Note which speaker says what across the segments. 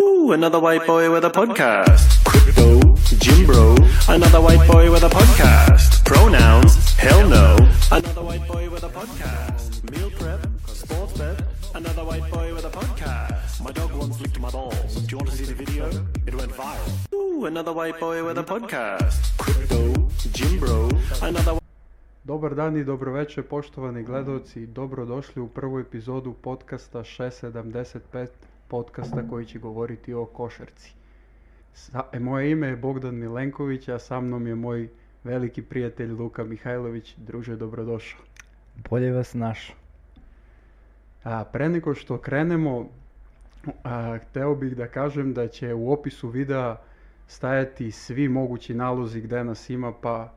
Speaker 1: Ooh, another white boy with a podcast.
Speaker 2: Crypto, Jimbro,
Speaker 1: Another white boy with a podcast. Pronouns? Hell no. Another white boy with a podcast. Meal prep, sports bet. Another white boy with a podcast. My dog once licked my balls. Do you want to see the video? It went viral. Ooh, another white boy with a podcast.
Speaker 2: Crypto, Jimbro,
Speaker 1: Another.
Speaker 3: Добар дан и добровече, поштовани гледаоци, и добродошли у прву епизоду подкаста 675, подкаста кој ќе говорити о кошерци. Са, е, моје име е Богдан Миленковиќ, а са мном е мој велики пријател Лука Михајловиќ. Друже, добродошол.
Speaker 4: Bolje vas naš.
Speaker 3: А, пре некој што кренемо, а, хтео бих да кажем да ќе у опису видеа стајати сви могучи налози каде нас има, па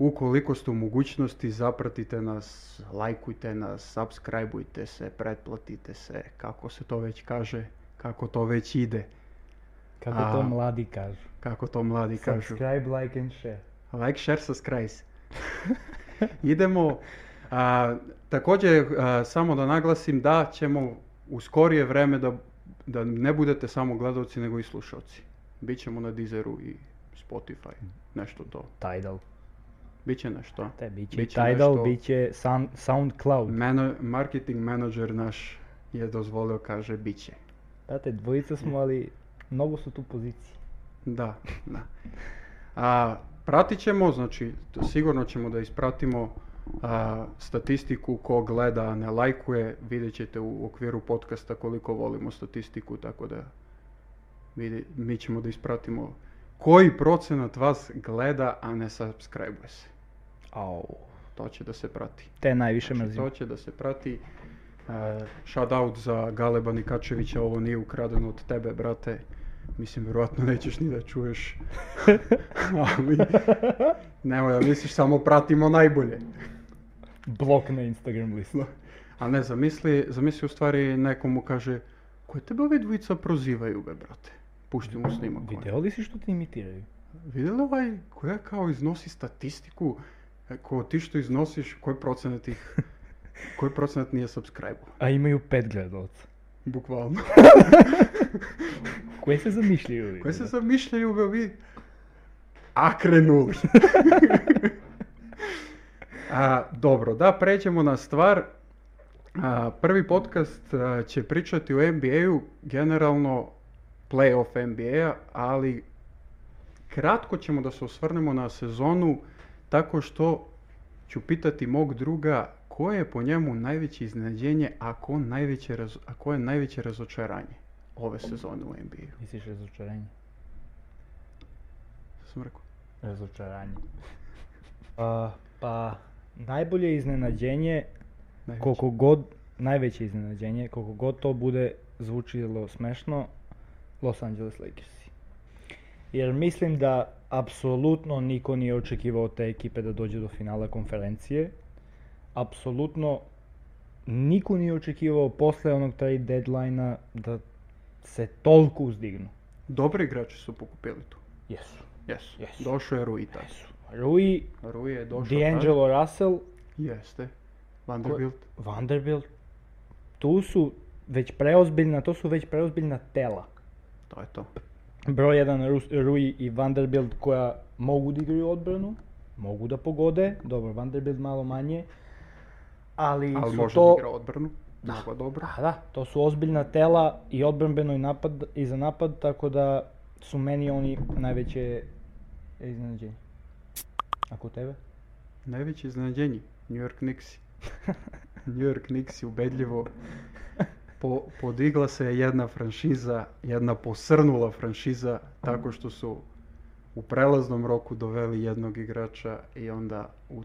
Speaker 3: уколико сте у могуćности запратите нас, лајкујте нас, сабскрајбујте се, претплатите се, како се то веќе каже, како то веќе иде,
Speaker 4: Kako
Speaker 3: A.
Speaker 4: to mladi kažu.
Speaker 3: како то млади кажу.
Speaker 4: Subscribe, like and share.
Speaker 3: Лайк, шер, сабскрајз. Идемо, а, такође, а, само да нагласим да ћемо у скорије време да, да не будете само гледаоци, него и слушаоци. Бићемо на Дизеру и Spotify, нешто то.
Speaker 4: Tidal.
Speaker 3: Биће нешто. а?
Speaker 4: Te, biće,
Speaker 3: Biće
Speaker 4: Tidal,
Speaker 3: nešto-
Speaker 4: biće Sound, SoundCloud.
Speaker 3: Мено, маркетинг менеджер наш је дозволио, каже, биће.
Speaker 4: Brate, dvojica smo, ali mnogo su tu pozicije.
Speaker 3: Да, да. А, пратит ќемо, значи, т- сигурно ќемо да испратимо а, статистику ко гледа, а не лајкуе, видет ќете у оквиру подкаста колико волимо статистику, така да види, ми ќемо да испратимо кој проценат вас гледа, а не сабскрајбуе се.
Speaker 4: Au.
Speaker 3: Тоа ќе да се прати.
Speaker 4: Te najviše
Speaker 3: Значи,
Speaker 4: mrzim.
Speaker 3: тоа ќе да се прати. Шадаут за Галеба Никачевиќа, ово не е украдено од тебе, брате. Мислим, веројатно неќеш ни да чуеш. Ами, немој да мислиш, само пратимо најболе.
Speaker 4: Blok na Instagram listu.
Speaker 3: А не, замисли, замисли уствари некому каже, кој тебе овие двојца прозивају, бе, брате? Пушти му снимак. оне.
Speaker 4: Video li si što te imitiraju?
Speaker 3: Видел овај која као износи статистику, е, кој ти што износиш, кој проценат их, кој проценат ни е сабскрајбо,
Speaker 4: A imaju pet gledalaca.
Speaker 3: буквално.
Speaker 4: Koje se zamišljaju?
Speaker 3: Кој се замишљају бе ви? Акренули. а, добро, да, преќемо на ствар. А, први подкаст а, ќе причати о NBA-у, генерално плей-офф NBA-а, ali кратко ќемо да се осврнемо на сезону тако што ќе питати мог друга кој е по njemu највеќе изненадење, а кој највеќе раз... а кој е највеќе разочарање ове сезоне у NBA-у?
Speaker 4: Misliš razočaranje?
Speaker 3: Сум рекол.
Speaker 4: Razočaranje. A, pa, najbolje iznenađenje
Speaker 3: Najveće.
Speaker 4: koliko god, najveće iznenađenje, koliko god to bude zvučilo smešno, Los Angeles Lakersi. Jer mislim da apsolutno niko nije očekivao od te ekipe da dođe do finala konferencije. Apsolutno niko nije očekivao posle onog trade deadline da se toliko uzdignu.
Speaker 3: Добри играчи су покупили ту.
Speaker 4: Jesu.
Speaker 3: Јесу.
Speaker 4: Јесу.
Speaker 3: Дошо е Руи таа.
Speaker 4: Rui,
Speaker 3: Руи е дошо.
Speaker 4: D'Angelo Russell,
Speaker 3: Јесте. Вандербилт.
Speaker 4: Vanderbilt, tu su već preozbiljna, to su već preozbiljna tela.
Speaker 3: Тоа е тоа.
Speaker 4: Broj 1 Rus- Rui i Vanderbilt koja mogu da igraju odbranu, mogu da pogode, dobro, Vanderbilt malo manje, ali
Speaker 3: Ал
Speaker 4: su
Speaker 3: може да
Speaker 4: to...
Speaker 3: игра одбрну. Много добро.
Speaker 4: Da, da, to su ozbiljna tela i odbrambeno i, napad, i za napad, tako da su meni oni najveće iznenađenje. A kod tebe?
Speaker 3: Највеќе изненадење Њујорк Никси. Њујорк Никси убедливо по, подигла се една франшиза, една посрнула франшиза, тако што су у прелазном року довели едног играча и онда у,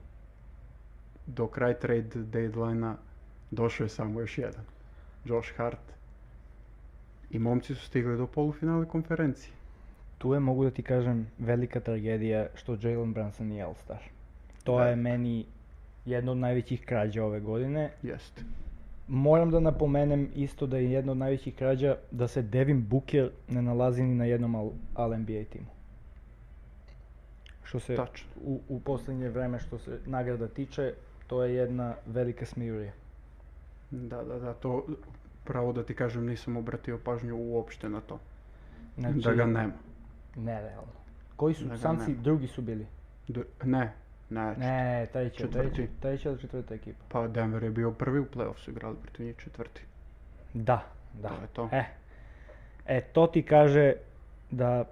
Speaker 3: до крај трейд дејдлайна дошо е само još еден. Джош Харт. И момци су стигли до полуфинале конференција.
Speaker 4: Tu je, mogu da ti kažem, velika tragedija što Jalen Brunson nije All-Star. To je meni jedna od najvećih krađa ove godine.
Speaker 3: Јесте.
Speaker 4: Moram da napomenem isto da je jedna od najvećih krađa da se Devin Booker ne nalazi ni na jednom All, all NBA timu. Što se
Speaker 3: Tačno.
Speaker 4: u, u posljednje vreme što se nagrada tiče, to je jedna velika smijurija.
Speaker 3: Да, да, да, то право да ти кажем, не сум обратио пажњу уопште на тоа.
Speaker 4: Znači,
Speaker 3: da ga nema.
Speaker 4: Nerealno. Koji su
Speaker 3: Da ga
Speaker 4: samci,
Speaker 3: nema.
Speaker 4: drugi su bili?
Speaker 3: D- ne, ne,
Speaker 4: Ne, treći,
Speaker 3: Četvrti.
Speaker 4: treći, treći ili četvrta ekipa.
Speaker 3: Pa Denver je bio prvi u play-off su igrali protiv njih četvrti.
Speaker 4: Da, da.
Speaker 3: To je to.
Speaker 4: E, e, to ti kaže da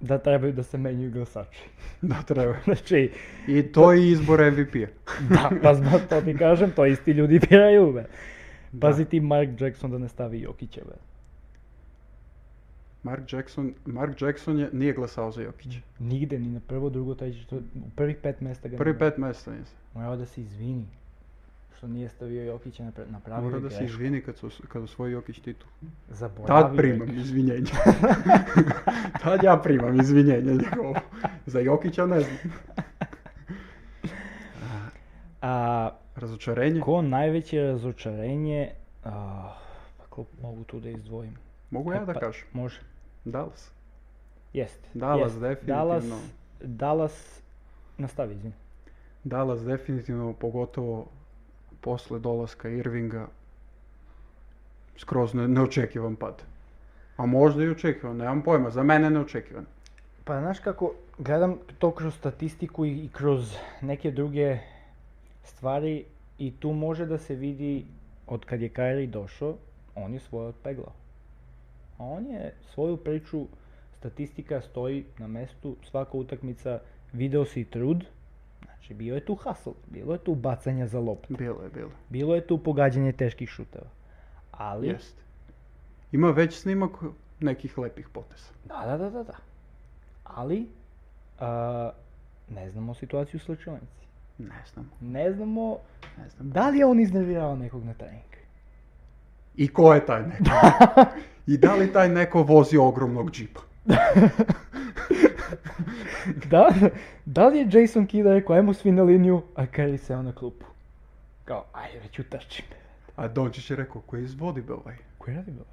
Speaker 4: da trebaju da se menjaju glasači.
Speaker 3: Da treba.
Speaker 4: Znači,
Speaker 3: I to je izbor MVP-a.
Speaker 4: da, pa zbog to ti kažem, to isti ljudi biraju, be.
Speaker 3: Да.
Speaker 4: Pazi ti Mark Jackson da ne stavi Jokića, be.
Speaker 3: Mark Jackson, Mark Jackson je, nije glasao za
Speaker 4: Значи,
Speaker 3: Jokića.
Speaker 4: Mm. Nigde, ni na prvo, drugo, treće, četvrto, u prvih pet mesta ga
Speaker 3: Prvi
Speaker 4: nema.
Speaker 3: pet mjesta nisam.
Speaker 4: Morao da se izvini što nije stavio Jokića, napra- napravio
Speaker 3: Mora
Speaker 4: je
Speaker 3: da se
Speaker 4: grešku.
Speaker 3: izvini kad, su, kad osvoji Jokić titul.
Speaker 4: Zaboravio
Speaker 3: Tad
Speaker 4: je
Speaker 3: primam izvinjenje. Tad ja primam izvinjenje njegovo. Za Jokića ne znam.
Speaker 4: A,
Speaker 3: Razočarenje?
Speaker 4: ko najveće razočarenje, ah, pa ko mogu tu da izdvojim?
Speaker 3: Mogu ja da
Speaker 4: Pa,
Speaker 3: kažem?
Speaker 4: Može.
Speaker 3: Dallas.
Speaker 4: Jeste.
Speaker 3: Dallas
Speaker 4: jest.
Speaker 3: definitivno.
Speaker 4: Dallas, Dallas, nastavi, izvini.
Speaker 3: Dallas definitivno, pogotovo posle dolaska Irvinga, skroz ne, neočekivan pad. A možda i očekivan, nemam pojma, za mene neočekivan.
Speaker 4: Pa znaš kako, gledam to kroz statistiku i, i kroz neke druge stvari i tu može da se vidi od kad je Kyrie došao, on je svoje odpeglao. A on je svoju priču, statistika stoji na mestu, svaka utakmica, video si trud, znači bio je tu hustle, bilo je tu bacanja za loptu,
Speaker 3: Bilo je, bilo.
Speaker 4: bilo je tu pogađanje teških šuteva. Ali,
Speaker 3: Jeste. Ima već snimak nekih lepih poteza.
Speaker 4: Da, da, da, da, da. Ali, a, ne znamo situaciju u slučajnici.
Speaker 3: Ne znam,
Speaker 4: Ne znamo
Speaker 3: ne znam.
Speaker 4: da li je on iznervirao nekog na trening.
Speaker 3: I ko je taj neko? I da li taj neko vozi ogromnog džipa?
Speaker 4: Da, da li je Jason Kidd rekao, ajmo svi na liniju, a Curry seo na klupu. Kao, ajde već utrčim.
Speaker 3: A Dončić je rekao, koji izvodi be ovaj?
Speaker 4: Koji radi bilo?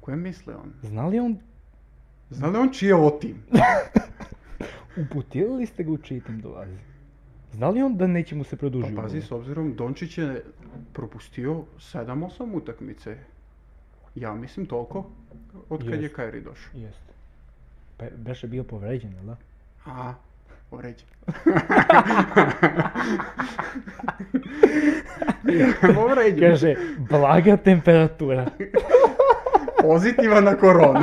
Speaker 3: Koje misle on?
Speaker 4: Zna li je on,
Speaker 3: Zna li on čiji je ovo tim?
Speaker 4: uputili li ste ga u čiji tim dolazi? Zna li on da neće mu se produžiti?
Speaker 3: Pa pazi, s obzirom, Dončić je propustio 7-8 utakmice. Ja mislim toliko, od kad je
Speaker 4: Jest.
Speaker 3: Kairi došao.
Speaker 4: Jeste. Pa, beše bio povređen, jel da?
Speaker 3: A, uređen. Uređen.
Speaker 4: Kaže, blaga temperatura.
Speaker 3: Pozitivan na koronu.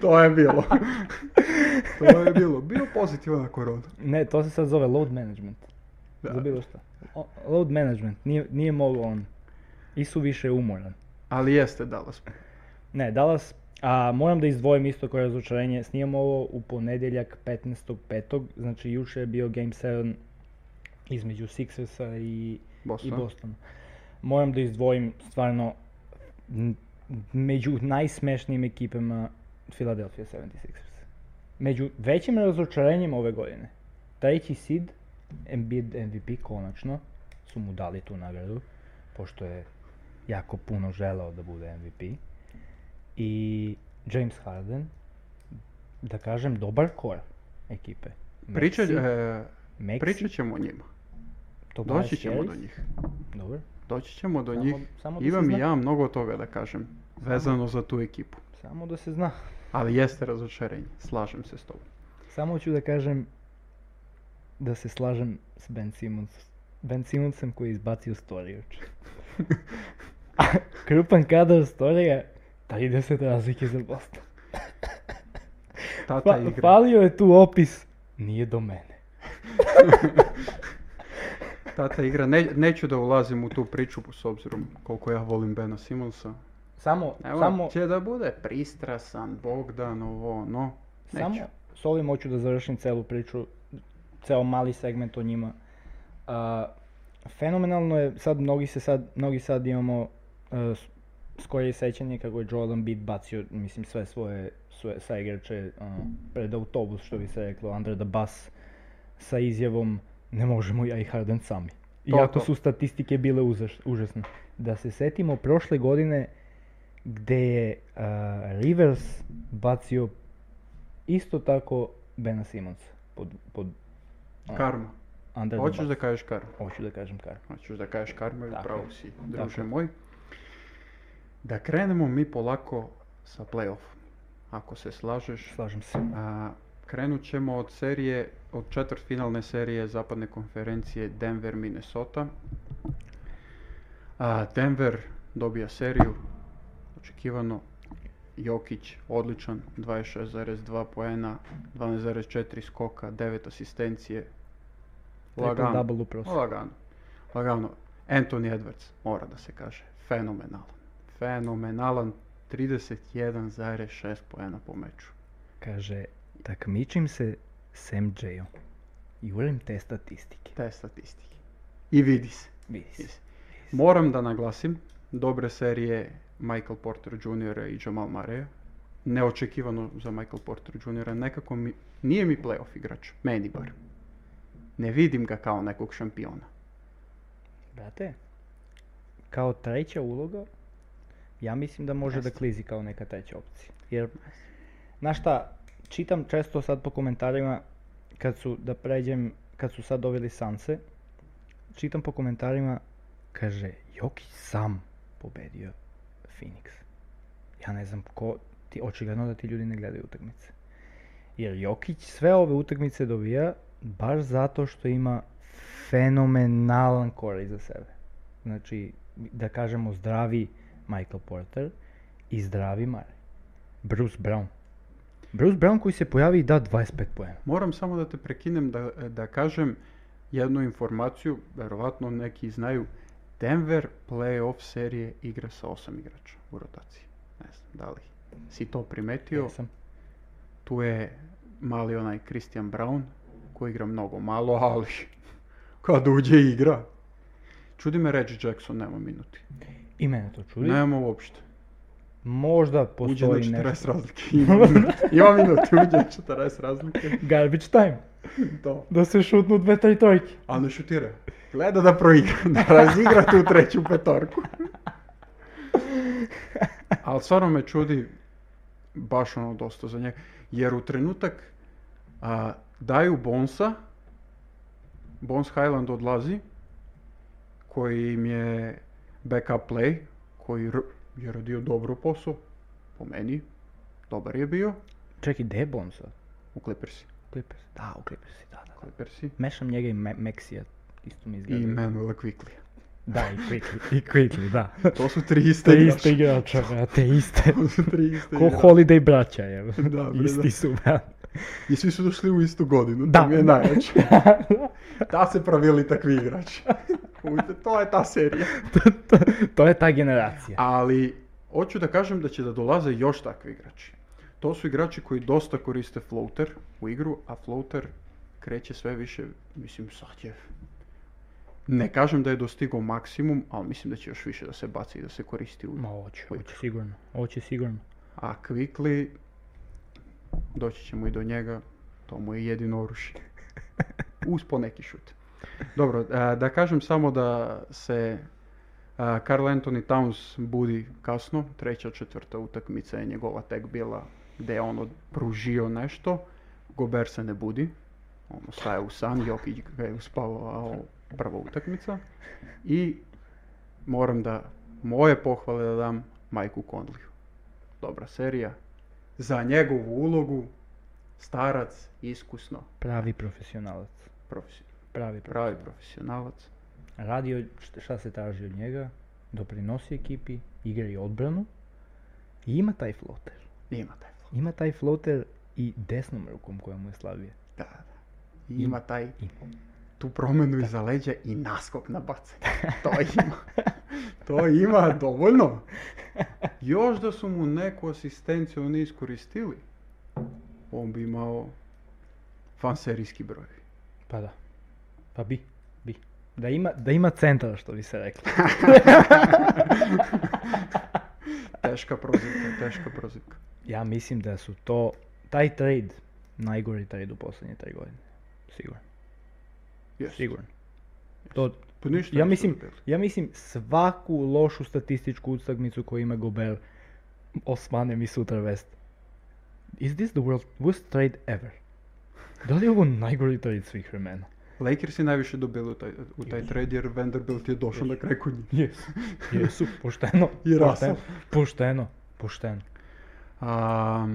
Speaker 3: to je bilo. to je bilo. Bio pozitivan na koronu.
Speaker 4: Ne, to se sad zove load management.
Speaker 3: Da.
Speaker 4: Za bilo šta. O- load management, nije, nije mogao on. I su više umoran.
Speaker 3: Ali jeste Dallas.
Speaker 4: Ne, Dallas, a moram da izdvojim isto koje razočarenje. Snimamo ovo u ponedjeljak 15.5. Znači juče je bio Game 7 između Sixersa i, i
Speaker 3: Boston.
Speaker 4: Bostona. Moram da izdvojim stvarno m- među najsmešnijim ekipama Philadelphia 76ers. Među većim razočarenjima ove godine. Treći seed, Embiid MVP konačno, su mu dali tu nagradu, pošto je jako puno želeo da bude MVP. I James Harden, da kažem, dobar kor ekipe.
Speaker 3: Priča,
Speaker 4: Maxi-
Speaker 3: e,
Speaker 4: Maxi,
Speaker 3: pričat ćemo o njima.
Speaker 4: Tobias
Speaker 3: Doći ćemo do
Speaker 4: Harris.
Speaker 3: njih.
Speaker 4: Dobro.
Speaker 3: Doći ćemo do
Speaker 4: Samo-
Speaker 3: njih.
Speaker 4: samo da se
Speaker 3: Imam i
Speaker 4: zna.
Speaker 3: ja mnogo toga da kažem. Vezano za tu ekipu.
Speaker 4: Samo da se zna.
Speaker 3: Ali jeste razočarenje. Slažem se s tobom.
Speaker 4: Samo ću da kažem da se slažem s Ben Simmons. Ben Simmonsem koji je izbacio storiju. Krupan kadar storija, 30 razlike za Boston.
Speaker 3: Tata
Speaker 4: Pa,
Speaker 3: igra.
Speaker 4: falio je tu opis, nije do mene.
Speaker 3: Tata igra. Ne, neću da ulazim u tu priču s obzirom koliko ja volim Bena Simonsa.
Speaker 4: Samo,
Speaker 3: Evo,
Speaker 4: samo,
Speaker 3: će da bude pristrasan, Bogdan, ovo, ono, no. Neću.
Speaker 4: samo s ovim hoću da završim celu priču, ceo mali segment o njima. A, fenomenalno je, sad mnogi se sad, mnogi sad imamo uh, skoje sećanje kako je Joel Embiid bacio, mislim, sve svoje, svoje saigrače ono, pred autobus, što bi se reklo, under the bus, sa izjavom ne možemo ja i Harden sami.
Speaker 3: To,
Speaker 4: Iako
Speaker 3: to.
Speaker 4: su statistike bile uzaš- užasne. Da se setimo prošle godine gde je uh, Rivers bacio isto tako Bena Simonsa pod, pod
Speaker 3: Karma.
Speaker 4: under the
Speaker 3: Hoćeš
Speaker 4: bus.
Speaker 3: da kažeš karma.
Speaker 4: Hoću da kažem kar.
Speaker 3: Hoćeš da kažeš karma i
Speaker 4: Tako
Speaker 3: pravo
Speaker 4: je.
Speaker 3: si,
Speaker 4: Tako
Speaker 3: druže
Speaker 4: je.
Speaker 3: moj. Da krenemo mi polako sa playoffom. ako se slažeš.
Speaker 4: Slažem se.
Speaker 3: A, krenut ćemo od serije, od četvrtfinalne serije zapadne konferencije Denver-Minnesota. A, Denver dobija seriju, očekivano. Jokić odličan, 26,2 poena, 12,4 skoka, 9 asistencije.
Speaker 4: Triple
Speaker 3: Lagano.
Speaker 4: double u prosjeku.
Speaker 3: Lagano. Lagano. Anthony Edwards, mora da se kaže. Fenomenalan. Fenomenalan. 31,6 poena po meču.
Speaker 4: Kaže, takmičim se s MJ-om i volim te statistike.
Speaker 3: Te statistike. I vidi se.
Speaker 4: Vidi se.
Speaker 3: vidi se. Moram da naglasim, dobre serije Michael Porter Jr. i Jamal Murray. Neočekivano za Michael Porter Jr. Nekako mi, nije mi playoff igrač, meni bar. Ne vidim ga kao nekog šampiona.
Speaker 4: Brate, kao treća uloga, ja mislim da može da klizi kao neka treća opcija. Jer, znaš šta, čitam često sad po komentarima, kad su, da pređem, kad su sad doveli Sanse, čitam po komentarima, kaže, Jokić sam pobedio Phoenix. Ja ne znam ko, ti, očigledno da ti ljudi ne gledaju utakmice. Jer Jokić sve ove utakmice dobija baš zato što ima fenomenalan kor iza sebe. Znači, da kažemo zdravi Michael Porter i zdravi Mare. Bruce Brown. Bruce Brown koji se pojavi i da 25 poena.
Speaker 3: Moram samo da te prekinem da, da kažem jednu informaciju, verovatno neki znaju, Denver playoff serije igra sa osam igrača u rotaciji. Ne znam, da li si to primetio?
Speaker 4: Jesam.
Speaker 3: Tu je mali onaj Christian Brown, koji igra mnogo malo, ali kad uđe igra. Čudi me Reggie Jackson, nema minuti.
Speaker 4: I mene to čudi.
Speaker 3: Nema uopšte.
Speaker 4: Možda
Speaker 3: Uđe znači, na
Speaker 4: postoji
Speaker 3: 40
Speaker 4: nešto.
Speaker 3: razlike. Ima minuti. Ima minuti, uđe na 40 razlike.
Speaker 4: Garbage time.
Speaker 3: To.
Speaker 4: Da se šutnu dve, tri trojke.
Speaker 3: A ne šutira. Gleda da proigra, da razigra tu treću petorku. Ali stvarno me čudi baš ono dosta za njega. Jer u trenutak a, daju Bonsa, Bons Highland odlazi, koji im je backup play, koji r- je radio dobro posao, po meni, dobar je bio,
Speaker 4: Čekaj, gde je Bonsa?
Speaker 3: u Clippersi.
Speaker 4: Clippers. Da, u Clippersi, da, da. da.
Speaker 3: Clippersi.
Speaker 4: Mešam njega i Me- Mexija. Isto mi izgleda.
Speaker 3: I Manuela Quickley.
Speaker 4: Da, i Quickly. I Quickly, da.
Speaker 3: To su tri iste
Speaker 4: Te
Speaker 3: igrača.
Speaker 4: iste igrača, brate, iste.
Speaker 3: To su tri iste
Speaker 4: Ko
Speaker 3: igrača.
Speaker 4: Holiday braća, je.
Speaker 3: Da, bre, da.
Speaker 4: Isti su, brate.
Speaker 3: I svi su došli u istu godinu,
Speaker 4: Da.
Speaker 3: to mi je najjače. Ta se pravili takvi igrači. Ujte, to je ta serija.
Speaker 4: to, to, to je ta generacija.
Speaker 3: Ali, hoću da kažem da će da dolaze još takvi igrači. To su igrači koji dosta koriste floater u igru, a floater kreće sve više, mislim, sad je... Ne kažem da je dostigao maksimum, ali mislim da će još više da se baci i da se koristi u
Speaker 4: Ma hoće, hoće sigurno. Hoće sigurno.
Speaker 3: A Quickly, doći ćemo i do njega, to mu je jedino oružje. Uz poneki šut. Dobro, a, da kažem samo da se a, Karl Anthony Towns budi kasno, treća, četvrta utakmica je njegova tek bila gdje je on pružio nešto, Gober se ne budi, on ostaje u san, Jokić ga je uspavao prva utakmica i moram da moje pohvale da dam Majku Conleyu dobra serija. Za njegovu ulogu, starac, iskusno,
Speaker 4: Pravi profesionalac.
Speaker 3: profesionalac,
Speaker 4: Pravi pro...
Speaker 3: pravi profesionalac.
Speaker 4: Radio šta se traži od njega. Doprinosi ekipi, igra i odbranu. I ima taj floater.
Speaker 3: Ima taj flow.
Speaker 4: Ima taj floater i desnom rukom koja mu je slabija.
Speaker 3: Da, da. I Ima taj,
Speaker 4: Ima.
Speaker 3: tu promenu iza leđa i naskok na bacanje. To ima. To ima dovoljno. Još da su mu neku asistenciju ne iskoristili, on bi imao fanserijski broj.
Speaker 4: Pa da. Pa bi. Bi. Da ima, da ima centar, što bi se reklo.
Speaker 3: Teška prozivka, teška prozivka.
Speaker 4: Ja mislim da su to, taj trade, najgori trade u posljednje tri godine. Sigurno,
Speaker 3: Yes.
Speaker 4: sigurno. To,
Speaker 3: Pa ništa
Speaker 4: ja,
Speaker 3: nisu
Speaker 4: mislim,
Speaker 3: dobili.
Speaker 4: ja mislim svaku lošu statističku utakmicu koju ima Gober, osmane mi sutra vest. Is this the world worst trade ever? Da li je ovo najgori trade svih vremena?
Speaker 3: Lakers je najviše dobili u taj, u taj trade jer Vanderbilt je došao na kraj kod njih.
Speaker 4: Jesu. Jesu, pošteno.
Speaker 3: I Russell.
Speaker 4: pošteno, pošteno, pošteno.
Speaker 3: A,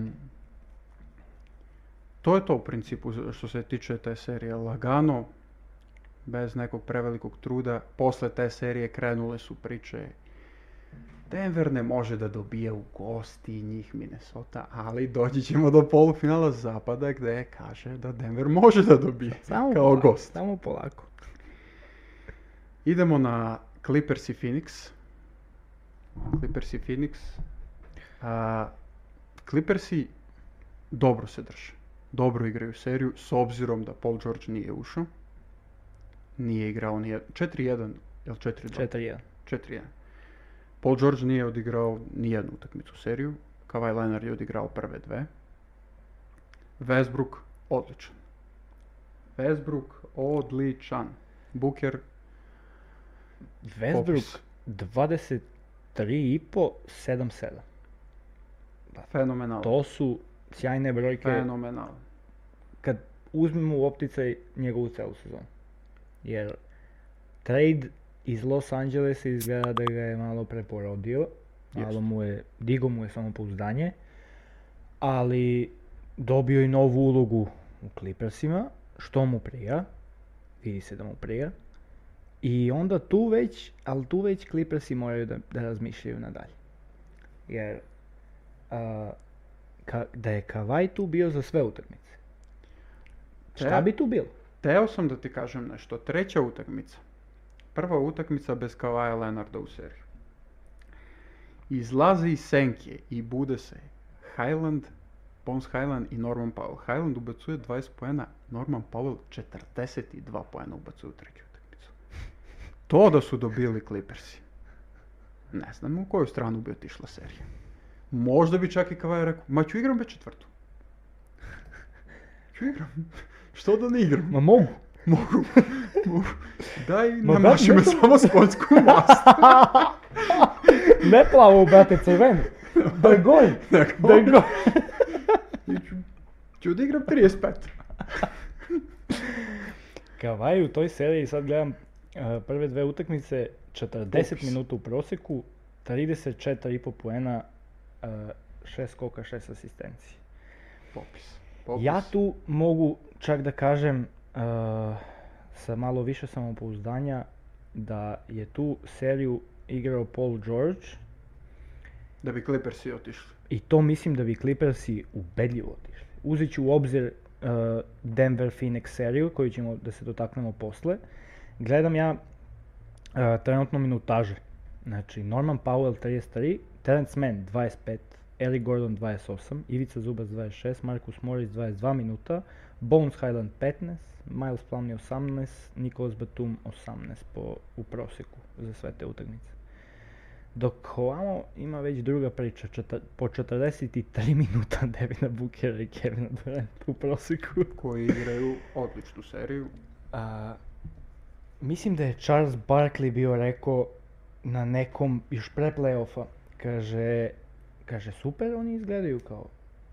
Speaker 3: to je to u principu što se tiče te serije. Lagano, bez nekog prevelikog truda, posle te serije krenule su priče Denver ne može da dobije u gosti njih Minnesota, ali doći ćemo do polufinala zapada gde kaže da Denver može da dobije
Speaker 4: Samo
Speaker 3: kao
Speaker 4: polako,
Speaker 3: gost.
Speaker 4: Samo polako.
Speaker 3: Idemo na Clippers i Phoenix. Clippers i Phoenix. A, Clippersi dobro se drže. Dobro igraju seriju, s obzirom da Paul George nije ušao. Nije igrao ni jed- 4-1, jel 4-2?
Speaker 4: 4-1.
Speaker 3: 4-1. Paul George nije odigrao ni jednu utakmicu u seriju. Kawhi Leonard je odigrao prve dve. Westbrook odličan. Westbrook odličan. Booker
Speaker 4: Westbrook
Speaker 3: popis.
Speaker 4: 23,5, 7-7.
Speaker 3: Fenomenal.
Speaker 4: To su sjajne brojke
Speaker 3: Fenomenal.
Speaker 4: kad uzmemo u opticaj njegovu celu sezonu. Jer trade iz Los Angelesa izgleda da ga je malo preporodio. Malo
Speaker 3: Jest.
Speaker 4: mu je, digo mu je samopouzdanje. Ali dobio je novu ulogu u Clippersima, što mu prija. Vidi se da mu prija. I onda tu već, ali tu već Clippersi moraju da, da razmišljaju nadalje. Jer a, ka- da je Kavaj tu bio za sve utakmice. Šta
Speaker 3: Treba.
Speaker 4: bi tu bilo?
Speaker 3: Teo sam da ti kažem nešto. Treća utakmica. Prva utakmica bez Kavaja Leonarda u seriji. Izlazi iz senke i bude se Highland, Bones Highland i Norman Powell. Highland ubacuje 20 poena, Norman Powell 42 poena ubacuje u treću utakmicu. To da su dobili Clippersi. Ne znam u koju stranu bi otišla serija. Možda bi čak i Kavaja rekao, ma ću igram bez četvrtu. ću igram. Što da ne igram?
Speaker 4: Ma mogu.
Speaker 3: Mogu, mogu. Daj,
Speaker 4: Ma
Speaker 3: namaši
Speaker 4: da,
Speaker 3: me
Speaker 4: ne
Speaker 3: samo s poljsku mast.
Speaker 4: Ne plavo, brate, crveno. Da je gol. Da je gol.
Speaker 3: I ću, ću da igram 35.
Speaker 4: Kavaj u toj seriji, sad gledam uh, prve dve utakmice, 40
Speaker 3: Popis.
Speaker 4: minuta u proseku, 34,5 poena, uh, 6 skoka, 6 asistencije.
Speaker 3: Popis. Popis.
Speaker 4: Ja tu mogu čak da kažem uh, sa malo više samopouzdanja da je tu seriju igrao Paul George
Speaker 3: Da bi Clippersi otišli.
Speaker 4: i to mislim da bi Clippersi ubedljivo otišli. Uzet ću u obzir uh, Denver Phoenix seriju koju ćemo da se dotaknemo posle. Gledam ja uh, trenutno minutaže. Znači Norman Powell 33, Terence Mann 25, Eric Gordon 28, Ivica Zubac 26, Marcus Morris 22 minuta, Bones Highland 15, Miles Plumlee 18, Nicholas Batum 18 po, u proseku za sve te utakmice. Dok ovamo ima već druga priča, četa- po 43 minuta Devina Bookera i Kevina Duranta u proseku.
Speaker 3: Koji igraju odličnu seriju.
Speaker 4: A, mislim da je Charles Barkley bio rekao na nekom, još pre playoffa, kaže, kaže super oni izgledaju kao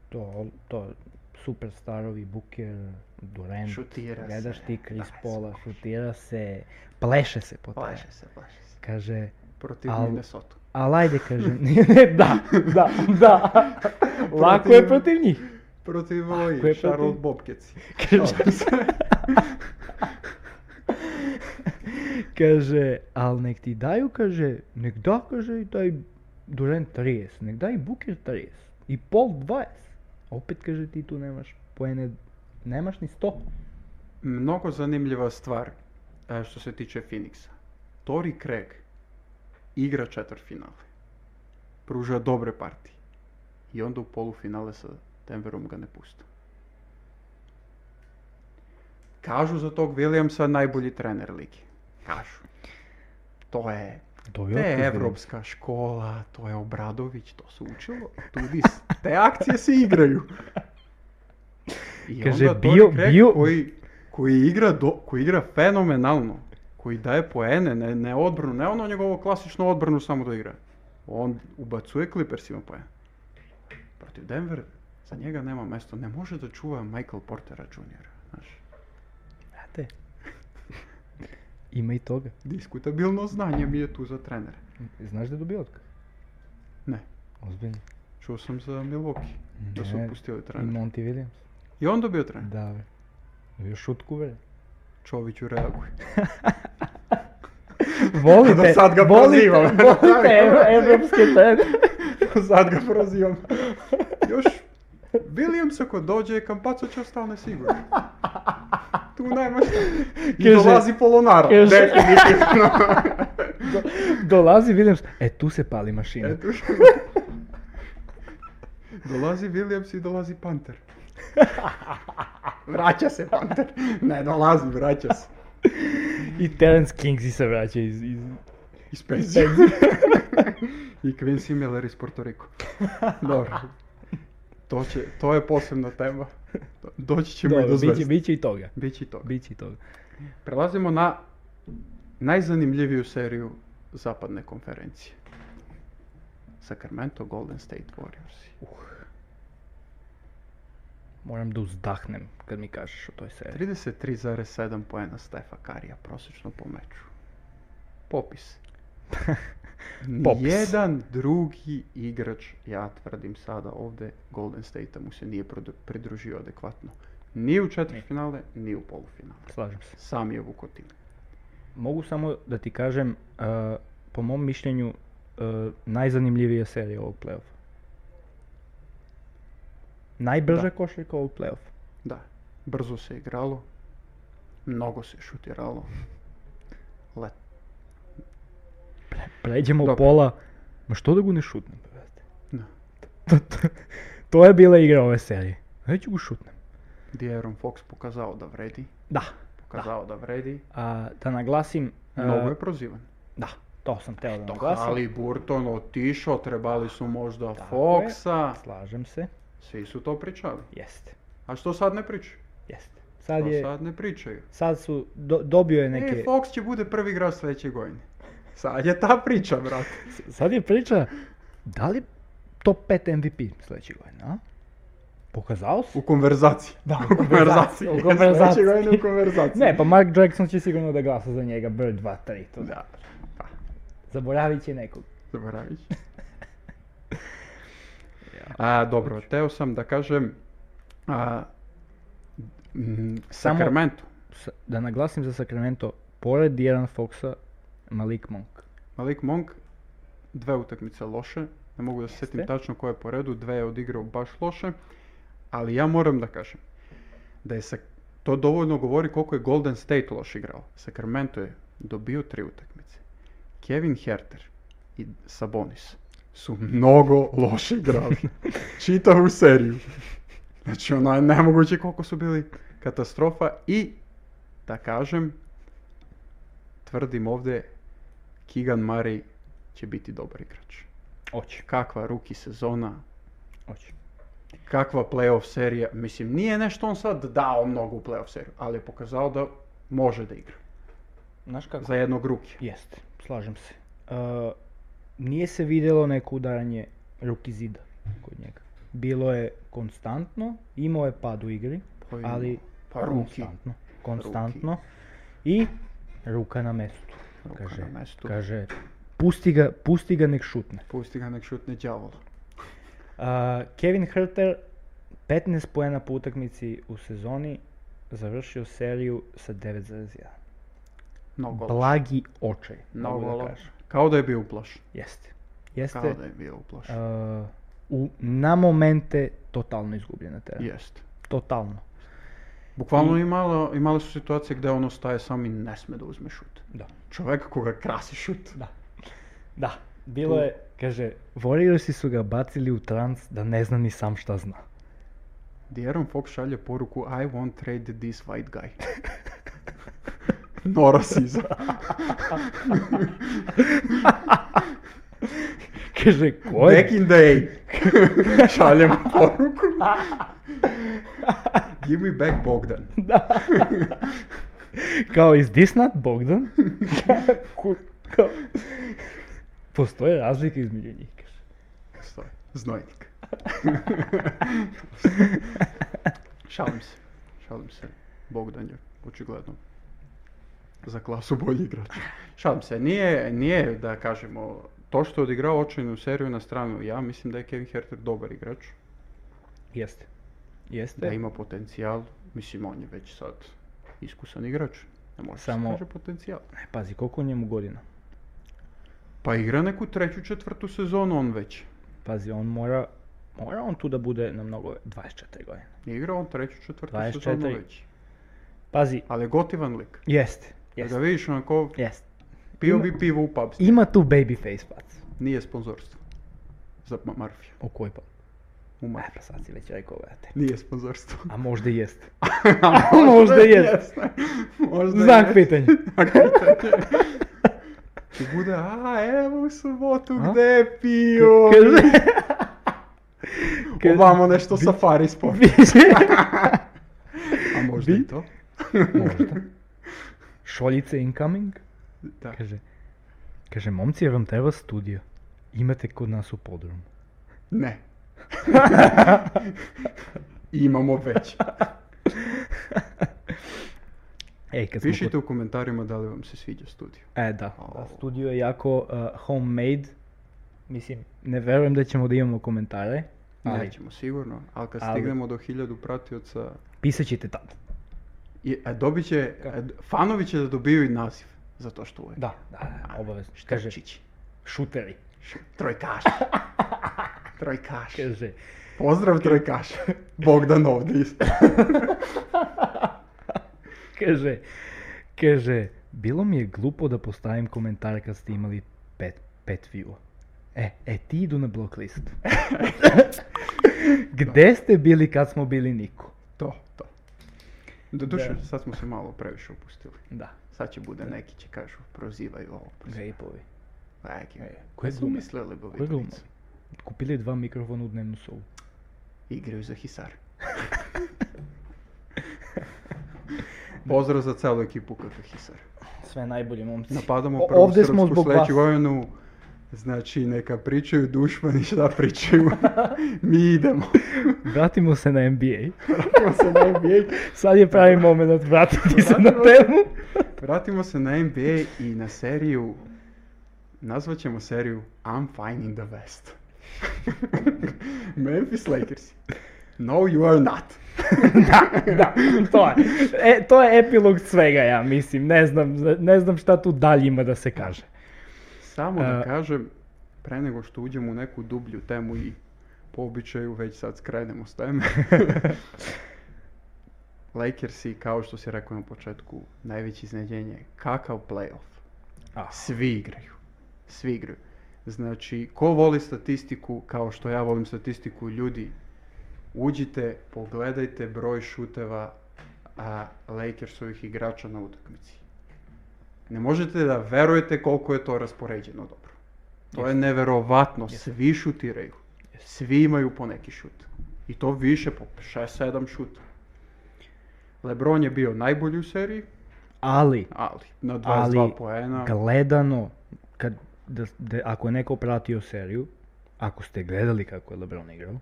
Speaker 4: to, to super starovi, Booker, Durant,
Speaker 3: Šutira se.
Speaker 4: gledaš ti Chris
Speaker 3: Da,
Speaker 4: Paula, šutira se, pleše se po terenu.
Speaker 3: se, plaše se.
Speaker 4: Kaže,
Speaker 3: Protiv
Speaker 4: Al-
Speaker 3: Minnesota.
Speaker 4: ali ajde kaže, ne, ne, da, da, da, lako je protiv njih.
Speaker 3: Protiv
Speaker 4: ko je
Speaker 3: ovi, Charlotte
Speaker 4: protiv?
Speaker 3: Bobcats.
Speaker 4: Kaže, kaže, ali nek ti daju, kaže, nek da, kaže, i taj Durant 30, nek da i Booker 30, i Paul 20. Opet, kaže, ti tu nemaš poene, nemaš ni 100.
Speaker 3: Mnogo zanimljiva stvar e, što se tiče Phoenixa. Tori Craig igra četvrtfinale. Pruža dobre partije. I onda u polufinale sa Denverom ga ne pušta. Kažu za tog Williamsa najbolji trener ligi. Kažu. To je
Speaker 4: To
Speaker 3: to je evropska škola, to je Obradović, to se učilo. Tudi s- te akcije se igraju. I
Speaker 4: Kaže,
Speaker 3: onda Tori
Speaker 4: bio-
Speaker 3: Craig
Speaker 4: bio-
Speaker 3: Koji, koji, igra do, koji igra fenomenalno, koji daje poene, ne, ne odbranu, ne ono njegovo klasično odbranu samo da igra. On ubacuje Clippersima poene. Protiv Denver, za njega nema mesta, ne može da čuva Michael Portera Jr. Znaš,
Speaker 4: Brate, ima i toga.
Speaker 3: diskutabilno znanje mi je tu za trenere.
Speaker 4: Znaš da je dobio otkaz?
Speaker 3: Ne.
Speaker 4: Ozbiljno.
Speaker 3: Čuo sam za Milwaukee, da su
Speaker 4: Ne,
Speaker 3: otpustili
Speaker 4: I
Speaker 3: trenera.
Speaker 4: Monty Williams.
Speaker 3: I on dobio trener.
Speaker 4: Da, bre. Bio šutku, bre.
Speaker 3: Čoviću reaguje.
Speaker 4: Volite,
Speaker 3: Da sad ga
Speaker 4: volite,
Speaker 3: prozivam.
Speaker 4: volite ev- evropske teme.
Speaker 3: Sad ga prozivam. Još Williams ako dođe, Kampaco će ostane sigurno. Tu nema šta. I
Speaker 4: Kaže-
Speaker 3: dolazi Polonar.
Speaker 4: kaže-
Speaker 3: Definitivno.
Speaker 4: Dolazi Williams, e tu se pali mašina.
Speaker 3: Eto. dolazi Williams i dolazi Panter. Vraća se Panter. Ne, dolazi, vraća se.
Speaker 4: I Terence Kingsley se vraća iz... iz...
Speaker 3: Iz penzije. I Quincy Miller iz Porto Riko. Dobro. To, će, to je posebna tema. Doći ćemo i
Speaker 4: Dobro,
Speaker 3: do
Speaker 4: biće,
Speaker 3: zvezda.
Speaker 4: biće i toga.
Speaker 3: Biće i to.
Speaker 4: Biće i toga.
Speaker 3: Prelazimo na najzanimljiviju seriju zapadne konferencije. Sacramento Golden State Warriors.
Speaker 4: Moram da uzdahnem kad mi kažeš o toj seriji.
Speaker 3: 33,7 poena Stefa Karija prosječno po meču. Popis.
Speaker 4: Popis.
Speaker 3: Jedan drugi igrač, ja tvrdim sada ovdje, Golden State mu se nije produ- pridružio adekvatno. Ni u četvrtfinale, ni u polufinale.
Speaker 4: Slažem se.
Speaker 3: Sam je Vukotin.
Speaker 4: Mogu samo da ti kažem, uh, po mom mišljenju, uh, najzanimljivija serija ovog play-offa. Najbrža
Speaker 3: Da.
Speaker 4: košarka ovog play-offa.
Speaker 3: Da, brzo se igralo, mnogo se šutiralo. Let.
Speaker 4: Pređemo
Speaker 3: Dobro.
Speaker 4: pola, ma što da go ne šutnem? brate?
Speaker 3: Da.
Speaker 4: To, to- to je bila igra ove serije. Neću go šutnem.
Speaker 3: Gdje je Aaron Fox pokazao da vredi,
Speaker 4: Da.
Speaker 3: pokazao da, E, vredi,
Speaker 4: A, da naglasim... uh,
Speaker 3: mnogo je prozivan.
Speaker 4: Da, to sam teo da
Speaker 3: To
Speaker 4: naglasim.
Speaker 3: ali Burton otišao, trebali su možda
Speaker 4: Tako je.
Speaker 3: Foxa,
Speaker 4: Slažem se.
Speaker 3: svi su to pričali.
Speaker 4: Jeste.
Speaker 3: A što sad ne pričaju?
Speaker 4: Jeste. Sad
Speaker 3: Što
Speaker 4: je...
Speaker 3: sad ne pričaju?
Speaker 4: Sad su... do- dobio je
Speaker 3: E,
Speaker 4: neke...
Speaker 3: Fox će bude prvi igrač sljedeće godine. Sad je ta priča, brat.
Speaker 4: Sad je priča, da li top 5 MVP sljedeće godine, a? Pokazao se?
Speaker 3: U konverzaciji.
Speaker 4: Da,
Speaker 3: u konverzaciji.
Speaker 4: u konverzaciji.
Speaker 3: Sljedeće godine u konverzaciji.
Speaker 4: Ne, pa Mark Jackson će sigurno da glasa za njega, Bird 2, 3, to da.
Speaker 3: Da,
Speaker 4: Zaboravit će nekog.
Speaker 3: zaboravit ću. A, dobro, teo sam da kažem a, mm,
Speaker 4: Samo-
Speaker 3: Sacramento.
Speaker 4: S- Da naglasim za Sacramento, pored Diran Foxa, Malik Monk.
Speaker 3: Malik Monk, dve utakmice loše, ne mogu da se sjetim
Speaker 4: Jeste.
Speaker 3: tačno koje je po redu, dve je odigrao baš loše, ali ja moram da kažem da je Sac- to dovoljno govori koliko je Golden State loš igrao. Sacramento je dobio tri utakmice. Kevin Herter i Sabonis su mnogo loše igrali. Čitavu seriju. Znači ono je nemoguće koliko su bili katastrofa i da kažem tvrdim ovdje Keegan Murray će biti dobar igrač.
Speaker 4: Oće,
Speaker 3: Kakva ruki sezona,
Speaker 4: oće.
Speaker 3: kakva playoff serija. Mislim, nije nešto on sad dao mnogo u playoff seriju, ali je pokazao da može da igra.
Speaker 4: Znaš kako?
Speaker 3: Za jednog ruki.
Speaker 4: Jeste, slažem se. Uh, nije se vidjelo neko udaranje ruki zida kod njega. Bilo je konstantno, imao je pad u igri,
Speaker 3: Pa imao.
Speaker 4: ali
Speaker 3: Pa ruki.
Speaker 4: konstantno. konstantno. I ruka na mestu.
Speaker 3: Ruka
Speaker 4: kaže,
Speaker 3: na mestu.
Speaker 4: Kaže, pusti ga, pusti ga nek šutne.
Speaker 3: Pusti ga nek šutne đavola.
Speaker 4: A, Uh, Kevin Herter, 15 poena po utakmici u sezoni, završio seriju sa 9,1.
Speaker 3: Mnogo loše.
Speaker 4: Blagi očaj, mogu
Speaker 3: Mnogo
Speaker 4: da
Speaker 3: loše.
Speaker 4: kažem.
Speaker 3: Kao da je bio uplašen.
Speaker 4: Jeste. Jeste.
Speaker 3: Kao da je bio uplašen.
Speaker 4: Uh, u, na momente totalno izgubljena teren.
Speaker 3: Jest.
Speaker 4: Totalno.
Speaker 3: Bukvalno imala, imale su situacije gdje ono staje sam i ne sme da uzme šut.
Speaker 4: Da.
Speaker 3: Čovjek koga krasi šut.
Speaker 4: Da. Da. Bilo je, kaže, Warriorsi su ga bacili u trans da ne zna ni sam šta zna.
Speaker 3: Dieron Fox šalje poruku I won't trade this white guy. no rasizam.
Speaker 4: Kaže, ko je?
Speaker 3: Back in the day. Šaljem poruku. Give me back Bogdan.
Speaker 4: Kao, is this not Bogdan? Ko- kao- Postoje razlika između njih, kaže.
Speaker 3: Stoj, znojnik. šalim se, šalim se. Bogdan je očigledno za klasu bolji igrač. Šalim se, nije, nije da kažemo to što je odigrao očajnu seriju na stranu, ja mislim da je Kevin Herter dobar igrač,
Speaker 4: Jeste. Jeste.
Speaker 3: da ima potencijal, mislim on je već sad iskusan igrač, ne može
Speaker 4: Samo-
Speaker 3: se kaže potencijal.
Speaker 4: E, Pazi, koliko njemu godina?
Speaker 3: Pa igra neku treću, četvrtu sezonu on već.
Speaker 4: Pazi, on mora, mora on tu da bude na mnogo, 24 godine.
Speaker 3: Igra on treću, četvrtu
Speaker 4: 24.
Speaker 3: sezonu već.
Speaker 4: Pazi,
Speaker 3: Ali je gotivan lik.
Speaker 4: jeste,
Speaker 3: Yes. Da
Speaker 4: jeste,
Speaker 3: ga vidiš onako,
Speaker 4: jeste.
Speaker 3: pio
Speaker 4: Ima-
Speaker 3: bi pivo u pub.
Speaker 4: Ima tu babyface pac.
Speaker 3: Nije sponzorstvo. Za ma- Marfija.
Speaker 4: U koji pa?
Speaker 3: U
Speaker 4: E,
Speaker 3: Marfiju.
Speaker 4: pa sad si već rekao, brate.
Speaker 3: Nije sponzorstvo.
Speaker 4: A možda i jeste. možda i jest.
Speaker 3: Možda
Speaker 4: Znak
Speaker 3: jest.
Speaker 4: pitanja.
Speaker 3: Znak pitanja. I bude, a evo u subotu
Speaker 4: A?
Speaker 3: gde je pio.
Speaker 4: Kaže- Kaže-
Speaker 3: Ovamo nešto safari sport. A možda
Speaker 4: bi-
Speaker 3: i to.
Speaker 4: Možda. Šoljice incoming.
Speaker 3: Da.
Speaker 4: Kaže, kaže, momci, jer vam treba studio. Imate kod nas u podrumu.
Speaker 3: Ne. Imamo već.
Speaker 4: Ej, E, kad smo
Speaker 3: Pišite
Speaker 4: kod-
Speaker 3: u komentarima da li vam se sviđa studio.
Speaker 4: E, da. da,
Speaker 3: Au.
Speaker 4: studio je jako uh, homemade. Mislim, ne verujem da ćemo da imamo komentare, ali
Speaker 3: Nećemo sigurno, ali kad
Speaker 4: ali-
Speaker 3: stignemo do hiljadu pratioca,
Speaker 4: pisat ćete tad.
Speaker 3: i, e, dobit će, e, fanovi će da dobiju i naziv za to što je.
Speaker 4: Da, da, da, obavezno. Kaže,
Speaker 3: Čići.
Speaker 4: šuteri.
Speaker 3: Trojkaš. Trojkaš.
Speaker 4: Kaže,
Speaker 3: Pozdrav trojkaš. Bogdan ovdje isto.
Speaker 4: kaže, kaže, bilo mi je glupo da postavim komentar kad ste imali pet, pet view E, e, ti idu na blok listu. Gde ste bili kad smo bili niko?
Speaker 3: To, to. Doduše,
Speaker 4: Da.
Speaker 3: sad smo se malo previše opustili.
Speaker 4: Da,
Speaker 3: Sad će bude neki će kažu, prozivaju ovo. Prozivaju.
Speaker 4: Gapovi.
Speaker 3: Neki.
Speaker 4: E, koje
Speaker 3: Koje su
Speaker 4: glume?
Speaker 3: mislili bovi
Speaker 4: Koje glume? Kupili dva mikrofona u dnevnu sobu.
Speaker 3: Igraju za Hisar. Pozdrav za celu ekipu kako Hisar.
Speaker 4: Sve najbolje, momci.
Speaker 3: Napadamo
Speaker 4: O-
Speaker 3: prvu
Speaker 4: ovdje smo
Speaker 3: srpsku
Speaker 4: zbog
Speaker 3: sledeću
Speaker 4: vas.
Speaker 3: godinu. Znači, neka pričaju dušmani šta pričaju. Mi idemo.
Speaker 4: Vratimo se na NBA.
Speaker 3: Vratimo se na NBA.
Speaker 4: Sad je pravi moment vratiti se na
Speaker 3: Vratimo se.
Speaker 4: temu.
Speaker 3: Vratimo se na NBA i na seriju, nazvat ćemo seriju I'm fine in the West. Memphis Lakers. No, you are not.
Speaker 4: da, da, to je. E, to je epilog svega, ja mislim. Ne znam, ne znam šta tu dalje ima da se kaže.
Speaker 3: Samo da
Speaker 4: E.
Speaker 3: kažem, pre nego što uđemo u neku dublju temu i po običaju već sad skrenemo s teme. Lakersi, kao što si rekao na početku, najveće iznenjenje. Kakav playoff?
Speaker 4: Ah.
Speaker 3: Svi igraju. Svi igraju. Znači, ko voli statistiku, kao što ja volim statistiku, ljudi, uđite, pogledajte broj šuteva a, Lakersovih igrača na utakmici. Ne možete da verujete koliko je to raspoređeno dobro. To je neverovatno. Svi šutiraju. Svi imaju po neki šut. I to više, po 6-7 šuta. Lebron je bio najbolji u seriji,
Speaker 4: Ali,
Speaker 3: ali na 22
Speaker 4: ali
Speaker 3: poena.
Speaker 4: gledano, kad, da, da- ako je neko pratio seriju, ako ste gledali kako je LeBron igrao,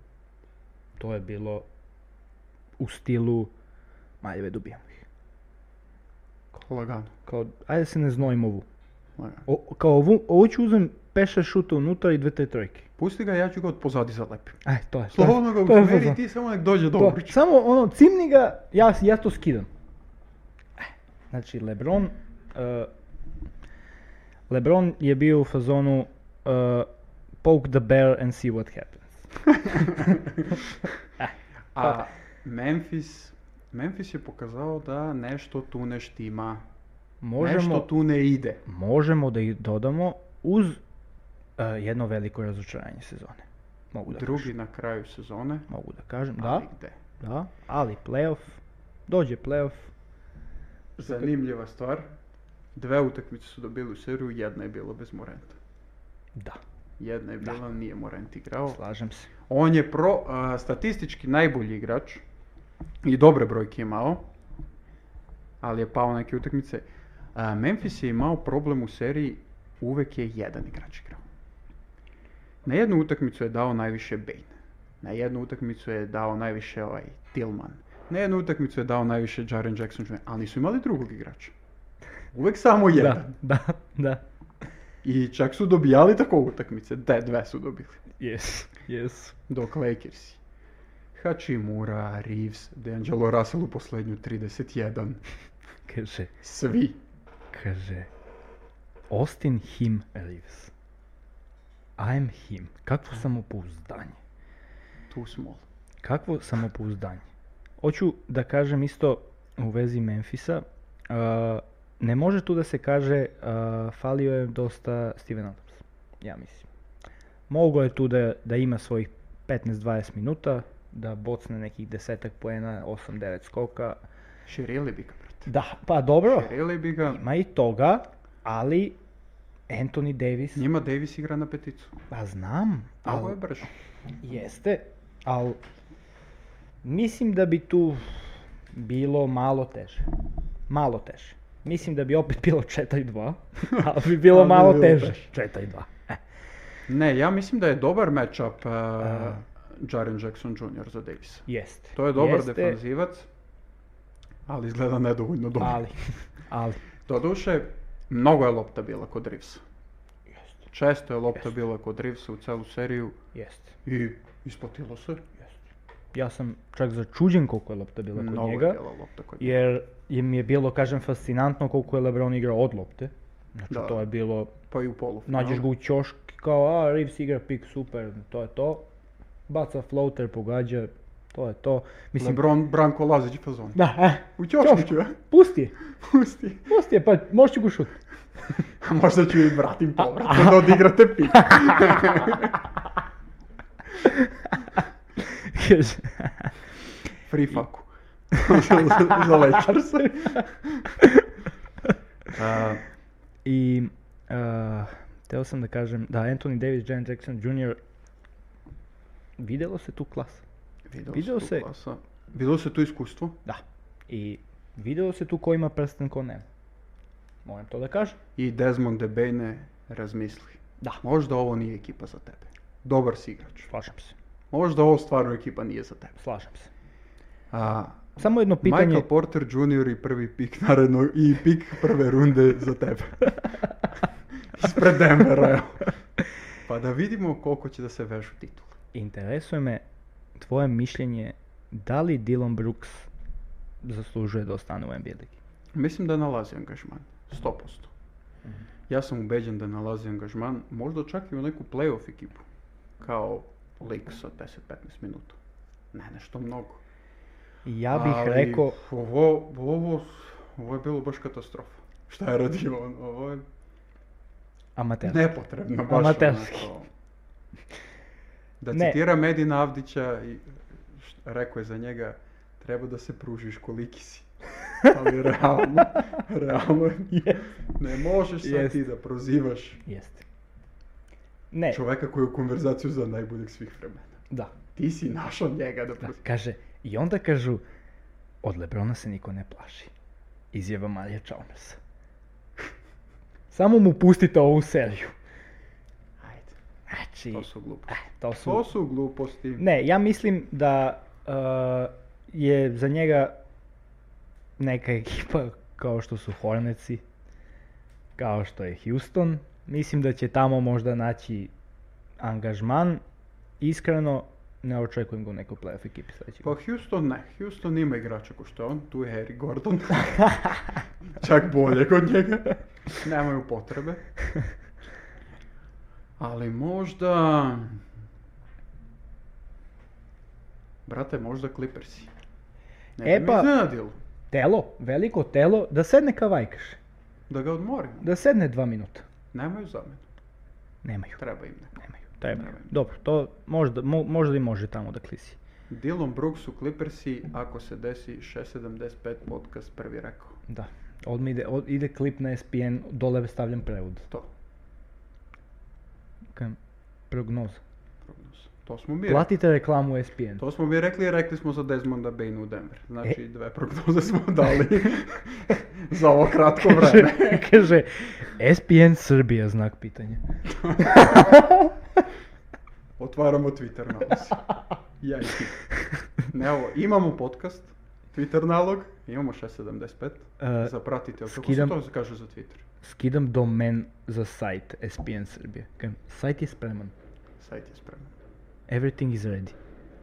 Speaker 4: to je bilo u stilu Maljeve dobijamo ih.
Speaker 3: Lagano.
Speaker 4: Kao, ajde se ne znojimo ovu.
Speaker 3: lagano.
Speaker 4: O, kao ovu, ovu ću uzem 5-6 šuta unutra i dve te trojke.
Speaker 3: Pusti ga, ja ću ga od pozadi zalepim.
Speaker 4: Aj, to je. to je-
Speaker 3: Slobodno ga
Speaker 4: to je
Speaker 3: usmeri
Speaker 4: fazon.
Speaker 3: ti samo nek dođe do
Speaker 4: To,
Speaker 3: obliča.
Speaker 4: samo ono, cimni ga, ja, ja to skidam. Eh, Znači, Lebron... eh, Lebron je bio u fazonu eh, poke the bear and see what happens.
Speaker 3: A
Speaker 4: Pa.
Speaker 3: Memphis, Memphis je pokazao da nešto tu ne štima. Nešto
Speaker 4: Možemo,
Speaker 3: tu ne ide.
Speaker 4: možemo da ih dodamo uz eh, jedno veliko razočaranje sezone. Mogu da
Speaker 3: Drugi
Speaker 4: kažem.
Speaker 3: na kraju sezone.
Speaker 4: Mogu da kažem, da,
Speaker 3: ali gde?
Speaker 4: da, ali playoff, dođe playoff,
Speaker 3: Zanimljiva stvar. Dve utakmice su dobili u seriju, jedna je bila bez Morenta.
Speaker 4: da,
Speaker 3: Jedna je bila, nije Morent igrao.
Speaker 4: slažem se.
Speaker 3: On je pro, a, statistički najbolji igrač i dobre brojke je imao, ali je pao neke utakmice. A, Memphis je imao problem u seriji, uvek je jedan igrač igrao. Na jednu utakmicu je dao najviše Bane, na jednu utakmicu je dao najviše ovaj Tillman, na jednu utakmicu je dao najviše Jaren Jackson Jr., ali nisu imali drugog igrača. Uvek samo jedan.
Speaker 4: Da, da, da.
Speaker 3: I čak su dobijali tako utakmice. Da, dve su dobili.
Speaker 4: Yes, yes.
Speaker 3: Dok Lakersi. Hachimura, Reeves, D'Angelo Russell u posljednju 31.
Speaker 4: Kaže,
Speaker 3: Svi.
Speaker 4: kaže, Austin him lives. I'm him. Kakvo samopouzdanje.
Speaker 3: Tu smo.
Speaker 4: Kakvo samopouzdanje. Hoću da kažem isto u vezi Memfisa. a, ne može tu da se kaže a, falio je dosta Steven Adams. Ja mislim. Mogao je tu da, da ima svojih 15-20 minuta, da bocne nekih desetak poena, 8-9 skoka.
Speaker 3: Širili bi ga, brate.
Speaker 4: Da, pa dobro.
Speaker 3: Širili bi ga.
Speaker 4: Ima i toga, ali Anthony Davis,
Speaker 3: Njima Davis igra na peticu.
Speaker 4: pa znam,
Speaker 3: A Ovo je
Speaker 4: ali
Speaker 3: brže.
Speaker 4: jeste, ali mislim da bi tu bilo malo teže. Malo teže. Mislim da bi opet bilo 4-2, ali bi bilo
Speaker 3: Ali bi
Speaker 4: malo
Speaker 3: bilo
Speaker 4: teže.
Speaker 3: teže.
Speaker 4: 4-2. Eh,
Speaker 3: Ne, ja mislim da je dobar matchup uh, Jaren Jackson Jr. za Davisa.
Speaker 4: Jeste.
Speaker 3: To je dobar
Speaker 4: Jeste,
Speaker 3: defanzivac, ali izgleda nedovoljno dobro.
Speaker 4: Ali, ali,
Speaker 3: Doduše, mnogo je lopta bila kod Reevesa.
Speaker 4: jeste,
Speaker 3: Često je lopta bila kod Reevesa u celu seriju
Speaker 4: jeste.
Speaker 3: i isplatilo se.
Speaker 4: Ja sam čak začuđen koliko je lopta bila kod
Speaker 3: Mnogo je
Speaker 4: njega.
Speaker 3: bila lopta kod njega.
Speaker 4: jer je mi je bilo, kažem, fascinantno koliko je LeBron igrao od lopte. Znači,
Speaker 3: Da.
Speaker 4: to je bilo,
Speaker 3: Pa i u polu.
Speaker 4: nađeš ga u ćošku kao, a, Reeves igra pik, super, to je to. Baca floater, pogađa, to je to. Mislim,
Speaker 3: LeBron Branko Lazić fazon.
Speaker 4: da, eh,
Speaker 3: U ćošku ću,
Speaker 4: ćošku.
Speaker 3: ja.
Speaker 4: pusti je,
Speaker 3: pusti.
Speaker 4: pusti je, pa možeš ću ga šut.
Speaker 3: A možda ću i vratim povratno da odigrate pik.
Speaker 4: Kaže,
Speaker 3: Free fucku. za, za Lakers. A,
Speaker 4: I, uh, teo sam da kažem, da, Anthony Davis, Jaren Jackson Jr. Videlo se tu klasa. Vidio
Speaker 3: Vidio
Speaker 4: se-
Speaker 3: se. Bilo se tu iskustvo.
Speaker 4: Da. I videlo se tu ko ima prsten, ko nema. Moram to da kažem.
Speaker 3: I Desmond Debane razmisli.
Speaker 4: Da.
Speaker 3: Možda ovo nije ekipa za tebe. Dobar si igrač.
Speaker 4: Slažem se,
Speaker 3: Možda ovo stvarno ekipa nije za tebe.
Speaker 4: slažem se.
Speaker 3: A,
Speaker 4: Samo jedno pitanje.
Speaker 3: Michael Porter Jr. i prvi pik naredno i pik prve runde za tebe. Ispred Denvera, evo. Pa da vidimo koliko će da se vežu titule.
Speaker 4: Interesuje me tvoje mišljenje da li Dylan Brooks zaslužuje da ostane u NBA ligi?
Speaker 3: Mislim da nalazi angažman, 100%.
Speaker 4: Mhm.
Speaker 3: Ja sam ubeđen da nalazi angažman, možda čak i u neku playoff ekipu, kao lik sa 10-15 minuta. Ne, nešto mnogo.
Speaker 4: Ja bih
Speaker 3: Ali
Speaker 4: rekao,
Speaker 3: Ovo, ovo, ovo je bilo baš katastrofa. Šta je radio on? Ovo je
Speaker 4: amater.
Speaker 3: nepotrebno baš.
Speaker 4: Amaterski.
Speaker 3: onako. Da
Speaker 4: Ne.
Speaker 3: citiram Edina Avdića, i št- rekao je za njega, treba da se pružiš koliki si. Ali realno, realno ne možeš sad
Speaker 4: Jest. E.
Speaker 3: ti da prozivaš
Speaker 4: Jeste. Ne,
Speaker 3: čoveka koji je u konverzaciju za najboljeg svih vremena.
Speaker 4: da,
Speaker 3: Ti si našao njega da
Speaker 4: da,
Speaker 3: prozivaš.
Speaker 4: kaže, i onda kažu, od Lebrona se niko ne plaši. Izjava Marija Chalmersa. Samo mu pustite ovu seriju.
Speaker 3: Ajde,
Speaker 4: Znači,
Speaker 3: to su glupo.
Speaker 4: eh, to su...
Speaker 3: To su gluposti.
Speaker 4: Ne, ja mislim da uh, je za njega neka ekipa kao što su Hornetsi, kao što je Houston. Mislim da će tamo možda naći angažman. Iskreno, ne očekujem ga u nekoj playoff ekipi sledeće
Speaker 3: Pa
Speaker 4: godine.
Speaker 3: Houston ne, Houston ima igrača ko što je on, tu je Harry Gordon. Čak bolje kod njega. Nemaju potrebe. Ali možda... Brate, možda Clippersi. Ne bi
Speaker 4: E
Speaker 3: me
Speaker 4: pa-
Speaker 3: iznenadilo
Speaker 4: Telo, veliko telo, da sedne kavaj kaže.
Speaker 3: da ga odmorim.
Speaker 4: Da sedne dva minuta.
Speaker 3: Nemaju zamenu,
Speaker 4: Nemaju,
Speaker 3: treba im neko.
Speaker 4: nemaju, trebaju.
Speaker 3: Nemaju.
Speaker 4: Dobro, to možda, mo- možda i može tamo da klisi.
Speaker 3: Dylan Brooks u Clippersi, ako se desi 675 podcast prvi rekao.
Speaker 4: Da, odmah ide, od- ide klip na E SPN, dole stavljam prevod.
Speaker 3: To,
Speaker 4: Kaj, prognoza.
Speaker 3: prognoza. To smo mi
Speaker 4: Platite reklamu SPN.
Speaker 3: To smo mi rekli i rekli smo za Desmonda Bane u Denver. Znači,
Speaker 4: E.
Speaker 3: dve prognoze smo dali za ovo kratko vreme.
Speaker 4: Kaže, SPN Srbija znak pitanja.
Speaker 3: Otvaramo Twitter nalog. Ja i ti. Ne, ovo, imamo podcast, Twitter nalog, imamo 675.
Speaker 4: E,
Speaker 3: Zapratite, ali kako se
Speaker 4: skidam-
Speaker 3: to kaže za Twitter?
Speaker 4: Skidam домен за сайт SPN Srbije. Kažem, sajt je spreman.
Speaker 3: Sajt je spreman.
Speaker 4: Everything is ready.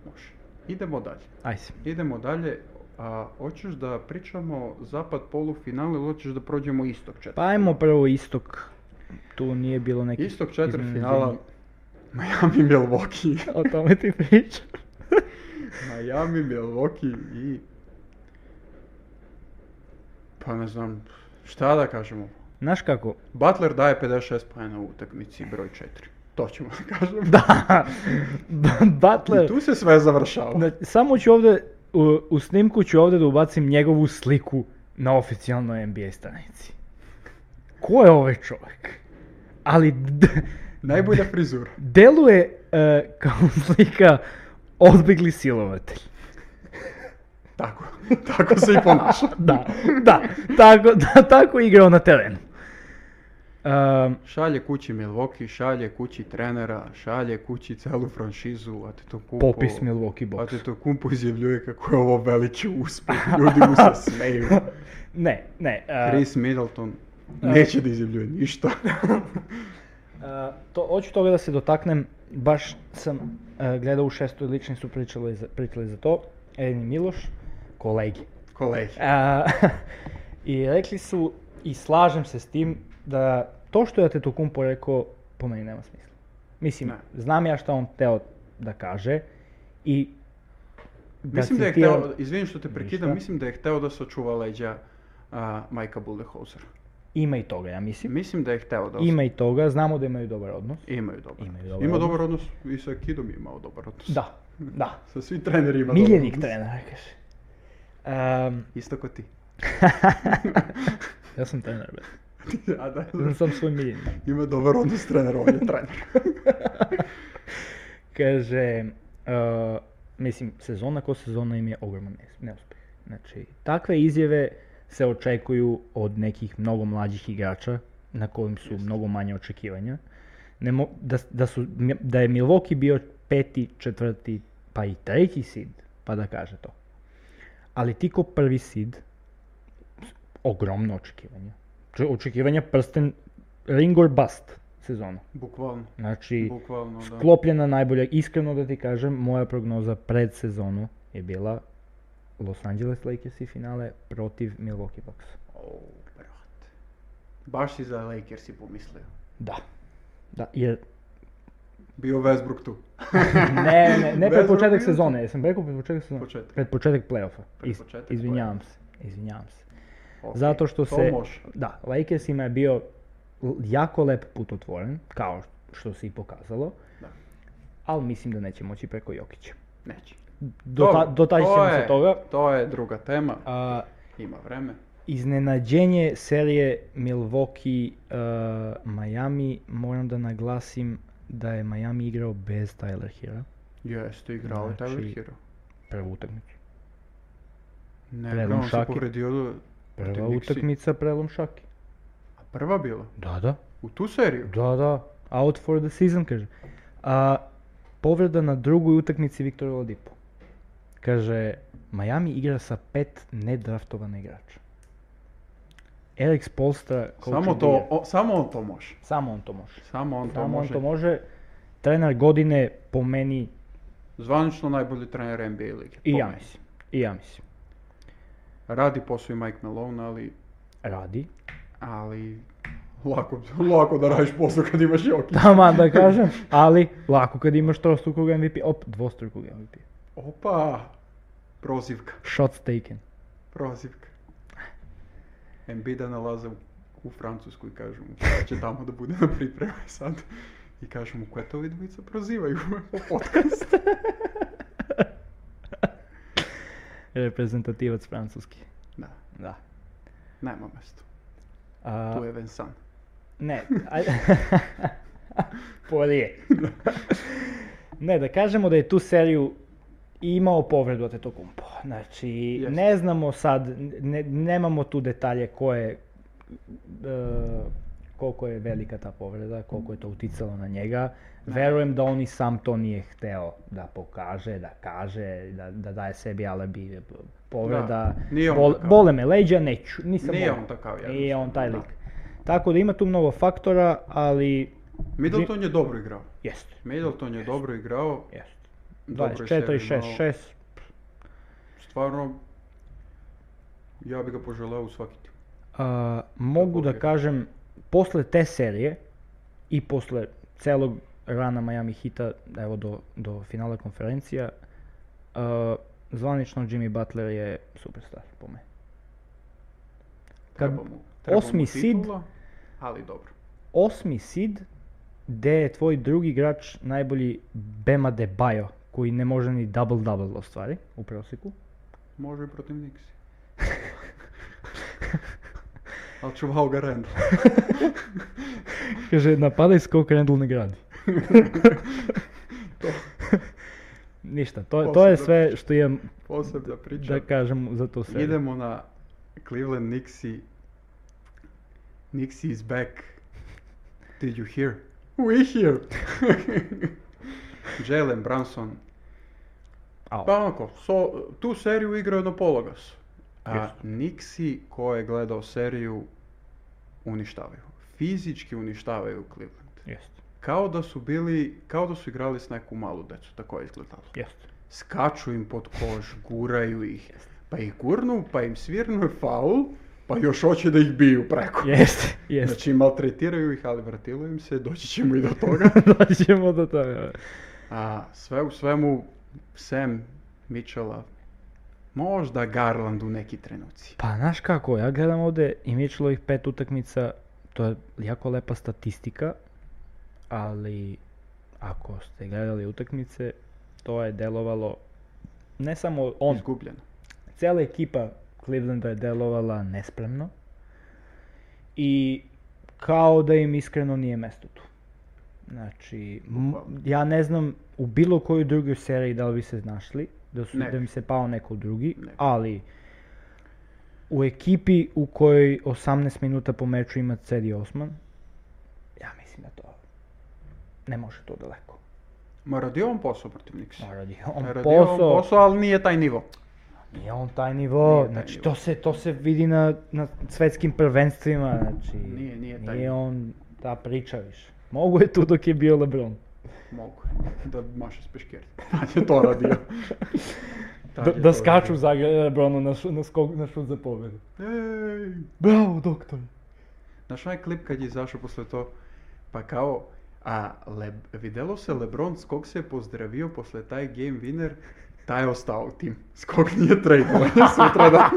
Speaker 3: Može. Idemo dalje.
Speaker 4: Aj se.
Speaker 3: Idemo dalje. A hoćeš da pričamo zapad polufinale ili hoćeš da prođemo istok četvrt?
Speaker 4: Pa ajmo prvo istok. Tu nije bilo nekih...
Speaker 3: Istok četvrt
Speaker 4: iznenađenja.
Speaker 3: finala Miami Milwaukee.
Speaker 4: O tome ti pričam.
Speaker 3: Miami Milwaukee i... Pa ne znam, šta da kažemo.
Speaker 4: Znaš kako?
Speaker 3: Butler daje 56 pojena u utakmici broj 4. To ćemo da kažemo.
Speaker 4: Da! Butler...
Speaker 3: I tu se sve završava.
Speaker 4: Znači, samo ću ovdje, u, u snimku ću ovdje da ubacim njegovu sliku na oficijalnoj NBA stranici. Ko je ovaj čovjek? Ali d-
Speaker 3: Najbolja frizura.
Speaker 4: deluje e, kao slika odbjegli silovatelj.
Speaker 3: Tako, tako se i ponaša.
Speaker 4: Da, da, tako, da, tako je igrao na terenu. Ehm,
Speaker 3: Šalje kući Milwaukee, šalje kući trenera, šalje kući celu franšizu, a te to kumpo...
Speaker 4: popis Milwaukee Bucks.
Speaker 3: to kumpo izjavljuje kako je ovo veliki uspjeh, ljudi mu se smeju.
Speaker 4: Ne, ne. e,
Speaker 3: Chris Middleton neće da izjavljuje ništa.
Speaker 4: A, Eh, to, hoću toga da se dotaknem, baš sam e, gledao u šestoj lični su pričali za, pričali za to, Elin i Miloš, kolegi.
Speaker 3: Kolegi.
Speaker 4: A, I rekli su, i slažem se s tim, da to što je Antetokounmpo rekao, po meni nema smisla. Mislim,
Speaker 3: Ne.
Speaker 4: znam ja šta on teo da kaže i da
Speaker 3: Mislim da je
Speaker 4: citiram-
Speaker 3: hteo, izvinim što te prekidam,
Speaker 4: Ništa.
Speaker 3: mislim da je hteo da se očuva leđa a, Majka Buldehauser.
Speaker 4: Ima i toga, ja mislim.
Speaker 3: Mislim da je hteo da...
Speaker 4: Ima i toga, znamo da imaju dobar odnos.
Speaker 3: Imaju dobar.
Speaker 4: Imaju
Speaker 3: odnos.
Speaker 4: dobar
Speaker 3: Ima
Speaker 4: odnos.
Speaker 3: dobar odnos i sa Kidom je imao dobar odnos.
Speaker 4: Da, da.
Speaker 3: Sa svim trenerima. dobar
Speaker 4: Miljenik
Speaker 3: odnos.
Speaker 4: trenera, kaže. Ehm,
Speaker 3: Isto ko ti.
Speaker 4: ja sam trener, bre.
Speaker 3: A da,
Speaker 4: Ja sam svoj miljenik.
Speaker 3: ima dobar odnos s trenerom, on je trener.
Speaker 4: Kaže, uh, mislim, sezona ko sezona im je ogroman nes- neuspeh. Znači, takve izjave se očekuju od nekih mnogo mlađih igrača, na kojim su mnogo manje očekivanja. Ne mo- da, s- da, su, da je Milwaukee bio peti, četvrti, pa i treći sid, pa da kaže to. Ali ti ko prvi sid, s- ogromno očekivanje. Če- Očekivanja prsten ring or bust sezona.
Speaker 3: Bukvalno.
Speaker 4: Znači,
Speaker 3: Bukvalno, da.
Speaker 4: Sklopljena najbolja, iskreno da ti kažem, moja prognoza pred sezonu je bila Los Angeles Lakers i finale protiv Milwaukee Bucks.
Speaker 3: O, brate. Baš si za Lakers i pomislio.
Speaker 4: Da. Da, jer...
Speaker 3: Bio Westbrook tu.
Speaker 4: Ne, ne, ne pred
Speaker 3: Bez
Speaker 4: početak
Speaker 3: argumenta.
Speaker 4: sezone, jesam rekao pred početak sezone?
Speaker 3: Početak.
Speaker 4: Pred početak play-offa.
Speaker 3: Pred
Speaker 4: Is-
Speaker 3: početak
Speaker 4: izvinjavam se, izvinjavam se.
Speaker 3: Ok,
Speaker 4: Zato što
Speaker 3: to
Speaker 4: se...
Speaker 3: može.
Speaker 4: Da, Lakersima je bio l- jako lep put otvoren, kao što se i pokazalo,
Speaker 3: Da.
Speaker 4: ali mislim da neće moći preko Jokića.
Speaker 3: Neće.
Speaker 4: Do, ta,
Speaker 3: Dobro,
Speaker 4: dotaći
Speaker 3: to
Speaker 4: ćemo
Speaker 3: je-
Speaker 4: se toga.
Speaker 3: To je druga tema.
Speaker 4: A,
Speaker 3: Ima vreme.
Speaker 4: Iznenađenje serije Milwaukee eh, Miami, moram da naglasim da je Miami igrao bez Tyler Hira,
Speaker 3: Jeste, igrao je
Speaker 4: Znači,
Speaker 3: Tyler Hero.
Speaker 4: prvu utakmicu.
Speaker 3: Ne,
Speaker 4: prelom
Speaker 3: on se
Speaker 4: šake.
Speaker 3: povredio protiv
Speaker 4: Prva
Speaker 3: Nixi.
Speaker 4: utakmica prelom šake.
Speaker 3: A prva bila?
Speaker 4: Da, da.
Speaker 3: U tu seriju?
Speaker 4: Da, da. Out for the season, kaže. A, povreda na drugoj utakmici Viktor Oladipo. Kaže, Miami igra sa pet nedraftovana igrača. Eric Spolstra,
Speaker 3: Samo, to, o- samo on to može.
Speaker 4: Samo on to može.
Speaker 3: Samo on to
Speaker 4: Samo on
Speaker 3: može.
Speaker 4: to može. Trener godine po meni
Speaker 3: Zvanično najbolji trener NBA lige.
Speaker 4: i
Speaker 3: po
Speaker 4: ja
Speaker 3: meni.
Speaker 4: mislim. I ja mislim.
Speaker 3: Radi posao i Mike Malone, ali...
Speaker 4: Radi.
Speaker 3: Ali... Lako, lako da radiš posao kad imaš Jokić.
Speaker 4: Taman da kažem, ali lako kad imaš trostrukog MVP, op, dvostrukog MVP.
Speaker 3: Opa! Prozivka.
Speaker 4: Shots taken.
Speaker 3: Prozivka. Embida nalaze u, u Francusku i kažu mu da će tamo da bude na pripremi sad. I kažu mu koja to ovi dvojica prozivaju po podcast.
Speaker 4: Reprezentativac francuski.
Speaker 3: Da,
Speaker 4: Da.
Speaker 3: nema mesto.
Speaker 4: A,
Speaker 3: Tu je Vensan.
Speaker 4: ne, aj... Polije. ne, da kažemo da je tu seriju imao povredu Antetokounmpo. Znači,
Speaker 3: Jeste.
Speaker 4: ne znamo sad, ne, nemamo tu detalje ko je, e, koliko je velika ta povreda, koliko je to uticalo na njega. Verujem da on i sam to nije hteo da pokaže, da kaže, da, da daje sebi alibi povreda.
Speaker 3: nije on
Speaker 4: bol-
Speaker 3: takav.
Speaker 4: bole me leđa, neću, nisam
Speaker 3: Nije
Speaker 4: mogao.
Speaker 3: on takav, ja
Speaker 4: Nije on taj
Speaker 3: mislim,
Speaker 4: lik.
Speaker 3: da.
Speaker 4: Tako da ima tu mnogo faktora, ali
Speaker 3: Middleton je dobro igrao.
Speaker 4: jest.
Speaker 3: Middleton je dobro igrao.
Speaker 4: jest.
Speaker 3: dobro je
Speaker 4: 24 i
Speaker 3: sebe imao.
Speaker 4: 6, 6.
Speaker 3: Stvarno, ja bi ga poželeo u svaki tim.
Speaker 4: A, mogu da
Speaker 3: Ok.
Speaker 4: kažem, posle te serije i posle celog rana Miami Hita, evo do, do finala konferencija, a, zvanično Jimmy Butler je superstar po meni. Kad
Speaker 3: Treba mu- treba
Speaker 4: osmi
Speaker 3: mu
Speaker 4: seed-
Speaker 3: titula, ali dobro.
Speaker 4: Osmi seed, gde je tvoj drugi igrač najbolji Bema Debajo, koji ne može ni double-double da ostvari u prosjeku.
Speaker 3: Može i protiv Nixi. ali čuvao ga Randall.
Speaker 4: Kaže, napadaj skok, Randall ne gradi. Ništa, to, to je
Speaker 3: Posebno
Speaker 4: sve što imam
Speaker 3: Posebna priča.
Speaker 4: da kažem za to sve.
Speaker 3: Idemo na Cleveland Nixi. Nixi is back. Did you hear? We hear. Jalen Branson.
Speaker 4: Au.
Speaker 3: Pa onako, so, tu seriju igrao na pologas. A Nixi ko je gledao seriju uništavaju. Fizički uništavaju Cleveland.
Speaker 4: Jest,
Speaker 3: Kao da su bili, kao da su igrali s neku malu decu, tako je izgledalo
Speaker 4: jest.
Speaker 3: skaču im pod koš, guraju ih. Pa ih gurnu, pa im svirnu faul, pa još hoće da ih biju preko.
Speaker 4: Jest, jest.
Speaker 3: Znači maltretiraju ih, ali vratilo im se, doći ćemo i do toga.
Speaker 4: Doćemo do toga.
Speaker 3: A sve u svemu, Sam Mitchella, možda Garland u neki trenuci.
Speaker 4: Pa, znaš kako, ja gledam ovde i Mitchellovih pet utakmica, to je jako lepa statistika, ali ako ste gledali utakmice, to je delovalo, ne samo on,
Speaker 3: Izgubljeno.
Speaker 4: cijela ekipa Clevelanda je delovala nespremno i kao da im iskreno nije mesto tu. Znači, m-
Speaker 3: Bukvalno.
Speaker 4: ja ne znam u bilo kojoj drugoj seriji da li bi se našli, da, su,
Speaker 3: Ne
Speaker 4: da
Speaker 3: bi.
Speaker 4: mi se pao neko drugi,
Speaker 3: Ne bi.
Speaker 4: ali u ekipi u kojoj 18 minuta po meču ima Cedi Osman, ja mislim da to ne može to daleko.
Speaker 3: Ma radio on posao protiv Nixa.
Speaker 4: Radi on
Speaker 3: Radio on
Speaker 4: posao,
Speaker 3: posao, ali nije taj nivo.
Speaker 4: Nije on taj nivo,
Speaker 3: Nije taj
Speaker 4: znači
Speaker 3: nivo.
Speaker 4: to se, to se vidi na, na svetskim prvenstvima, znači
Speaker 3: Nije- nije taj nivo.
Speaker 4: on ta priča više. Mogu je tu dok je bio Lebron.
Speaker 3: Mogu je da maše s peškircem. Tad je to radio. Tad
Speaker 4: Da,
Speaker 3: je
Speaker 4: da
Speaker 3: to
Speaker 4: skaču za Lebronu na, šu- na, skok, na šut za pobedu.
Speaker 3: radio. Ej!
Speaker 4: Bravo, doktor.
Speaker 3: Znaš onaj klip kad je izašao posle to, pa kao, a Le, videlo se Lebron s kog se je pozdravio posle taj game winner, taj je ostao u tim. Skog nije tradeovan sutra da.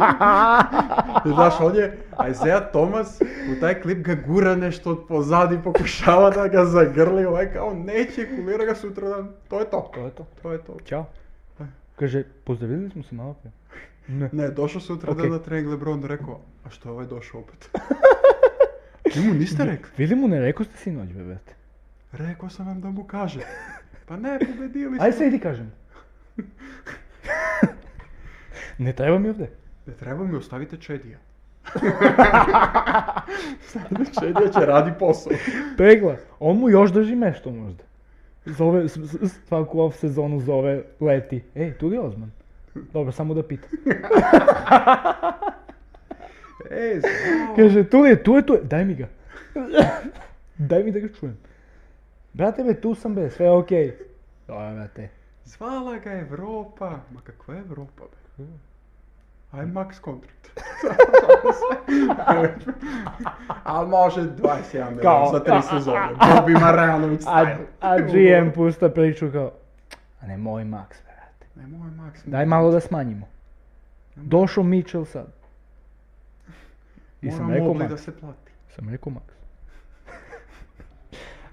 Speaker 3: I znaš, on je, a Isaiah Thomas u taj klip ga gura nešto od pozadi, pokušava da ga zagrli, ovaj kao neće, kulira ga sutra dan. To je to.
Speaker 4: To je to.
Speaker 3: To je to.
Speaker 4: Ćao. Kaže, pozdravili smo se malo prije. Ne.
Speaker 3: Ne, došao sutra
Speaker 4: Okej.
Speaker 3: dan na trening Lebron rekao, a što je ovaj došao opet? Njemu niste rekli.
Speaker 4: Vidi mu, ne rekao ste sinoć, bebete.
Speaker 3: Rekao sam vam da mu kaže. Pa ne, pobedili
Speaker 4: Ajde
Speaker 3: smo.
Speaker 4: sad i ti kažem. ne treba mi ovde.
Speaker 3: Ne treba mi, ostavite Čedija. Ostavite Čedija će radi posao.
Speaker 4: Pegla, on mu još drži nešto možda. Zove, s- s- svaku off sezonu zove, leti. Ej, tu li je Ozman? Dobro, samo da pitam.
Speaker 3: Ej, znao.
Speaker 4: Kaže, tu li je, tu je, tu je, daj mi ga. daj mi da ga čujem. Brate, be, tu sam, be, sve je okej. Dobro, brate.
Speaker 3: Zvala ga Evropa. Ma kakva je Evropa, be? Aj max kontrakt. Ali može 27 miliona
Speaker 4: Kao-
Speaker 3: za tri sezone. Bob ima realno
Speaker 4: A,
Speaker 3: style.
Speaker 4: a GM pusta priču kao, a ne moj Max, brate.
Speaker 3: Nemoj max.
Speaker 4: Daj malo da smanjimo. Došao Mitchell sad. I sam
Speaker 3: Moram
Speaker 4: rekao
Speaker 3: Mobley
Speaker 4: Max.
Speaker 3: da se plati.
Speaker 4: Sam rekao Max.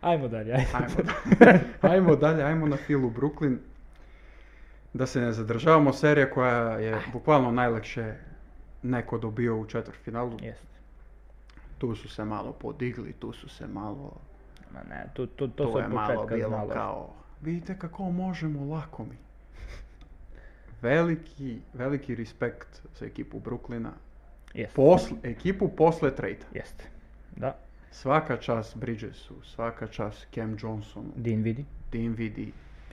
Speaker 4: Ajmo dalje, ajde.
Speaker 3: Ajmo dalje. ajmo dalje, ajmo na filu Brooklyn. Da se ne zadržavamo, serija koja je bukvalno najlakše neko dobio u četvrtfinalu.
Speaker 4: Jeste.
Speaker 3: Tu su se malo podigli, tu su se malo...
Speaker 4: Ma ne, to, to, to,
Speaker 3: To,
Speaker 4: se
Speaker 3: je
Speaker 4: od
Speaker 3: malo
Speaker 4: početka
Speaker 3: bilo
Speaker 4: znalo.
Speaker 3: kao... Vidite kako možemo, lako mi. Veliki, veliki respekt za ekipu Brooklyna.
Speaker 4: Jeste.
Speaker 3: Posle, ekipu posle trejda.
Speaker 4: Jeste. Da,
Speaker 3: Svaka čast Bridgesu, svaka čast Cam Johnsonu,
Speaker 4: Din vidi.
Speaker 3: Dinvidi,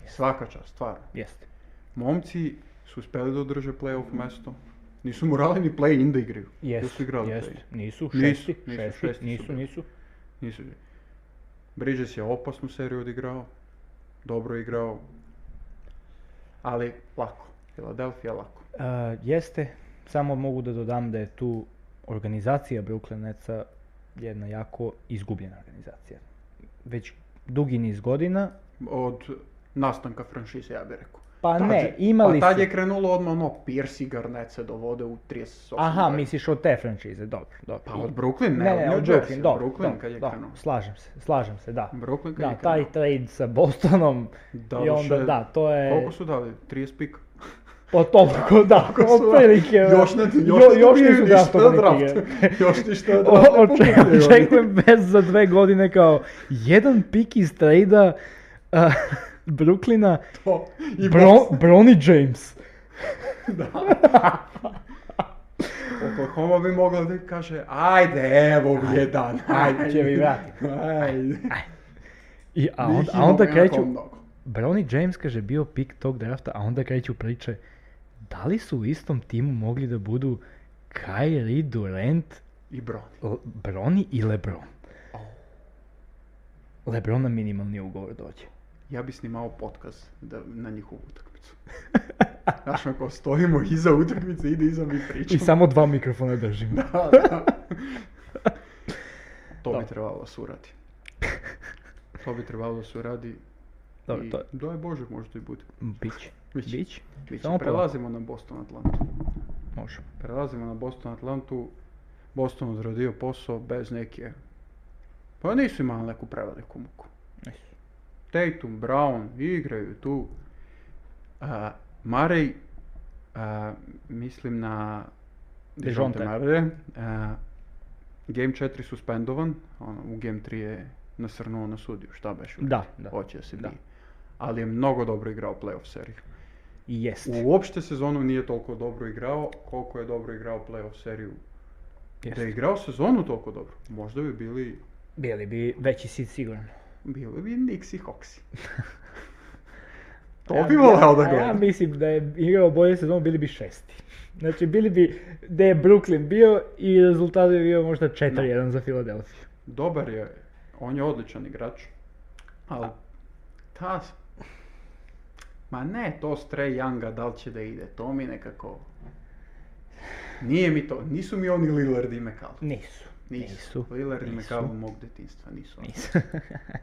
Speaker 3: svaka čast, stvarno.
Speaker 4: Jeste.
Speaker 3: Momci su uspeli da održe playoff mesto. Nisu morali ni play-in da igraju.
Speaker 4: Jesu,
Speaker 3: Jesu igrali
Speaker 4: jesu.
Speaker 3: play-in.
Speaker 4: Nisu,
Speaker 3: Nisu,
Speaker 4: šesti,
Speaker 3: nisu,
Speaker 4: šesti,
Speaker 3: šesti su
Speaker 4: nisu,
Speaker 3: bili.
Speaker 4: nisu.
Speaker 3: Nisu. Bridges je opasnu seriju odigrao, dobro je igrao, ali lako. Philadelphia lako.
Speaker 4: A, E, jeste, samo mogu da dodam da je tu organizacija Brooklyn Netsa jedna jako izgubljena organizacija. Već dugi niz godina,
Speaker 3: Od nastanka franšize, ja bih rekao.
Speaker 4: pa
Speaker 3: Tad
Speaker 4: ne,
Speaker 3: je-
Speaker 4: imali
Speaker 3: Pa tad
Speaker 4: su...
Speaker 3: je krenulo odmah ono, Pierce i Garnett se dovode u 38.
Speaker 4: Aha,
Speaker 3: godina.
Speaker 4: misliš od te franšize, dobro, dobro.
Speaker 3: Pa
Speaker 4: I-
Speaker 3: od Brooklyn, ne,
Speaker 4: ne,
Speaker 3: od
Speaker 4: ne,
Speaker 3: New
Speaker 4: od
Speaker 3: Jersey,
Speaker 4: Brooklyn, dobro,
Speaker 3: Brooklyn
Speaker 4: dobro,
Speaker 3: kad je
Speaker 4: dobro,
Speaker 3: krenuo.
Speaker 4: slažem se, slažem se, da.
Speaker 3: Brooklyn kad
Speaker 4: Da,
Speaker 3: je
Speaker 4: taj
Speaker 3: krenuo.
Speaker 4: trade sa Bostonom i
Speaker 3: Dadoše-
Speaker 4: onda da, to je...
Speaker 3: Koliko su dali? 30 pika?
Speaker 4: Po toliko, da,
Speaker 3: Koliko su-
Speaker 4: otprilike.
Speaker 3: Još ne,
Speaker 4: jo-
Speaker 3: još, ne dobiju
Speaker 4: nisu
Speaker 3: ništa na
Speaker 4: draftovani
Speaker 3: draft.
Speaker 4: knjige.
Speaker 3: još ništa na
Speaker 4: O-
Speaker 3: draft. ne
Speaker 4: oček-
Speaker 3: pokrivaju oni.
Speaker 4: Očekujem bez za dve godine kao jedan pik iz trejda a, Brooklyna,
Speaker 3: To. I
Speaker 4: Bro, Bronny James.
Speaker 3: Oklahoma bi mogla da kaže, ajde, evo mi jedan, ajde.
Speaker 4: će mi vratiti.
Speaker 3: Ajde.
Speaker 4: I, a, on-
Speaker 3: Njih
Speaker 4: a
Speaker 3: imamo
Speaker 4: onda
Speaker 3: jako
Speaker 4: kreću,
Speaker 3: mnogo.
Speaker 4: Bronny James kaže bio pik tog drafta, a onda kreću priče da li su u istom timu mogli da budu Kyrie Durant,
Speaker 3: I bro.
Speaker 4: L- Broni i Lebron. Lebron na minimalni ugovor dođe.
Speaker 3: Ja bi snimao podcast da, na njihovu utakmicu. Znaš, ako stojimo iza utakmice, ide iza mi priča.
Speaker 4: I samo dva mikrofona držim.
Speaker 3: to
Speaker 4: Dobro.
Speaker 3: bi trebalo da se uradi. To bi trebalo da se uradi.
Speaker 4: Dobro,
Speaker 3: i
Speaker 4: to je
Speaker 3: Daj Bože, možda i bude.
Speaker 4: bić.
Speaker 3: Bić.
Speaker 4: Bić.
Speaker 3: Biće,
Speaker 4: Samo polako.
Speaker 3: prelazimo na Boston Atlantu.
Speaker 4: Može.
Speaker 3: Prelazimo na Boston Atlantu. Boston odradio posao bez neke... Pa nisu imali neku preveliku muku.
Speaker 4: Nisu.
Speaker 3: Tatum, Brown igraju tu. A, Murray, a, mislim na
Speaker 4: Dejounte.
Speaker 3: Dejounte Murray. A, game 4 suspendovan, ono, u game 3 je nasrnuo na sudiju, šta beš?
Speaker 4: Da, da.
Speaker 3: Hoće da se
Speaker 4: Da.
Speaker 3: bije. Ali je mnogo dobro igrao playoff seriju.
Speaker 4: I jeste.
Speaker 3: Uopšte sezonu nije toliko dobro igrao, koliko je dobro igrao playoff seriju. Da je
Speaker 4: Jeste.
Speaker 3: igrao sezonu toliko dobro, možda bi bili,
Speaker 4: Bili bi veći sit sigurno.
Speaker 3: bili bi Nixi Hoxi. to bi voleo da
Speaker 4: A Ja
Speaker 3: gledam.
Speaker 4: mislim da je igrao bolje sezonu, bili bi šesti. Znači, bili bi da je Brooklyn bio i rezultat bi bio možda 4-1 za Filadelfiju.
Speaker 3: Dobar je, on je odličan igrač, ali ta... s- Ma ne, to s Trae Younga, da li će da ide, to mi nekako... Nije mi to, nisu mi oni Lillard i McCallum.
Speaker 4: Nisu. Nisu.
Speaker 3: Lillard i
Speaker 4: nisu.
Speaker 3: McCallum mog detinstva, nisu. oni.
Speaker 4: Nisu.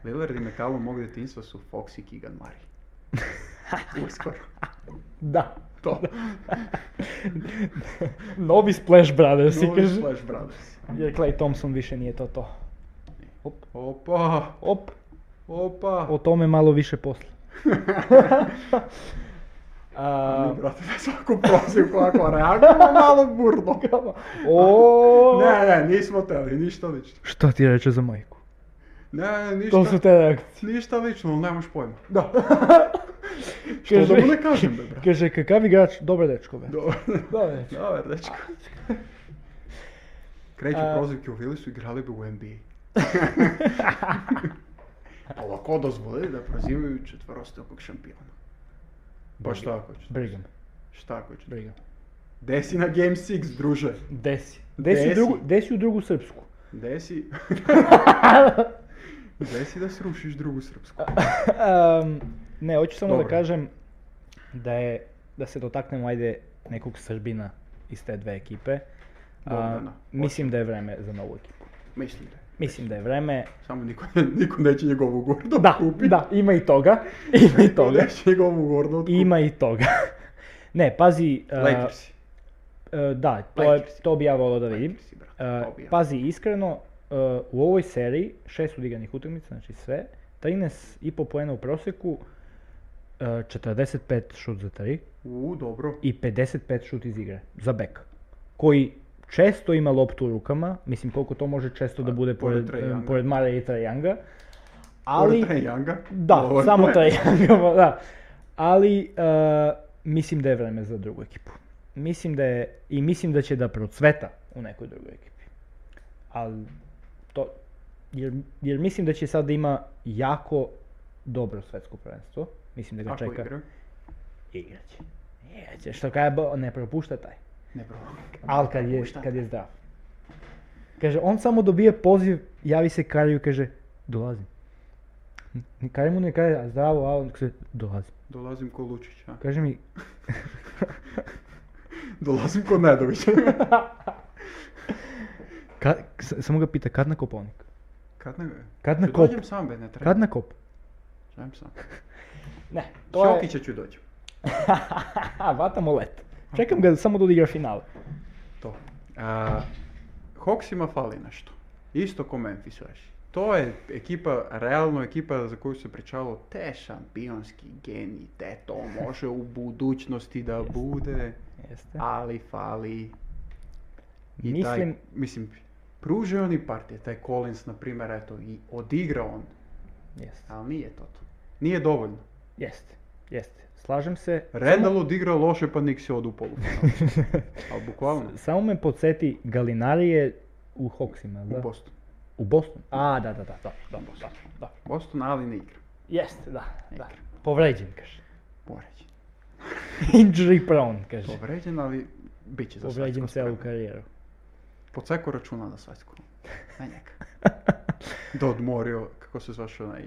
Speaker 3: Lillard i McCallum mog detinstva su Fox i Keegan Murray. Uskoro.
Speaker 4: da.
Speaker 3: To.
Speaker 4: Novi Splash Brothers, si
Speaker 3: Novi
Speaker 4: kaže.
Speaker 3: Flash Brothers.
Speaker 4: Jer Clay Thompson više nije to to. Op,
Speaker 3: Opa,
Speaker 4: op,
Speaker 3: opa.
Speaker 4: o tome malo više posla. A,
Speaker 3: Mi, brate, na svaku prozivku ako reagujemo malo burno.
Speaker 4: o,
Speaker 3: Ne, ne, nismo teli, ništa lično.
Speaker 4: Šta ti reče za majku?
Speaker 3: Ne,
Speaker 4: To su
Speaker 3: ništa,
Speaker 4: te reakcije.
Speaker 3: ništa lično, ali nemaš pojma.
Speaker 4: Da.
Speaker 3: Što da mu ne kažem, be, brate?
Speaker 4: Kaže, kakav igrač, dobar dečko, be.
Speaker 3: Dobro,
Speaker 4: Dobar dečko.
Speaker 3: dobar, dečko. Kreću
Speaker 4: A-
Speaker 3: prozivke u Willisu, igrali bi u NBA. Pa ovako dozvolili da prozivaju četvorostokog šampiona. Pa šta ako ćeš?
Speaker 4: Brigam,
Speaker 3: Šta ako ćeš?
Speaker 4: brigam.
Speaker 3: Desi na Game 6, druže.
Speaker 4: Desi.
Speaker 3: Desi.
Speaker 4: Desi, drugu, desi u drugu srpsku.
Speaker 3: Desi... Desi da srušiš drugu srpsku.
Speaker 4: Em, ne, hoću samo
Speaker 3: Dobro.
Speaker 4: da kažem da je, da se dotaknemo ajde nekog Srbina iz te dve ekipe. A,
Speaker 3: Bogdana,
Speaker 4: mislim da je vreme za novu ekipu.
Speaker 3: Mislim da.
Speaker 4: Mislim da je vreme.
Speaker 3: Samo niko, niko neće njegovu gordu
Speaker 4: Da,
Speaker 3: kupiti.
Speaker 4: da, ima i toga. Ima i toga.
Speaker 3: Neće njegovu gordu kupiti.
Speaker 4: Ima i toga. Ne, pazi, a,
Speaker 3: Lakersi.
Speaker 4: e, da, to, je,
Speaker 3: Lakersi.
Speaker 4: to bi ja volao da vidim.
Speaker 3: Lakersi, brate,
Speaker 4: E,
Speaker 3: to bi ja.
Speaker 4: pazi, iskreno, e, u ovoj seriji, šest odigranih utakmica, znači sve, 13,5 poena u proseku, e, 45 šut za 3
Speaker 3: U, dobro.
Speaker 4: i 55 šut iz igre za bek, koji često ima loptu u rukama, mislim koliko to može često da bude
Speaker 3: Pa, pored
Speaker 4: pored,
Speaker 3: Trae Younga.
Speaker 4: e, pored Mare i Trajanga, ali...
Speaker 3: Ali... Trae Younga.
Speaker 4: Da,
Speaker 3: Ovo je
Speaker 4: samo
Speaker 3: ple-
Speaker 4: taj angažman, da. Ali e, mislim da je vreme za drugu ekipu. Mislim da je, i mislim da će da procveta u nekoj drugoj ekipi. Ali to, jer, jer mislim da će sad da ima jako dobro svetsko prvenstvo. Mislim da ga
Speaker 3: Ako
Speaker 4: čeka.
Speaker 3: igra.
Speaker 4: Igraće. Igraće. Što kaj, bo- ne propušta taj.
Speaker 3: Ne probam.
Speaker 4: Ali kad je,
Speaker 3: Šta?
Speaker 4: kad je zdrav. Kaže, on samo dobije poziv, javi se Kariju i kaže, dolazim. Ni Kari mu ne kaže, a zdravo, a on kaže, dolazim.
Speaker 3: Dolazim ko Lučić, a?
Speaker 4: Kaže mi,
Speaker 3: Dolazim ko Nedović.
Speaker 4: ka, s- samo ga pita, kad na kopovnik?
Speaker 3: Kad ne...
Speaker 4: Kad na
Speaker 3: Ću
Speaker 4: kop?
Speaker 3: Dođem sam, be, ne treba.
Speaker 4: Kad na kop?
Speaker 3: Dođem sam.
Speaker 4: Ne,
Speaker 3: Šokića ću doći.
Speaker 4: Vatamo let. Čekam ga samo da odigra finale.
Speaker 3: To. A, Hawksima fali nešto. Isto ko Memphis još. To je ekipa, realno ekipa za koju se pričalo, te šampionski geni, te to može u budućnosti da bude,
Speaker 4: Jeste.
Speaker 3: ali fali. I
Speaker 4: Mislim,
Speaker 3: taj, mislim, pružio oni partije, taj Collins, na primjer, eto, i odigra on,
Speaker 4: jeste.
Speaker 3: ali nije to to. Nije dovoljno.
Speaker 4: Jeste. Jeste. Slažem se.
Speaker 3: Randall odigra loše, pa Nix je odu polufinala. Ali bukvalno,
Speaker 4: Samo me podsjeti, Galinari je u Hawksima, jel
Speaker 3: u
Speaker 4: da?
Speaker 3: Bostonu.
Speaker 4: U Bostonu. A, da, da, da, dobro, dobro, dobro, dobro.
Speaker 3: Boston, ali ne igra.
Speaker 4: Jeste, da, da. Povređen, kaže.
Speaker 3: Poređen.
Speaker 4: Injury prone, kaže.
Speaker 3: Povređen, ali bit će za
Speaker 4: Povređen
Speaker 3: svatsko
Speaker 4: celu
Speaker 3: spreman.
Speaker 4: karijeru.
Speaker 3: Po ceku računa na svatsko. Na njega. Da odmorio, kako se zvaš onaj...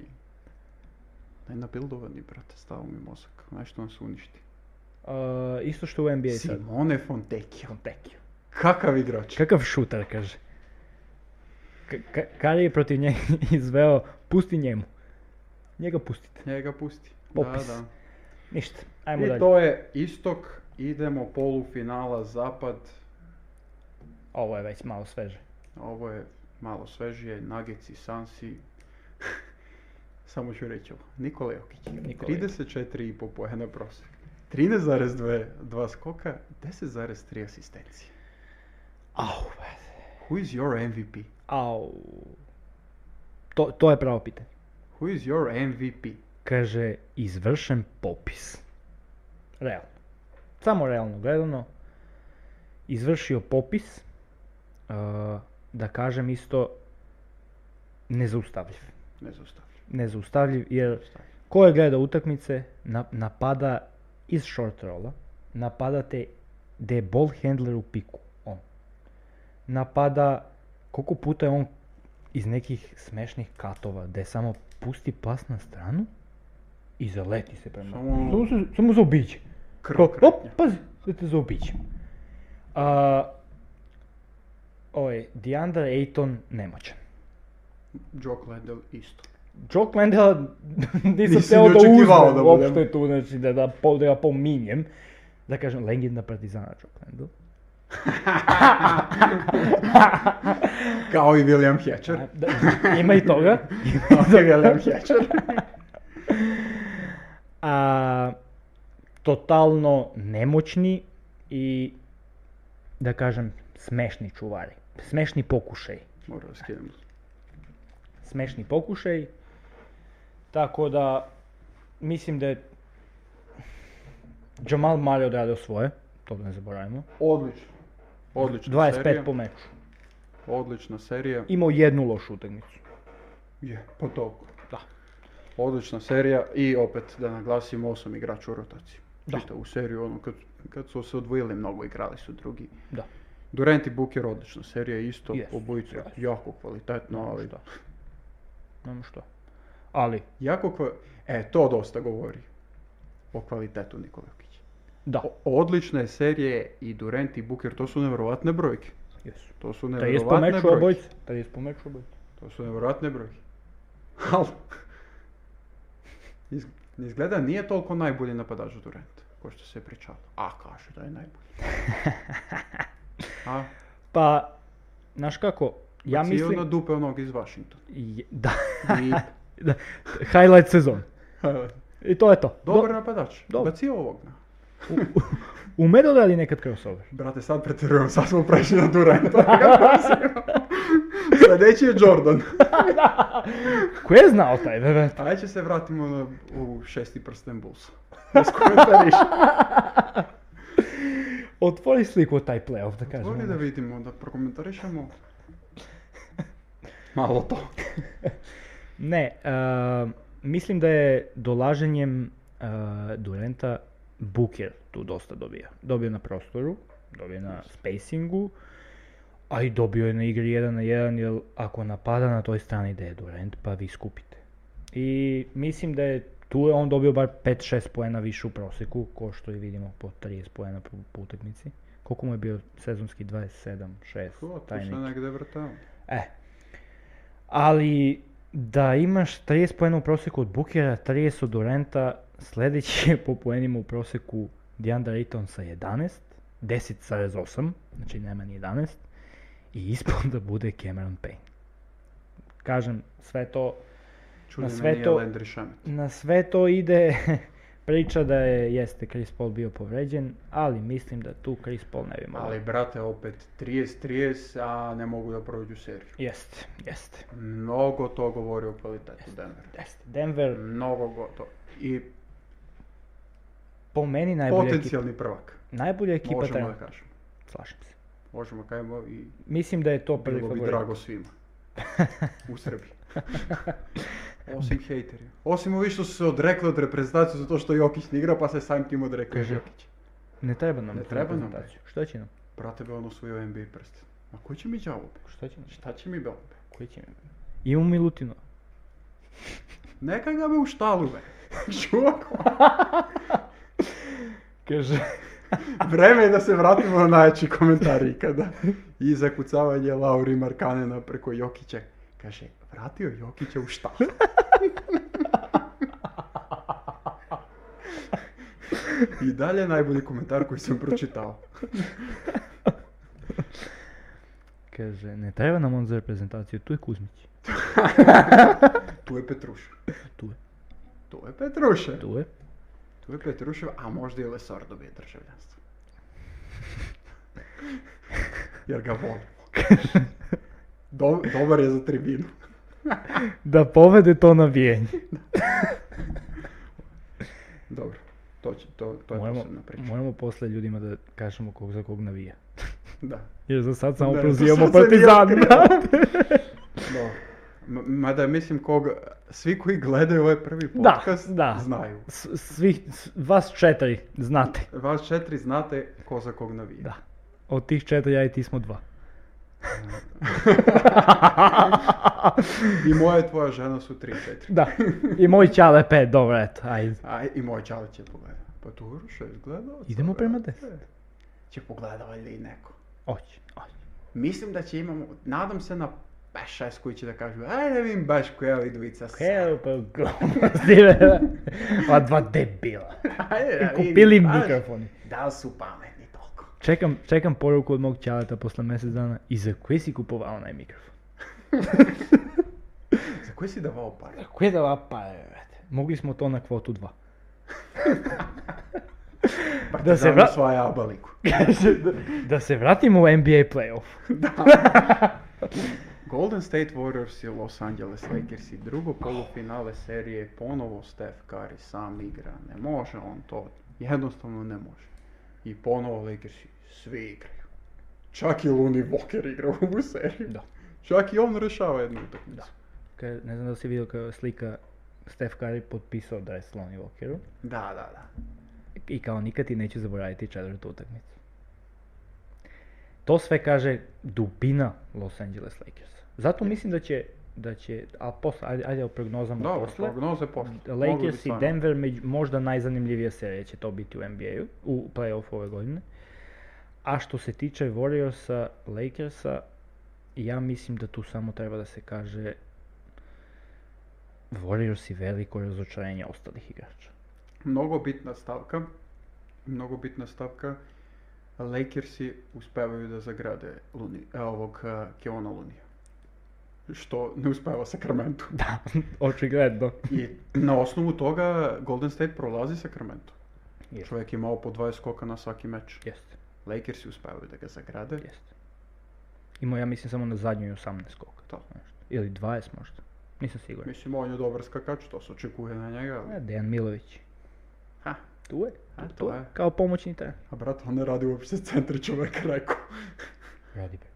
Speaker 3: Najnabildovani, brate, stao mi mozak. Znaš što on se uništi.
Speaker 4: Uh, isto što u NBA sad.
Speaker 3: Simone Fontecchio.
Speaker 4: Kontekio.
Speaker 3: Kakav igrač.
Speaker 4: Kakav šutar, kaže. Ka- ka- Kari je protiv njega izveo, pusti njemu. Njega pustite.
Speaker 3: Njega pusti.
Speaker 4: Popis.
Speaker 3: Da, da.
Speaker 4: Ništa, ajmo
Speaker 3: I
Speaker 4: dalje.
Speaker 3: to je istok. Idemo polufinala zapad.
Speaker 4: Ovo je već malo sveže.
Speaker 3: Ovo je malo svežije. Nuggets i Sansi. Samo ću reći ovo. Nikola Jokić.
Speaker 4: Nikola Jokić.
Speaker 3: 34,5 poena prosjek. 13,2 dva skoka, 10,3 asistencije.
Speaker 4: Au,
Speaker 3: Who is your MVP?
Speaker 4: au. To, to je pravo pitanje.
Speaker 3: Who is your MVP?
Speaker 4: Kaže, izvršen popis. Realno. Samo realno gledano. Izvršio popis. e, da kažem isto, nezaustavljiv.
Speaker 3: Ne zaustavljam.
Speaker 4: Nezaustavljiv jer
Speaker 3: zaustavljam.
Speaker 4: ko je gleda utakmice, na- napada iz short rolla, napada te gdje je ball handler u piku, on. Napada, koliko puta je on iz nekih smešnih katova, gdje samo pusti pas na stranu i zaleti se prema.
Speaker 3: Samo ono-
Speaker 4: Samo, se- samo zaobiđe. Kao, op,
Speaker 3: Krvokretnja.
Speaker 4: pazi, da te zaobiđem. A, ovaj, Deandre Ayton nemoćan.
Speaker 3: Jock Landell isto.
Speaker 4: Joe Landela nisam
Speaker 3: Nisi
Speaker 4: teo
Speaker 3: ni
Speaker 4: da
Speaker 3: očekivao
Speaker 4: uzmem
Speaker 3: da budem.
Speaker 4: uopšte tu, znači da, da, po- da ga pominjem. Da kažem, legenda Partizana Joe Landel.
Speaker 3: Kao i William Hatcher.
Speaker 4: Da, ima i toga.
Speaker 3: Kao i William Hatcher.
Speaker 4: A, totalno nemoćni i da kažem smešni čuvari. Smešni pokušaj.
Speaker 3: Moram da skinem.
Speaker 4: Smešni pokušaj. Tako da mislim da je Jamal Murray odradio svoje. To da ne zaboravimo.
Speaker 3: Odlično. Odlična
Speaker 4: 25
Speaker 3: serija.
Speaker 4: po meču.
Speaker 3: Odlična serija.
Speaker 4: Imao jednu lošu utakmicu.
Speaker 3: Je, po toliko.
Speaker 4: Da.
Speaker 3: Odlična serija i opet da naglasim osam igrača u rotaciji.
Speaker 4: Da.
Speaker 3: Čita u seriju, ono, kad, kad su se odvojili mnogo, igrali su drugi.
Speaker 4: Da.
Speaker 3: Durant i Booker odlična serija, isto
Speaker 4: Jesu,
Speaker 3: obojica
Speaker 4: jesu.
Speaker 3: jako kvalitetno, ali
Speaker 4: šta. Nemam što. Ali,
Speaker 3: jako kva- E, to dosta govori o kvalitetu Nikola Jokića.
Speaker 4: da,
Speaker 3: O- Odlične serije i Durant i Booker, to su nevjerovatne brojke.
Speaker 4: jesu.
Speaker 3: To su
Speaker 4: Taj je
Speaker 3: nevjerovatne
Speaker 4: spomeću
Speaker 3: brojke.
Speaker 4: obojice. Taj je spomeću obojice.
Speaker 3: To su nevjerojatne brojke. Ali, iz- izgleda nije toliko najbolji napadač Durant, ko što se je pričalo. A, kaže da je najbolji. A,
Speaker 4: Pa, znaš kako, ja
Speaker 3: bacio na
Speaker 4: mislim...
Speaker 3: dupe onog iz Washingtona.
Speaker 4: Je- da,
Speaker 3: I,
Speaker 4: da, highlight sezon. I to je to. Do-
Speaker 3: dobar napadač,
Speaker 4: Dobar.
Speaker 3: bacio ovog. na.
Speaker 4: Ume da radi nekad crossover.
Speaker 3: Brate, sad pretjerujem, sad smo prešli na Duranta. Sljedeći je Jordan.
Speaker 4: Ko je znao taj vevet?
Speaker 3: Ajde se vratimo na, u šesti prsten Bulls. Bez komentariša.
Speaker 4: Otvori sliku od taj playoff, da kažem.
Speaker 3: Voli da vidimo, da prokomentarišemo. Malo to.
Speaker 4: Ne, e, mislim da je dolaženjem e, Durenta Booker tu dosta dobija. Dobio je na prostoru, dobio je na spacingu, a i dobio je na igri 1 na 1, jer ako napada na toj strani da je Durant, pa vi skupite. I mislim da je tu je on dobio bar 5-6 poena više u proseku, ko što i vidimo po 30 poena po, po utakmici. Koliko mu je bio sezonski 27, 6,
Speaker 3: Ko, tu
Speaker 4: taj
Speaker 3: se
Speaker 4: neki.
Speaker 3: negde vrtao.
Speaker 4: E. Ali da imaš 30 poena u proseku od Bukera, 30 od Durenta, sljedeći je po poenima u proseku DeAndre Ayton sa 11, 10,8, znači nema ni 11, i ispod da bude Cameron Payne. Kažem, sve to
Speaker 3: Čudi me
Speaker 4: sve
Speaker 3: nije
Speaker 4: to-
Speaker 3: Landry Shamet.
Speaker 4: na sve to ide priča da je, jeste Chris Paul bio povređen, ali mislim da tu Chris Paul ne bi mogao.
Speaker 3: Ali brate, opet 30-30, a ne mogu da prođu seriju.
Speaker 4: Jeste, jeste,
Speaker 3: Mnogo to govori o kvalitetu Denvera.
Speaker 4: jeste. Denver
Speaker 3: Mnogo gotovo. I
Speaker 4: po meni najbolja ekipa,
Speaker 3: potencijalni prvak.
Speaker 4: najbolja ekipa
Speaker 3: Možemo
Speaker 4: trenutno.
Speaker 3: da kažemo.
Speaker 4: Slažem se.
Speaker 3: Možemo kažemo i
Speaker 4: Mislim da je to prvi
Speaker 3: bilo bi
Speaker 4: favorit.
Speaker 3: drago svima. U Srbiji. Osim hejterima. Osim ovi što su se odrekli od reprezentacije zato što Jokić ne igra pa se samim tim odrekli od
Speaker 4: Kaže,
Speaker 3: Jokića.
Speaker 4: Ne treba nam
Speaker 3: Ne
Speaker 4: tu
Speaker 3: treba nam,
Speaker 4: reprezentaciju. Što će nam?
Speaker 3: Brate be on osvojio NBA prst. Ma ko će mi džavobe?
Speaker 4: Što će nam?
Speaker 3: Šta će mi ono, belobe?
Speaker 4: Koji će nam? Imamo Milutino.
Speaker 3: Neka ga be u štalu be. Čuvako.
Speaker 4: Kaže.
Speaker 3: Vreme je da se vratimo na najjači komentar ikada. I zakucavanje Lauri Markanena preko Jokića. Kaže, vratio Jokića u štalu. I dalje najbolji komentar koji sam pročitao.
Speaker 4: Kaže, ne treba nam on za reprezentaciju, tu je Kuzmić.
Speaker 3: Tu je Petrušev.
Speaker 4: Tu je.
Speaker 3: Tu je Petrušev.
Speaker 4: Tu je.
Speaker 3: Tu je Petrušev, a možda i Lesor dobije državljanstvo. Jer ga volimo. Do- dobar je za tribinu.
Speaker 4: Da povede to navijenje.
Speaker 3: Dobro, to, će, to, to je
Speaker 4: Moramo,
Speaker 3: posebna priča.
Speaker 4: moramo posle ljudima da kažemo kog za kog navija.
Speaker 3: Da.
Speaker 4: Jer za sad samo
Speaker 3: Ne, to
Speaker 4: prozivamo
Speaker 3: sad se nije
Speaker 4: partizan,
Speaker 3: otkrilo.
Speaker 4: brate.
Speaker 3: Dobro. M- Mada mislim kog, svi koji gledaju ovaj prvi
Speaker 4: Da,
Speaker 3: podcast
Speaker 4: da.
Speaker 3: znaju.
Speaker 4: S- Svih, s- vas četiri, znate.
Speaker 3: Vas četiri znate ko za kog navija.
Speaker 4: Da. Od tih četiri ja i ti smo dva.
Speaker 3: I moja i tvoja žena su tri četiri.
Speaker 4: Da. I moj čale pet, dobro, eto, ajde.
Speaker 3: A i moj čali će pogledati. Pa tu što je gledao.
Speaker 4: Idemo prema deset.
Speaker 3: Će pogleda valjda i neko.
Speaker 4: Oći, oći.
Speaker 3: Mislim da će imamo, nadam se na 5-6 koji će da kažu, aj ne vidim baš koja ovi dvojica sa.
Speaker 4: Help, glomazdive. Ova dva debila.
Speaker 3: Ajde da vidim
Speaker 4: Kupili im
Speaker 3: baš
Speaker 4: mikrofoni.
Speaker 3: Da li su pametni toliko?
Speaker 4: Čekam, čekam poruku od mog čaleta posle mjesec dana i za koji si kupovao onaj mikrofon?
Speaker 3: Za koji si davao pare?
Speaker 4: Kako je dala pare, brate? Mogli smo to na kvotu 2.
Speaker 3: Da se
Speaker 4: vra-
Speaker 3: vrat... Svoja abaliku.
Speaker 4: da, da se vratimo u NBA playoff.
Speaker 3: Golden State Warriors i Los Angeles Lakers i drugo polufinale serije ponovo Steph Curry sam igra. Ne može on to. Jednostavno ne može. I ponovo Lakersi svi igraju. Čak i Looney Walker igra u ovu seriju.
Speaker 4: Da.
Speaker 3: Čak i on rešava jednu utakmicu.
Speaker 4: Kaj, ne znam da li si vidio kao slika Steph Curry potpisao da je Sloni Walkeru.
Speaker 3: Da, da, da.
Speaker 4: I kao nikad ti neću zaboraviti četvrtu utakmicu. To sve kaže dubina Los Angeles Lakers. Zato mislim da će, da će, a posle, ajde, ajde o prognozama
Speaker 3: Dobro,
Speaker 4: posle.
Speaker 3: prognoze posle. Mogli bi
Speaker 4: Lakers i
Speaker 3: stvarno.
Speaker 4: Denver među, možda najzanimljivija serija će to biti u NBA-u, u play-offu ove godine. A što se tiče Warriorsa, Lakersa, ja mislim da tu samo treba da se kaže Warriors i veliko razočarenje ostalih igrača.
Speaker 3: Mnogo bitna stavka. Mnogo bitna stavka. Lakersi uspevaju da zagrade Luni, e, ovog uh, Keona Lunija. Što ne uspeva Sacramento.
Speaker 4: Da, očigledno.
Speaker 3: I na osnovu toga Golden State prolazi Sacramento.
Speaker 4: Jeste.
Speaker 3: Čovjek je imao po 20 skoka na svaki meč.
Speaker 4: Jeste,
Speaker 3: Lakersi uspevaju da ga zagrade.
Speaker 4: jeste. Imao ja mislim samo na zadnjoj 18 skoka.
Speaker 3: To.
Speaker 4: nešto. Ili 20 možda. Nisam siguran.
Speaker 3: Mislim, on je dobar skakač, to se očekuje na njega. ali-
Speaker 4: E, Dejan Milović.
Speaker 3: Ha,
Speaker 4: Tu je.
Speaker 3: A,
Speaker 4: tu-
Speaker 3: to
Speaker 4: tu je.
Speaker 3: je.
Speaker 4: Kao pomoćni trener.
Speaker 3: a brat, on ne radi uopšte centri čovjek rekao.
Speaker 4: Radi bre.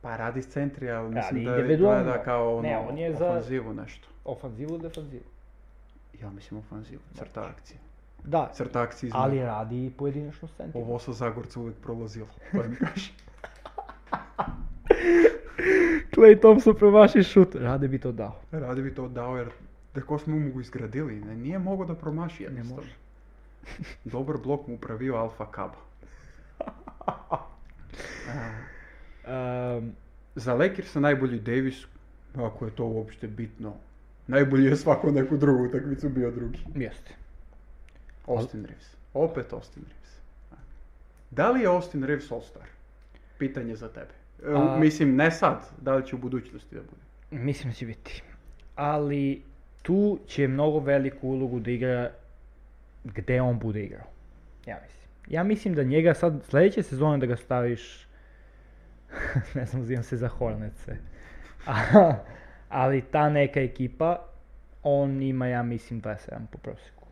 Speaker 3: Pa radi s centri, ali mislim da je
Speaker 4: individualno.
Speaker 3: gleda kao ono,
Speaker 4: Ne, on je za-
Speaker 3: ofanzivu nešto.
Speaker 4: Ofanzivu ili defanzivu?
Speaker 3: Ja mislim ofanzivu, crta akcije.
Speaker 4: Da,
Speaker 3: crta akcizma.
Speaker 4: ali radi i pojedinačno s centima.
Speaker 3: Ovo sa Zagorcu uvijek prolazilo, to mi kaže.
Speaker 4: Clay Thompson promaši šut, rade bi to dao.
Speaker 3: Radi bi to dao jer tako smo mu izgradili, ne, nije mogao da promaši jednostavno.
Speaker 4: može.
Speaker 3: Dobar blok mu upravio Alfa Kaba.
Speaker 4: Ehm,
Speaker 3: Za Lakersa najbolji Davis, ako je to uopšte bitno. Najbolji je svaku neku drugu utakmicu bio drugi.
Speaker 4: jeste.
Speaker 3: Austin Reeves. Opet Austin Reeves. Da li je Austin Reeves All-Star? Pitanje za tebe. E, u-
Speaker 4: A-
Speaker 3: Mislim, ne sad, da li će u budućnosti da bude.
Speaker 4: Mislim da će biti. Ali tu će mnogo veliku ulogu da igra gde on bude igrao. Ja mislim. Ja mislim da njega sad sljedeće sezone da ga staviš ne znam, zivam se za Hornece. ali ta neka ekipa, on ima, ja mislim, 27 po prosjeku.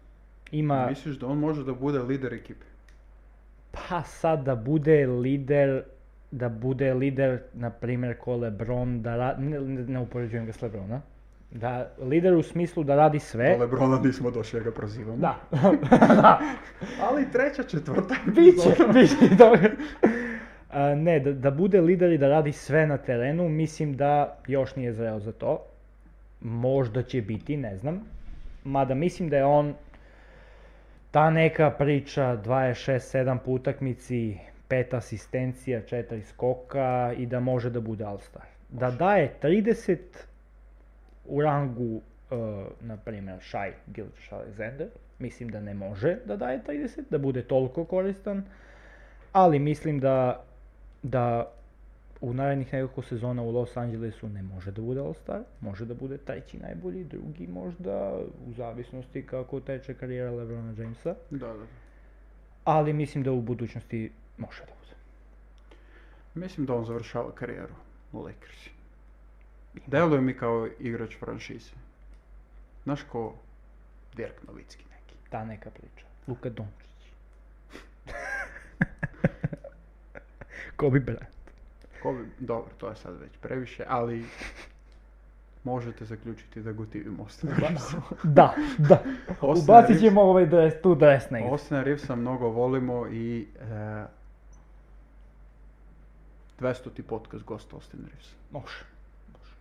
Speaker 4: Ima,
Speaker 3: Misliš da on može da bude lider ekipe?
Speaker 4: pa sad da bude lider, da bude lider, na primjer, ko Lebron, da ra- ne, ne, ne upoređujem ga s Lebrona, da lider u smislu da radi sve.
Speaker 3: Do Lebrona nismo došli da ga prozivamo.
Speaker 4: E- Da, da,
Speaker 3: Ali treća, četvrta.
Speaker 4: biće,
Speaker 3: epizoda.
Speaker 4: biće, dobro. A, ne, da, da bude lider i da radi sve na terenu, mislim da još nije zreo za to. Možda će biti, ne znam. Mada mislim da je on ta neka priča 26-7 po utakmici, pet asistencija, četiri skoka i da može da bude All-Star. Da daje 30 u rangu, e, na primjer, Shai Gilgeous Alexander, mislim da ne može da daje 30, da bude toliko koristan, ali mislim da, da u narednih nekoliko sezona u Los Angelesu ne može da bude All-Star, može da bude treći najbolji, drugi možda, u zavisnosti kako teče karijera LeBrona Jamesa,
Speaker 3: Da, da.
Speaker 4: ali mislim da u budućnosti može da bude.
Speaker 3: Mislim da on završava karijeru u Lakersi. Deluje mi kao igrač franšize. Znaš ko? Dirk Novicki neki.
Speaker 4: Ta neka priča. Luka Dončić. Kobe Bryant.
Speaker 3: Ko bi- Dobro, to je sad već previše, ali možete zaključiti da gotivim Austin Reevesa.
Speaker 4: Da, da.
Speaker 3: Austin
Speaker 4: Ubacit
Speaker 3: Reeves-
Speaker 4: ćemo ovaj dres, tu dres negdje.
Speaker 3: Austin Reevesa mnogo volimo i e, 200. podcast gost Austin Reevesa.
Speaker 4: Može.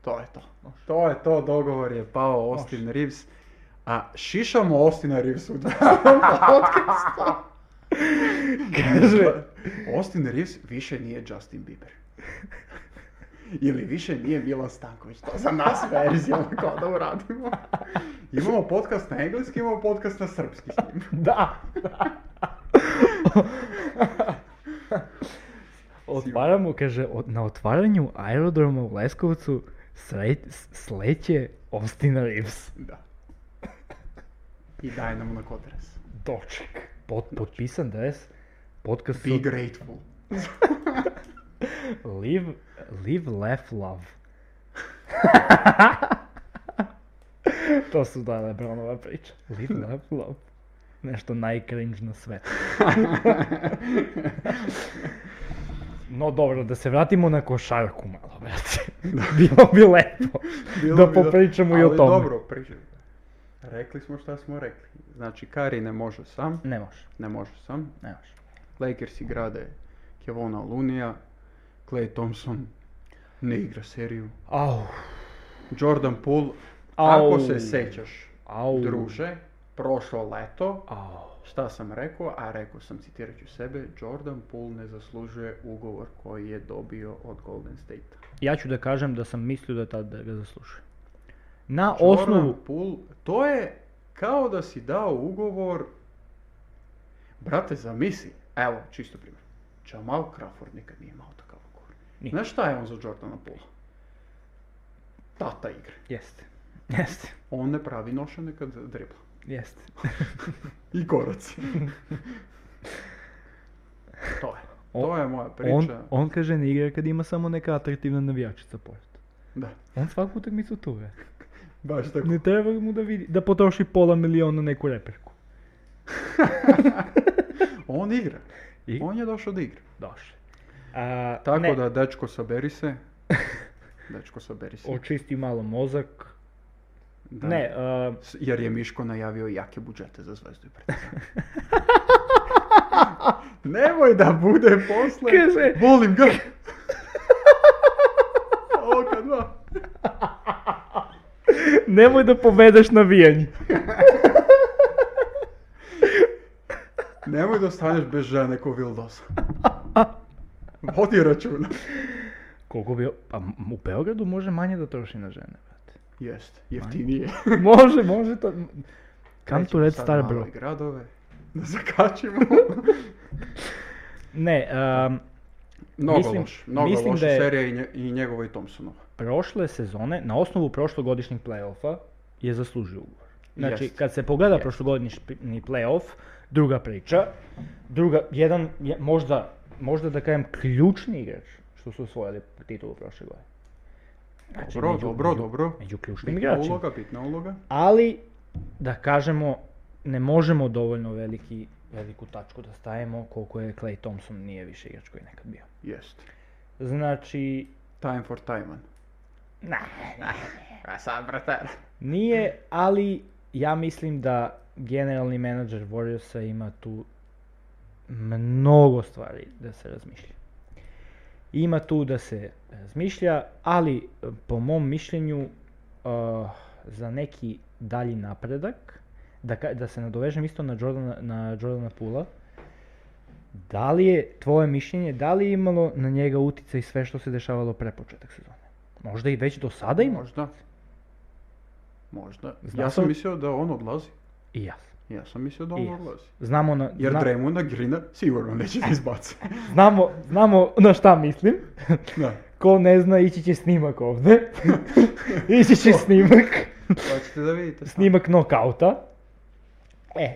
Speaker 3: To je to. To je to, dogovor je pao Austin Reeves. A šišamo Austina Reevesa u 200. podcastu.
Speaker 4: Kaže,
Speaker 3: Austin Reeves više nije Justin Bieber. Ili više nije Milan Stanković. To za nas verzija ono kao da uradimo. Imamo podcast na engleski, imamo podcast na srpski s njim.
Speaker 4: da. Otvaramo, kaže, od- na otvaranju aerodroma u Leskovcu sre- s- sleće Austin Reeves.
Speaker 3: Da. I daj nam onako dres.
Speaker 4: Doček. Pot, potpisan dres. Podcast
Speaker 3: Be grateful.
Speaker 4: Live, live, laugh, love. to su da Lebronova priča. Live, laugh, love. Nešto najcringe na svetu. No dobro, da se vratimo na košarku malo, brate. Bilo bi lepo da popričamo i o
Speaker 3: Ali
Speaker 4: tome.
Speaker 3: dobro, pričaj. Rekli smo šta smo rekli. Znači, Kari ne može sam.
Speaker 4: Ne može,
Speaker 3: Ne može sam.
Speaker 4: ne može.
Speaker 3: Lakersi grade Kevona Lunija. Clay Thompson ne igra seriju.
Speaker 4: Au,
Speaker 3: Jordan Poole,
Speaker 4: Au.
Speaker 3: ako se sećaš,
Speaker 4: au,
Speaker 3: druže, prošlo leto,
Speaker 4: au.
Speaker 3: šta sam rekao, a rekao sam, citirat ću sebe, Jordan Poole ne zaslužuje ugovor koji je dobio od Golden State.
Speaker 4: Ja ću da kažem da sam mislio da tad da ga zaslušaju. Na
Speaker 3: Jordan
Speaker 4: osnovu...
Speaker 3: Poole, to je kao da si dao ugovor, brate, zamisli, evo, čisto primjer, Jamal Crawford nikad nije imao takav ugovor.
Speaker 4: Nije.
Speaker 3: Znaš šta je on za Jordana Poole? Tata igre.
Speaker 4: Jeste, jeste,
Speaker 3: On ne pravi nošene kad dribla.
Speaker 4: jeste.
Speaker 3: I korac. to je. To je moja priča.
Speaker 4: On, on kaže ne igra kad ima samo neka atraktivna navijačica pored.
Speaker 3: Da,
Speaker 4: On svaku utakmicu tu je.
Speaker 3: baš tako.
Speaker 4: Ne treba mu da vidi, da potroši pola miliona na neku reperku.
Speaker 3: On igra.
Speaker 4: I?
Speaker 3: On je došao da igra.
Speaker 4: Došli. A,
Speaker 3: Tako
Speaker 4: ne,
Speaker 3: da, dečko, saberi se. Dečko, saberi se.
Speaker 4: Očisti malo mozak,
Speaker 3: Da.
Speaker 4: Ne, uh,
Speaker 3: S- Jer je Miško najavio jake budžete za Zvezdu i Partizan. Nemoj da bude posle.
Speaker 4: Kaže-
Speaker 3: Volim ga. Oka dva.
Speaker 4: nemoj da povedaš navijanje.
Speaker 3: Nemoj da ostaneš bez žene ko Vildosa. Vodi računa.
Speaker 4: Koliko bi, pa m- u Beogradu može manje da troši na žene, brate.
Speaker 3: Jest, jeftinije.
Speaker 4: Može, može to. Kam tu
Speaker 3: Krećemo
Speaker 4: red
Speaker 3: sad
Speaker 4: star
Speaker 3: malo
Speaker 4: bro?
Speaker 3: i gradove. Da zakačimo.
Speaker 4: Ne, um,
Speaker 3: mnogo
Speaker 4: Mislim-
Speaker 3: loš. Mnogo
Speaker 4: mislim
Speaker 3: loša
Speaker 4: da je-
Speaker 3: serija i, nje, i njegova i Thompsonova.
Speaker 4: prošle sezone, na osnovu prošlogodišnjeg play-offa, je zaslužio ugovor. Znači,
Speaker 3: Jest.
Speaker 4: kad se pogleda prošlogodišnji play-off, druga priča, druga, jedan, je- možda, možda da kažem, ključni igrač što su osvojili titulu prošle godine. Znači,
Speaker 3: Dobro,
Speaker 4: među-
Speaker 3: dobro,
Speaker 4: među-
Speaker 3: dobro.
Speaker 4: Među ključnim
Speaker 3: Bitna
Speaker 4: igračima.
Speaker 3: uloga, bitna uloga.
Speaker 4: Ali, da kažemo, ne možemo dovoljno veliki, veliku tačku da stavimo koliko je Clay Thompson nije više igrač koji je nekad bio.
Speaker 3: Jest.
Speaker 4: Znači,
Speaker 3: Time for Timan.
Speaker 4: ne, nije, ali ja mislim da generalni menadžer Warriorsa ima tu mnogo stvari da se razmišlja. Ima tu da se razmišlja, ali eh, po mom mišljenju eh, za neki dalji napredak, da, ka- da se nadovežem isto na Jordana, na Jordana Pula, da li je tvoje mišljenje, da li je imalo na njega utjecaj sve što se dešavalo pre početak sezone? Možda i već do sada ima?
Speaker 3: Možda. Možda.
Speaker 4: Znao
Speaker 3: ja
Speaker 4: sam-
Speaker 3: sam mislio da on odlazi.
Speaker 4: I ja.
Speaker 3: Ja sam mislio da on
Speaker 4: I ja.
Speaker 3: odlazi.
Speaker 4: Znamo na,
Speaker 3: Jer
Speaker 4: zna-
Speaker 3: Draymonda Greena sigurno neće da izbaci.
Speaker 4: znamo, znamo na šta mislim.
Speaker 3: da.
Speaker 4: Ko ne zna, ići će snimak ovdje. ići će snimak.
Speaker 3: Hoćete da vidite. sami.
Speaker 4: snimak nokauta. E, e,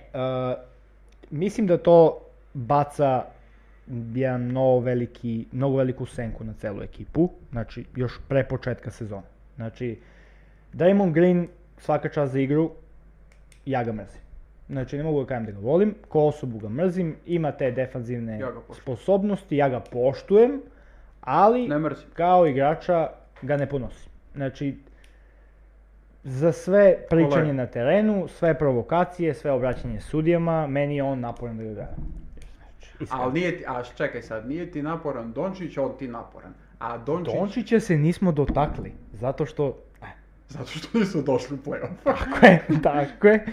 Speaker 4: mislim da to baca jedan mnogo veliki, mnogo veliku senku na celu ekipu, znači još pre početka sezone. Znači, Damon Green svaka čast za igru, ja ga mrzim. Znači, ne mogu da kažem da ga volim, ko osobu ga mrzim, ima te defanzivne
Speaker 3: Ja ga poštujem.
Speaker 4: sposobnosti, ja ga poštujem, ali
Speaker 3: Ne mrzim.
Speaker 4: kao igrača ga ne ponosim. Znači, za sve pričanje
Speaker 3: Kolegu.
Speaker 4: na terenu, sve provokacije, sve obraćanje sudijama, meni je on naporan da ga gleda.
Speaker 3: Ali nije ti, a čekaj sad, nije ti naporan Dončić, on ti naporan. A Dončić,
Speaker 4: Dončića se nismo dotakli, zato što... eh,
Speaker 3: zato što nisu došli u playoff.
Speaker 4: Tako je, tako je.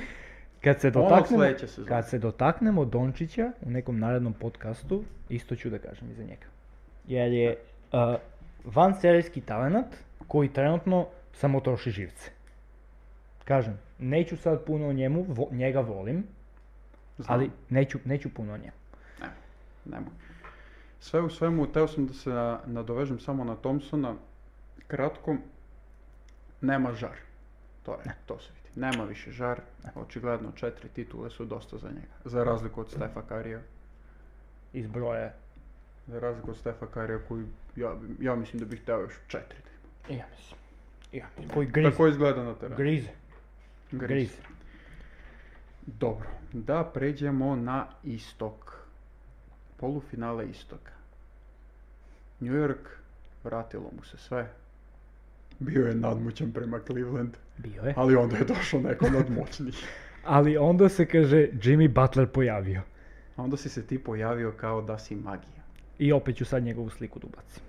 Speaker 4: Kad se,
Speaker 3: Ono
Speaker 4: dotaknemo,
Speaker 3: sledeće sezone.
Speaker 4: kad se dotaknemo Dončića u nekom narednom podcastu, isto ću da kažem iza njega. Jer je uh, vanserijski talenat koji trenutno samo troši živce. Kažem, neću sad puno o njemu, vo- njega volim,
Speaker 3: Znam.
Speaker 4: ali neću, neću puno o njemu.
Speaker 3: Ne, nemoj. Sve u svemu, teo sam da se na- nadovežem samo na Thompsona. Kratko, nema žar. To je, to se vidi. Nema više žar. Očigledno četiri titule su dosta za njega. Za razliku od Stefa Karija.
Speaker 4: Iz broja.
Speaker 3: Za razliku od Stefa Karija koji, ja, ja mislim da bih teo još četiri. da ima.
Speaker 4: Ja mislim. Ja, mislim. koji grize.
Speaker 3: Tako izgleda na terenu.
Speaker 4: grize.
Speaker 3: Griz.
Speaker 4: grize.
Speaker 3: Dobro, da pređemo na istok. Polufinale istoka. New York, vratilo mu se sve. Bio je nadmoćan prema Cleveland,
Speaker 4: Bio je.
Speaker 3: ali onda je došao neko nadmoćniji.
Speaker 4: Ali onda se kaže Jimmy Butler pojavio.
Speaker 3: A onda si se ti pojavio kao da si magija.
Speaker 4: I opet ću sad njegovu sliku da ubacim.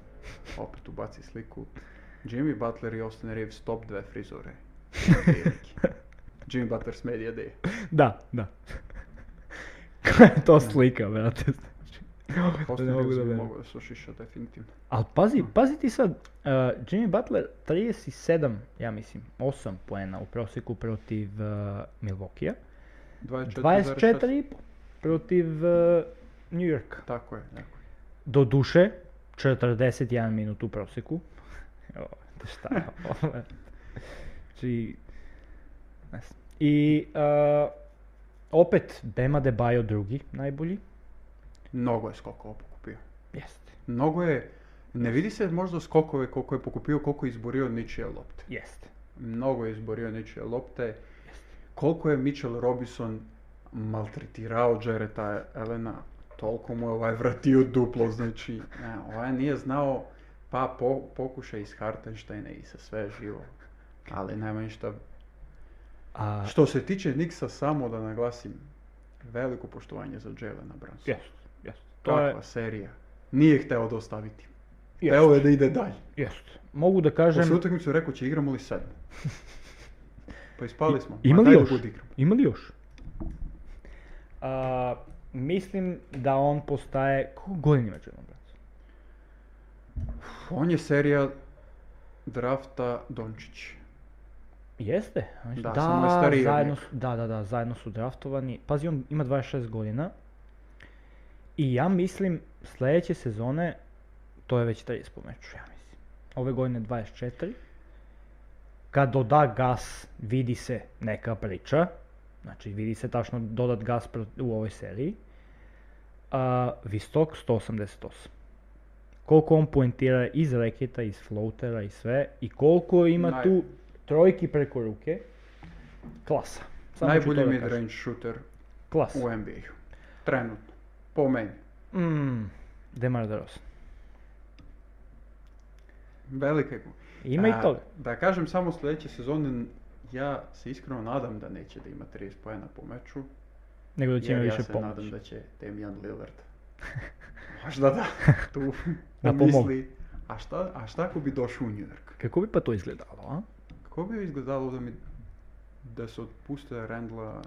Speaker 3: Opet ubaci sliku. Jimmy Butler i Austin Reeves top dve frizure. Jimmy Butler s Media Day.
Speaker 4: Da, da. Koja je to slika, brate? Znači,
Speaker 3: Austin
Speaker 4: ne mogu da
Speaker 3: Reeves bi
Speaker 4: verujem.
Speaker 3: mogao da se ošiša definitivno.
Speaker 4: Ali pazi, pazi ti sad, uh, Jimmy Butler 37, ja mislim, 8 poena u prosjeku protiv uh, Milwaukee-a. 24 protiv uh, New Yorka.
Speaker 3: Tako je, tako je.
Speaker 4: Doduše, 41 minut u prosjeku. O, to šta je ovo? Znači, ne znam. I uh, opet Bema Debajo drugi najbolji.
Speaker 3: Mnogo je skokova pokupio.
Speaker 4: Jeste.
Speaker 3: Mnogo je, ne vidi se možda skokove koliko je pokupio, koliko je izborio ničije lopte.
Speaker 4: Jeste.
Speaker 3: Mnogo je izborio ničije lopte. Koliko je Mitchell Robinson maltretirao Jareta Elena, toliko mu je ovaj vratio duplo, znači ne, ovaj nije znao, pa po, pokušaj iz Hartensteina i sa sve živo, ali nema ništa.
Speaker 4: A,
Speaker 3: Što se tiče Nixa, samo da naglasim, veliko poštovanje za Jelena Brunson.
Speaker 4: jest, jest. To je,
Speaker 3: Takva serija. Nije hteo da ostaviti.
Speaker 4: jest,
Speaker 3: Evo je da ide dalje.
Speaker 4: jest. Mogu da kažem,
Speaker 3: Posle utakmicu rekao će igramo li sad. Pa ispali smo. Ma
Speaker 4: ima li
Speaker 3: daj da
Speaker 4: još?
Speaker 3: bude igram.
Speaker 4: Ima li još? A, mislim da on postaje, koliko godina ima Jalen Brunson?
Speaker 3: On je serija drafta Dončić.
Speaker 4: Jeste. on je-
Speaker 3: Da, samo je stariji od
Speaker 4: zajedno,
Speaker 3: njega.
Speaker 4: su- da, da, da, zajedno su draftovani. Pazi, on ima 26 godina. I ja mislim sljedeće sezone, to je već 30 po meču, ja mislim. Ove godine 24. Kad doda gas, vidi se neka priča. Znači, vidi se tačno dodat gas pro- u ovoj seriji. A, Vistok 188. Koliko on poentira iz reketa, iz floatera i sve. I koliko ima
Speaker 3: Naj-
Speaker 4: tu trojki preko ruke. Klasa. Samo ću
Speaker 3: Najbolji
Speaker 4: to da kažem.
Speaker 3: mid-range shooter
Speaker 4: Klasa.
Speaker 3: u NBA-u. Trenutno. Po meni.
Speaker 4: Mm, Demar DeRozan.
Speaker 3: Velika je gu-
Speaker 4: Ima
Speaker 3: A,
Speaker 4: i toga.
Speaker 3: Da kažem samo sljedeće sezone, ja se iskreno nadam da neće da ima 30 pojena po meču.
Speaker 4: Nego da će
Speaker 3: Jer
Speaker 4: ima
Speaker 3: ja
Speaker 4: više
Speaker 3: se nadam
Speaker 4: pomoći.
Speaker 3: da će Damian Lillard možda da tu
Speaker 4: Da
Speaker 3: pomisli. A šta, a šta ako bi došao u New York?
Speaker 4: Kako bi pa to izgledalo, a?
Speaker 3: Kako bi izgledalo da mi da se otpuste Randla?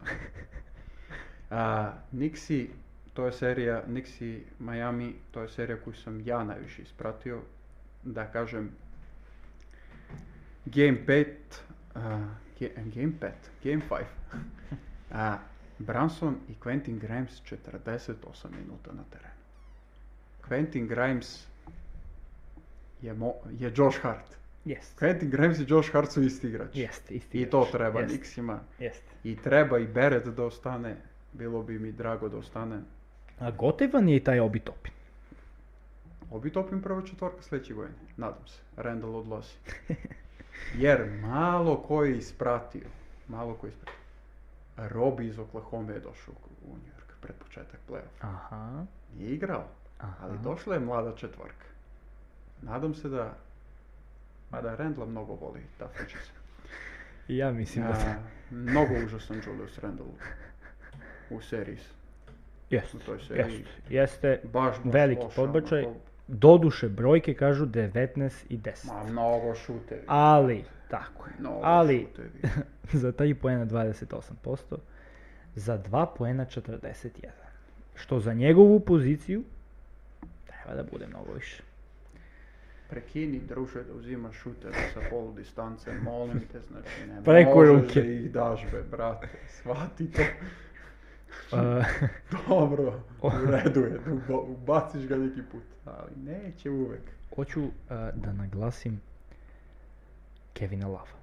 Speaker 3: A, Nixi, to je serija Nixi Miami, to je serija koju sam ja najviše ispratio. Da kažem, Game 5, a, ge- Game 5, Game 5. A, Branson i Quentin Grimes 48 minuta na terenu. Quentin Grimes je, mo, je Josh Hart.
Speaker 4: Jest.
Speaker 3: Quentin Grimes i Josh Hart su isti igrač.
Speaker 4: Jest, isti.
Speaker 3: I
Speaker 4: igrač.
Speaker 3: to treba
Speaker 4: Jest,
Speaker 3: Nixima.
Speaker 4: Jest.
Speaker 3: I treba i Beret da ostane. Bilo bi mi drago da ostane.
Speaker 4: A gotivan je i taj Obi Topin.
Speaker 3: Obi topim prvo četvorka sljedeće godine. Nadam se. Randall odlazi. Jer malo ko je ispratio. Malo ko je ispratio. Robi iz Oklahoma je došao u New York pred početak play-off.
Speaker 4: Aha.
Speaker 3: Nije igrao,
Speaker 4: Aha.
Speaker 3: ali došla je mlada četvorka. Nadam se da... Mada Randla mnogo voli, da se.
Speaker 4: Ja mislim da
Speaker 3: A,
Speaker 4: se...
Speaker 3: mnogo užasan Julius Randle u seriji.
Speaker 4: Jest.
Speaker 3: u toj seriji.
Speaker 4: Jest. Jeste.
Speaker 3: Baš, baš
Speaker 4: Veliki
Speaker 3: loš,
Speaker 4: podbačaj.
Speaker 3: ono,
Speaker 4: Doduše, brojke kažu 19 i 10.
Speaker 3: Ma, mnogo šutevi.
Speaker 4: Ali, tako je.
Speaker 3: Mnogo
Speaker 4: Ali,
Speaker 3: šutevi.
Speaker 4: za 3 poena 28%, za 2 poena 41. Što za njegovu poziciju treba da bude mnogo više.
Speaker 3: Prekini, druže, da uzimaš šutere sa polu distance, molim te, znači ne
Speaker 4: Preko
Speaker 3: možeš
Speaker 4: ruke.
Speaker 3: da ih daš, be, brate, shvati to.
Speaker 4: Uh,
Speaker 3: Dobro, u redu je, uba- ubaciš ga neki put, ali neće uvek.
Speaker 4: hoću uh, da naglasim Kevina Lava.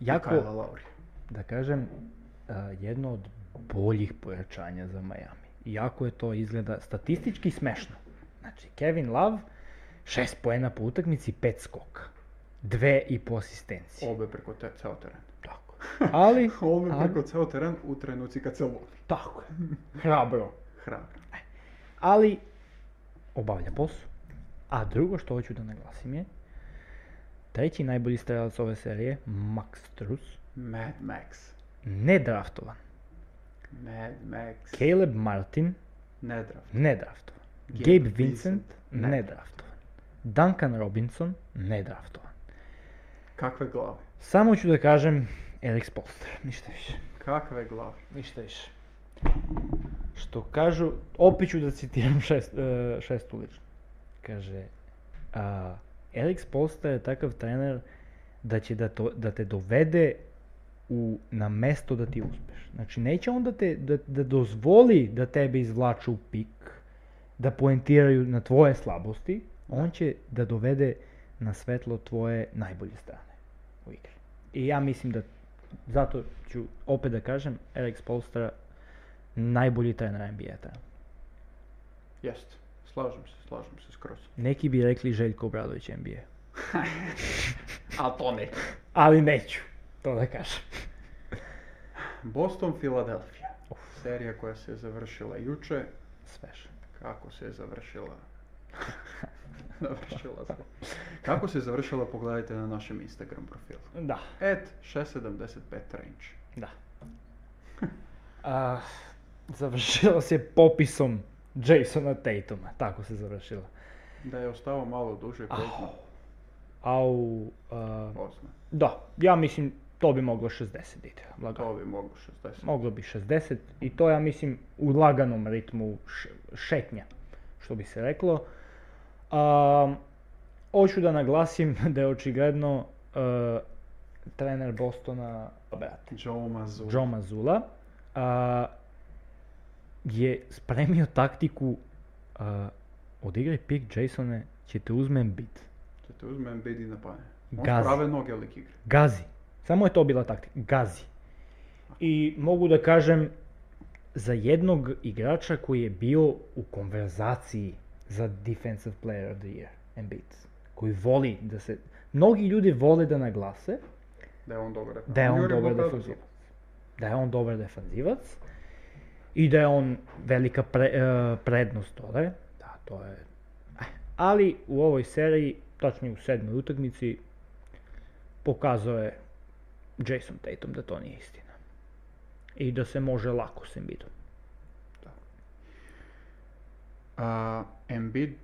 Speaker 4: Jako,
Speaker 3: Kyle Lowry.
Speaker 4: da kažem, uh, jedno od boljih pojačanja za Miami. Iako je to izgleda statistički smešno. Znači, Kevin Love, 6 poena po utakmici, 5 skoka. Dve i po asistencije.
Speaker 3: Obe preko te, ceo teren.
Speaker 4: Tako. Ali,
Speaker 3: Obe
Speaker 4: ali-
Speaker 3: preko ceo teren u trenuci kad se lovi.
Speaker 4: tako je. Hrabro.
Speaker 3: Hrabro.
Speaker 4: Ali, obavlja posao. A drugo što hoću da naglasim je, treći najbolji strelac ove serije, Max Strus,
Speaker 3: Mad Max.
Speaker 4: nedraftovan.
Speaker 3: Mad Max.
Speaker 4: Caleb Martin,
Speaker 3: Nedraft.
Speaker 4: nedraftovan.
Speaker 3: Gabe
Speaker 4: Gabe
Speaker 3: Vincent,
Speaker 4: Vincent, nedraftovan. Duncan Robinson, nedraftovan.
Speaker 3: Kakve glave.
Speaker 4: Samo ću da kažem Eric Spolster, ništa više.
Speaker 3: Kakve glave.
Speaker 4: Ništa više. Što kažu, opet ću da citiram šest, e, šestu ličnu. Kaže, a, Erik Spolstra je takav trener da će da, to, da te dovede u, na mesto da ti uspeš. Znači, neće on da, te, da, da dozvoli da tebe izvlaču u pik, da poentiraju na tvoje slabosti, on će da dovede na svetlo tvoje najbolje strane u igri. I ja mislim da zato ću opet da kažem, Eric Spolstra najbolji trener NBA trenutno.
Speaker 3: Jest. Slažem se, slažem se skroz.
Speaker 4: Neki bi rekli Željko Obradović NBA.
Speaker 3: A to ne.
Speaker 4: Ali neću, to da kažem.
Speaker 3: Boston, Philadelphia. Serija koja se je završila juče.
Speaker 4: Sveš.
Speaker 3: Kako se je završila? Završila se. Kako se završila, pogledajte na našem Instagram profilu.
Speaker 4: Da,
Speaker 3: At 675 range.
Speaker 4: da. A, završilo se popisom Jasona Tatuma, tako se završilo.
Speaker 3: Da je ostao malo duže,
Speaker 4: Ah.
Speaker 3: ko zna.
Speaker 4: A u... a,
Speaker 3: ko zna.
Speaker 4: da, ja mislim to bi moglo 60 ide, lagano.
Speaker 3: To bi moglo 60.
Speaker 4: Moglo bi 60 i to ja mislim u laganom ritmu š- šetnja, što bi se reklo. A, hoću da naglasim da je očigledno e, trener Bostona, brate,
Speaker 3: Joe Mazur.
Speaker 4: Joe Mazula, a, je spremio taktiku a, odigraj pik Jasone, će te uzmem bit.
Speaker 3: Če te uzmem, bedi na panje. On
Speaker 4: Gazi.
Speaker 3: prave noge lik igra.
Speaker 4: Gazi. Samo je to bila taktika. Gazi. I mogu da kažem za jednog igrača koji je bio u konverzaciji za Defensive Player of the Year, Embiid, koji voli da se... Mnogi ljudi vole da naglase
Speaker 3: Da je on dobar.
Speaker 4: da je on
Speaker 3: Juri
Speaker 4: dobar
Speaker 3: blokadu.
Speaker 4: defanzivac. Da je on dobar defanzivac i da je on velika pre- e, prednost ove. Da, to je... eh. Ali u ovoj seriji, tačnije u sedmoj utakmici, pokazao je Jason Tatum da to nije istina. I da se može lako s Embiidom.
Speaker 3: A, Embiid,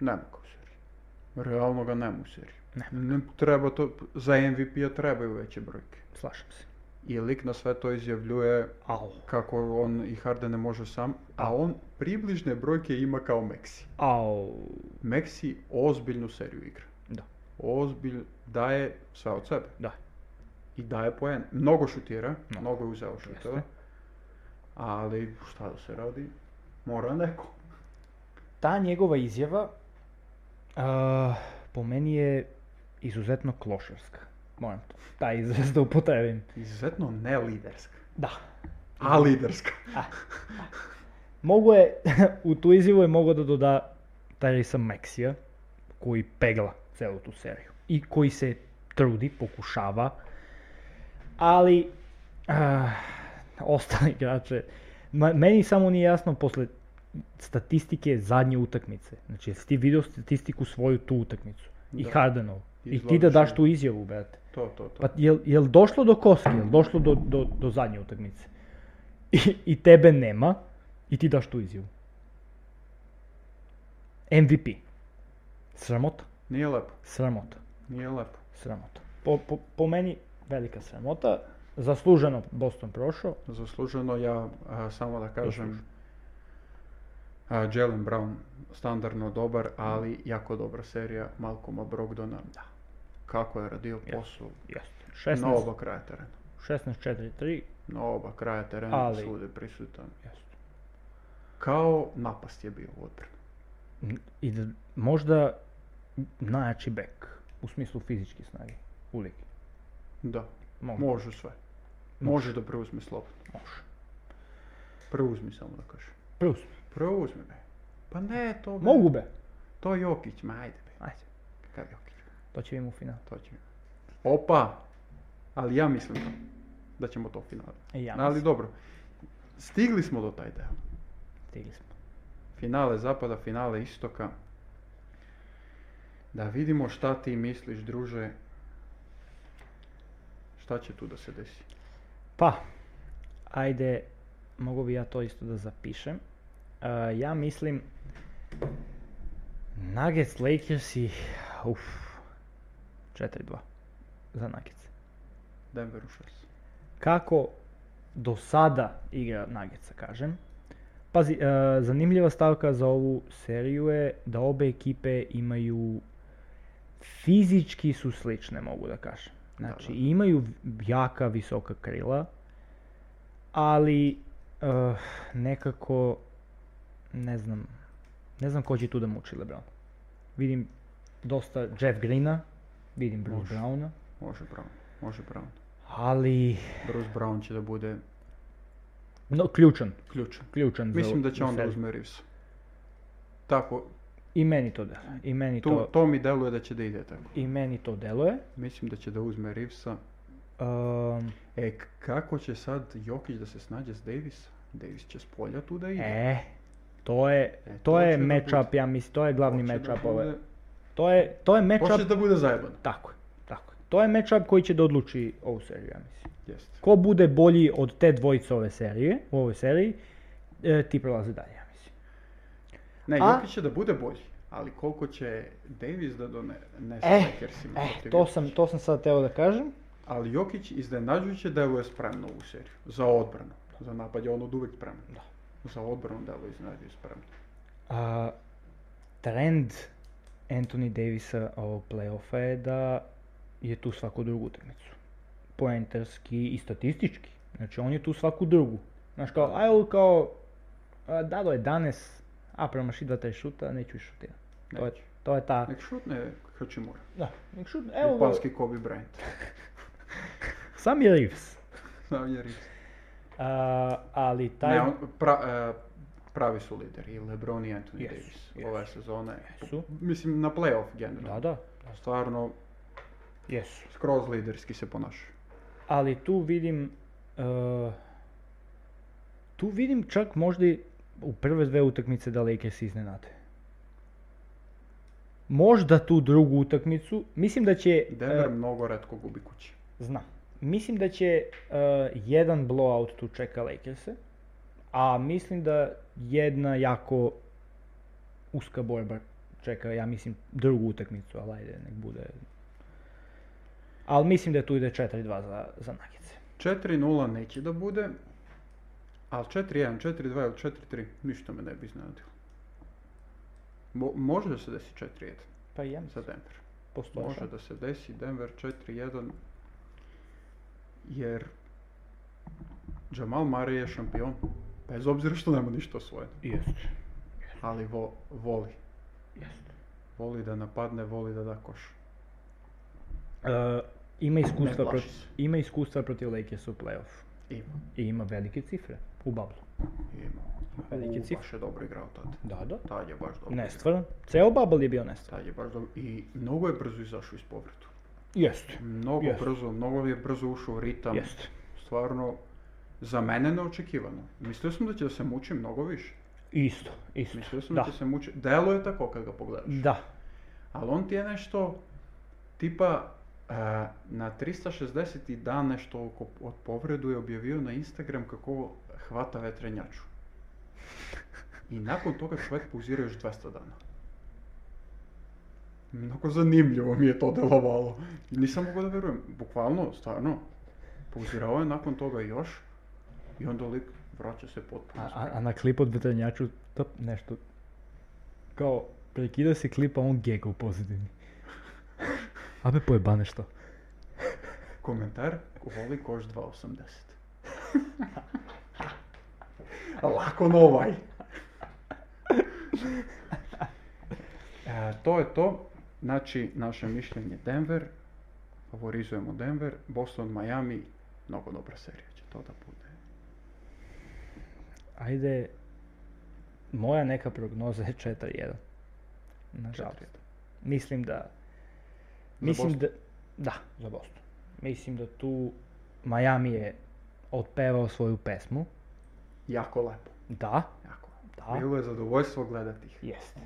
Speaker 3: ne mogu seriju. Realno ga ne mogu seriju.
Speaker 4: Ne
Speaker 3: Ne treba to, za MVP-a trebaju veće brojke.
Speaker 4: Slažem se.
Speaker 3: I lik na sve to izjavljuje
Speaker 4: Au.
Speaker 3: kako on i Harden ne može sam, a on približne brojke ima kao Meksi.
Speaker 4: Au.
Speaker 3: Meksi ozbiljnu seriju igra.
Speaker 4: Da.
Speaker 3: Ozbilj, daje sve od sebe.
Speaker 4: Da.
Speaker 3: I daje poen. Mnogo šutira,
Speaker 4: Mnogo.
Speaker 3: mnogo je uzeo šuteva.
Speaker 4: Jeste.
Speaker 3: Ali šta da se radi, mora neko.
Speaker 4: ta njegova izjava a, po meni je izuzetno klošarska. Moram to, taj izraz da upotrebim.
Speaker 3: Izuzetno ne liderska.
Speaker 4: Da.
Speaker 3: A liderska.
Speaker 4: Mogu je, u tu izjavu je mogao da doda Tyrese Maxija, koji pegla celu tu seriju. I koji se trudi, pokušava, ali ah, ostali igrače, ma- meni samo nije jasno posle statistike zadnje utakmice. Znači, jesi ti video statistiku svoju tu utakmicu? I
Speaker 3: Da.
Speaker 4: Hardenov.
Speaker 3: I
Speaker 4: I ti da
Speaker 3: izvlačiš
Speaker 4: daš
Speaker 3: je.
Speaker 4: tu izjavu, brate.
Speaker 3: To, to, to.
Speaker 4: Pa jel, jel došlo do koske, jel došlo do, do, do zadnje utakmice? I, I tebe nema i ti daš tu izjavu. MVP. Sramota,
Speaker 3: Nije lepo.
Speaker 4: sramota,
Speaker 3: Nije lepo.
Speaker 4: sramota. Po, po, po meni velika sramota. Zasluženo Boston prošao.
Speaker 3: Zasluženo ja a, samo da kažem a, Jalen Brown standardno dobar, ali jako dobra serija Malcoma Brogdona. Da. Kako je radio posao
Speaker 4: Jeste.
Speaker 3: na
Speaker 4: 16,
Speaker 3: oba kraja terena.
Speaker 4: 16-4-3.
Speaker 3: Na oba kraja terena
Speaker 4: Ali-
Speaker 3: svugdje prisutan.
Speaker 4: Jeste.
Speaker 3: Kao napast je bio u odbrani.
Speaker 4: I da, možda najjači bek u smislu fizičke snage u ligi.
Speaker 3: Da,
Speaker 4: Možda.
Speaker 3: može sve. Može da preuzme slobodno.
Speaker 4: Može.
Speaker 3: Preuzmi samo da kažem.
Speaker 4: Plus.
Speaker 3: Preuzmi me. Pa ne, to...
Speaker 4: Mogu be.
Speaker 3: To Jokić, ma ajde be.
Speaker 4: Ajde.
Speaker 3: Kakav Jokić?
Speaker 4: To će im u finalu.
Speaker 3: To će. Opa! Ali ja mislim da ćemo to finale.
Speaker 4: I ja
Speaker 3: Ali
Speaker 4: mislim.
Speaker 3: dobro, stigli smo do taj deo.
Speaker 4: Stigli smo.
Speaker 3: Finale zapada, finale istoka. Da vidimo šta ti misliš, druže. Šta će tu da se desi?
Speaker 4: Pa, ajde, mogu bi ja to isto da zapišem. E, ja mislim, Nuggets Lakers i, uf, 4-2 za Nuggets.
Speaker 3: Denveru 6.
Speaker 4: Kako do sada igra Nuggetsa, kažem. Pazi, e, zanimljiva stavka za ovu seriju je da obe ekipe imaju, fizički su slične, mogu da kažem. Znači,
Speaker 3: da.
Speaker 4: imaju v- jaka, visoka krila, ali e, nekako, ne znam, ne znam ko će tu da muči LeBron. Vidim dosta Jeff Greena, vidim Bruce
Speaker 3: Može.
Speaker 4: Browna,
Speaker 3: Može Brown, može Brown.
Speaker 4: ali
Speaker 3: Bruce Brown će da bude
Speaker 4: no, ključan.
Speaker 3: ključan.
Speaker 4: ključan za-
Speaker 3: Mislim da će
Speaker 4: za
Speaker 3: on da
Speaker 4: seriju.
Speaker 3: uzme Reevesa. Tako,
Speaker 4: I meni to deluje. I meni
Speaker 3: to,
Speaker 4: to,
Speaker 3: to mi deluje da će da ide tako.
Speaker 4: i meni to deluje.
Speaker 3: Mislim da će da uzme Reevesa.
Speaker 4: Um,
Speaker 3: E, k- kako će sad Jokić da se snađe s Davis? Davis će s polja tu da ide.
Speaker 4: e, To je,
Speaker 3: E, to
Speaker 4: to je
Speaker 3: će da
Speaker 4: matchup,
Speaker 3: bude.
Speaker 4: ja mislim, to je glavni
Speaker 3: Hoće da
Speaker 4: matchup
Speaker 3: bude-
Speaker 4: ove. To je, to je matchup,
Speaker 3: Hoće da bude zajeban.
Speaker 4: tako je, tako je. To je matchup koji će da odluči ovu seriju, ja mislim.
Speaker 3: Jeste.
Speaker 4: Ko bude bolji od te dvojice ove serije, u ovoj seriji, e, ti prolaze dalje, ja mislim.
Speaker 3: Ne,
Speaker 4: A-
Speaker 3: Jokić će da bude bolji, ali koliko će Davis da donese
Speaker 4: Eh,
Speaker 3: Lakersima
Speaker 4: E,
Speaker 3: protiv
Speaker 4: to
Speaker 3: Jokića?
Speaker 4: sam, to sam sad teo da kažem.
Speaker 3: Ali Jokić iznenađujuće deluje spremno u seriju. Za odbranu. Za napad je on od uvijek spreman. Za odbranu deluje iznenađujuće spremno.
Speaker 4: A, trend Anthony Davisa ovog playoffa je da je tu svaku drugu utakmicu. Poenterski i statistički. Znači on je tu svaku drugu. Znaš kao, aj ovo kao, a, dalo je danes, a premaši dva taj šuta, neću više šutirati. To je,
Speaker 3: Neće.
Speaker 4: to je ta...
Speaker 3: Nek šutne Hachimura.
Speaker 4: Da, nek šut, evo ga,
Speaker 3: Japanski Kobe Bryant.
Speaker 4: sam je Reeves.
Speaker 3: Znam jer
Speaker 4: A, ali taj...
Speaker 3: Ne, on, pra- e, pravi su lideri. I LeBron i Anthony
Speaker 4: Jesu,
Speaker 3: Davis.
Speaker 4: jesu.
Speaker 3: Ove sezone.
Speaker 4: Jesu.
Speaker 3: Mislim, na playoff generalno.
Speaker 4: Da, da,
Speaker 3: Stvarno,
Speaker 4: jesu.
Speaker 3: skroz liderski se ponašaju.
Speaker 4: ali tu vidim eh, tu vidim čak možda i u prve dve utakmice da Lakers iznenade. Možda tu drugu utakmicu, mislim da će
Speaker 3: Denver
Speaker 4: eh,
Speaker 3: mnogo redko gubi kući.
Speaker 4: znam. Mislim da će eh, jedan blowout tu čeka Lakerse, a mislim da jedna jako uska borba čeka, ja mislim, drugu utakmicu, ali ajde, nek bude. Ali mislim da tu ide 4-2 za, za Nuggets.
Speaker 3: 4-0 neće da bude, ali 4-1, 4-2 ili 4-3, ništa me ne bi iznenadilo. Mo- može da se desi 4-1
Speaker 4: Pa i ja
Speaker 3: za
Speaker 4: mislim,
Speaker 3: Denver.
Speaker 4: postoje
Speaker 3: Može
Speaker 4: šans.
Speaker 3: da se desi Denver 4-1 jer Jamal Murray je šampion. Bez obzira što nema ništa osvojeno.
Speaker 4: Jest.
Speaker 3: Ali vo- voli. Voli da napadne, voli da da koš.
Speaker 4: E, ima, iskustva
Speaker 3: plaši
Speaker 4: prot-
Speaker 3: se.
Speaker 4: ima iskustva protiv Lakersa u playoff.
Speaker 3: Ima.
Speaker 4: I ima velike cifre u bablu.
Speaker 3: Ima.
Speaker 4: Veliki
Speaker 3: U,
Speaker 4: cif.
Speaker 3: Baš je dobro igrao tad.
Speaker 4: Da, da.
Speaker 3: Tad je baš dobro. igrao.
Speaker 4: Nestvaran. Ceo bubble je bio nestvaran.
Speaker 3: Tad je baš dobro. I mnogo je brzo izašao iz povredu.
Speaker 4: Jeste.
Speaker 3: Mnogo
Speaker 4: Jeste.
Speaker 3: brzo, mnogo je brzo ušao u ritam.
Speaker 4: Jeste.
Speaker 3: Stvarno, za mene neočekivano. Mislio sam da će da se muči mnogo više.
Speaker 4: Isto, isto.
Speaker 3: Mislio sam da,
Speaker 4: da.
Speaker 3: će se muči... Delo je tako kad ga pogledaš.
Speaker 4: Da.
Speaker 3: Ali on ti je nešto tipa e, na 360 dan nešto oko, od povredu je objavio na Instagram kako hvata vetrenjaču. I nakon toga čovjek pauzira još 200 dana. Mnogo zanimljivo mi je to delovalo. I Nisam mogao da verujem. Bukvalno, stvarno. Pauzirao je nakon toga još. I onda lik vraća se potpuno.
Speaker 4: A,
Speaker 3: spreman.
Speaker 4: a, a na klip od Betanjaču, to nešto... Kao, prekida se klip, a on gega u pozadini. Abe pojebane što.
Speaker 3: Komentar, voli koš 2.80. Lako na ovaj. E, to je to. Znači, naše mišljenje Denver. Favorizujemo Denver. Boston, Miami. Mnogo dobra serija će to da bude.
Speaker 4: Ajde, moja neka prognoza je 4-1. Nažalost.
Speaker 3: 4-1.
Speaker 4: Mislim da... Mislim da...
Speaker 3: Boston?
Speaker 4: Da, za Boston. Mislim da tu Miami je otpevao svoju pesmu.
Speaker 3: Jako lepo.
Speaker 4: Da,
Speaker 3: Jako lepo.
Speaker 4: da.
Speaker 3: Bilo je zadovoljstvo gledati ih.
Speaker 4: Jeste.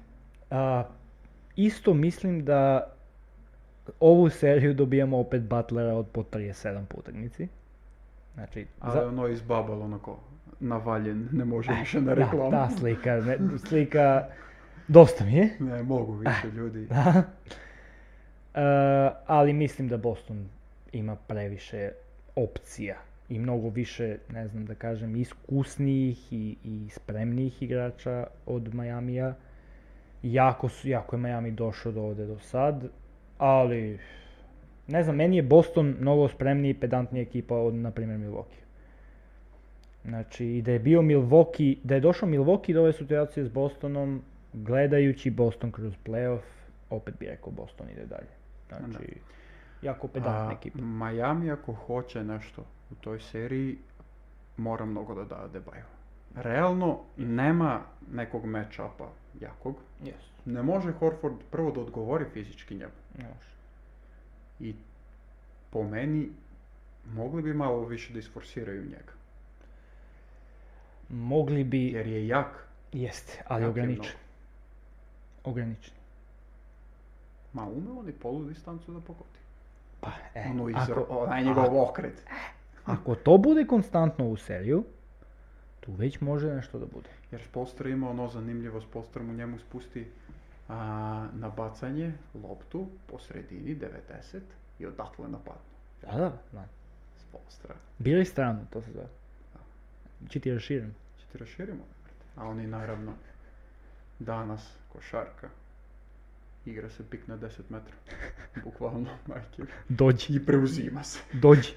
Speaker 4: A, isto mislim da ovu seriju dobijamo opet Butlera od po 37 po utakmici. Znači,
Speaker 3: Ali
Speaker 4: za- E,
Speaker 3: ono je izbabalo onako navaljen, ne može više na
Speaker 4: da,
Speaker 3: reklamu.
Speaker 4: ta slika, ne, slika, dosta mi je.
Speaker 3: Ne mogu više ljudi.
Speaker 4: Da. E, ali mislim da Boston ima previše opcija i mnogo više, ne znam da kažem, iskusnijih i, i spremnijih igrača od Majamija. Jako, su, jako je Miami došao do ovde do sad, ali ne znam, meni je Boston mnogo spremniji i pedantnija ekipa od, na primjer, Milwaukee. Znači, i da je bio Milwaukee, da je došao Milwaukee do ove situacije s Bostonom, gledajući Boston kroz playoff, opet bi rekao Boston ide dalje. Znači, jako pedantna
Speaker 3: A,
Speaker 4: ekipa.
Speaker 3: Miami ako hoće nešto u toj seriji, mora mnogo da da Adebayo. Realno nema nekog matchupa jakog.
Speaker 4: Yes.
Speaker 3: Ne može Horford prvo da odgovori fizički njemu.
Speaker 4: Ne može.
Speaker 3: I po meni mogli bi malo više da isforsiraju njega.
Speaker 4: Mogli bi,
Speaker 3: Jer je jak.
Speaker 4: Jeste, ali
Speaker 3: Jako je
Speaker 4: ograničen. Ograničen.
Speaker 3: Ma ume on i polu distancu da pogodi.
Speaker 4: Pa, e,
Speaker 3: Ono iz,
Speaker 4: ako,
Speaker 3: onaj njegov okret.
Speaker 4: ako to bude konstantno u seriju, tu već može nešto da bude.
Speaker 3: Jer Spolstra ima ono zanimljivo, Spolstra mu njemu spusti a, na bacanje loptu po sredini 90 i odatle napadne.
Speaker 4: Da, da, da.
Speaker 3: Spolstra.
Speaker 4: Bili stranu, to se zove. Čiti raširen.
Speaker 3: Če ti raširimo? A oni naravno danas košarka. Igra se pik na 10 metra. Bukvalno, majke.
Speaker 4: Dođi,
Speaker 3: I preuzima se.
Speaker 4: dođi.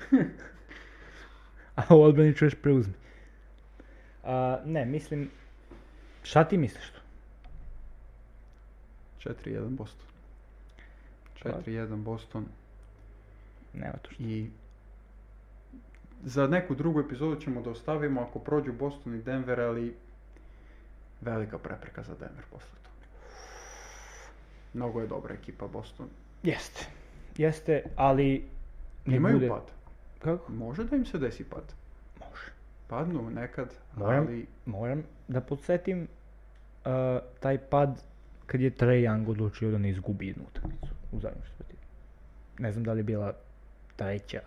Speaker 4: A u odbrani čuješ preuzmi. A, ne, mislim... Šta ti misliš tu?
Speaker 3: 4-1 Boston. 4-1 Boston.
Speaker 4: Nema tu što.
Speaker 3: I za neku drugu epizodu ćemo da ostavimo ako prođu Boston i Denver, ali velika prepreka za Denver posle toga. Mnogo je dobra ekipa Boston.
Speaker 4: Jeste. Jeste, ali... ne
Speaker 3: Imaju
Speaker 4: bude-
Speaker 3: pad.
Speaker 4: Kako?
Speaker 3: Može da im se desi pad.
Speaker 4: Može.
Speaker 3: Padnu nekad,
Speaker 4: Moram,
Speaker 3: ali
Speaker 4: moram da podsjetim uh, taj pad kad je Trae Young odlučio da ne izgubi jednu utakmicu u zadnjem četvrtini. Ne znam da li je bila treća,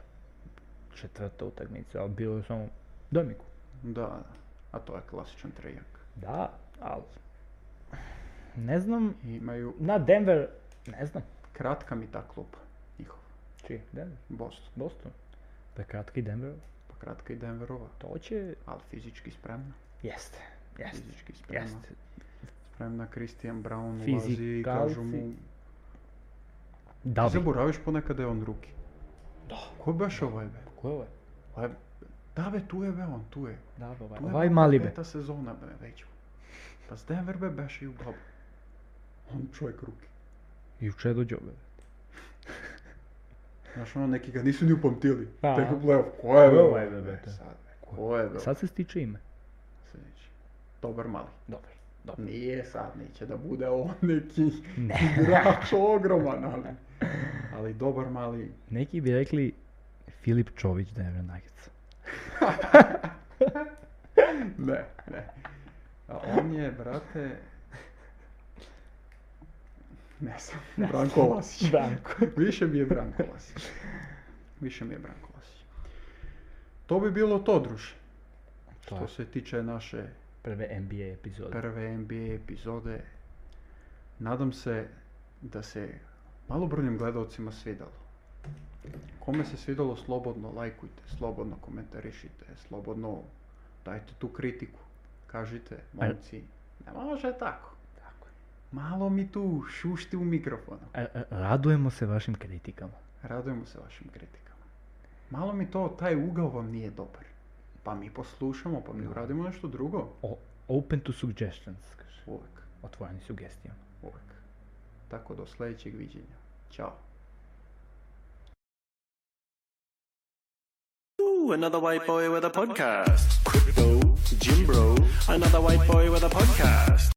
Speaker 4: četvrta utakmica, ali bilo je samo domiku.
Speaker 3: da, a to je klasičan trejak.
Speaker 4: Da, ali ne znam,
Speaker 3: Imaju
Speaker 4: na Denver, ne znam.
Speaker 3: kratka mi ta klupa njihov,
Speaker 4: Čiji? Denver?
Speaker 3: Boston.
Speaker 4: Boston? Pa je kratki Denver,
Speaker 3: Pa kratka i Denverova,
Speaker 4: to će...
Speaker 3: ali fizički spremna.
Speaker 4: Jeste, jeste,
Speaker 3: Fizički spremna.
Speaker 4: jeste.
Speaker 3: Spremna, Christian Brown ulazi i kažu mu
Speaker 4: Fizikalci. Da
Speaker 3: Ti
Speaker 4: bi.
Speaker 3: zaboraviš ponekad da je on drugi. Da. Ko je baš ovaj be?
Speaker 4: Ko je ovaj?
Speaker 3: Ovaj be- Da be, tu je be on, tu je.
Speaker 4: Da, bi ovaj.
Speaker 3: Tu je
Speaker 4: Ovaj
Speaker 3: be,
Speaker 4: mali
Speaker 3: be.
Speaker 4: be.
Speaker 3: Peta sezona be, već. Pa s Denver be beš i u glavu. On čovjek ruki.
Speaker 4: Juče je dođo be.
Speaker 3: Znaš ono, neki ga nisu ni upamtili.
Speaker 4: Da.
Speaker 3: Tek u playoff, ko je be
Speaker 4: Ko je
Speaker 3: ovaj
Speaker 4: be,
Speaker 3: be?
Speaker 4: brate?
Speaker 3: Sad be, ko je be?
Speaker 4: Sad se stiče ime.
Speaker 3: se neće. Dobar mali.
Speaker 4: Dobro.
Speaker 3: Nije sad, neće da bude on neki
Speaker 4: Ne.
Speaker 3: igrač ogroman, ali... Ali dobar mali,
Speaker 4: Neki bi rekli Filip Čović Denver Nuggets.
Speaker 3: Ne, ne. A on je, brate... Ne znam, Branko Lasić.
Speaker 4: Branko.
Speaker 3: Više mi je Branko Lasić. Više mi je Branko Lasić. To bi bilo to, druže.
Speaker 4: To
Speaker 3: Što
Speaker 4: je
Speaker 3: se tiče naše
Speaker 4: prve NBA epizode.
Speaker 3: prve NBA epizode. Nadam se da se malobrojnim gledalcima svidalo. Kome se svidalo, slobodno lajkujte, slobodno komentarišite, slobodno dajte tu kritiku. Kažite, momci, ne može tako.
Speaker 4: Tako je.
Speaker 3: Malo mi tu šušti u mikrofonu.
Speaker 4: A- a- Radujemo se vašim kritikama.
Speaker 3: Radujemo se vašim kritikama. Malo mi to, taj ugao vam nije dobar. Pa mi poslušamo, pa mi uradimo nešto drugo.
Speaker 4: O- open to suggestions, kaže.
Speaker 3: Uvek.
Speaker 4: Otvoreni sugestijama.
Speaker 3: uvek. Tako do sljedećeg viđenja. Ćao.
Speaker 1: Ooh, another white boy with a podcast. Crypto, Jim Bro, another white boy with a podcast.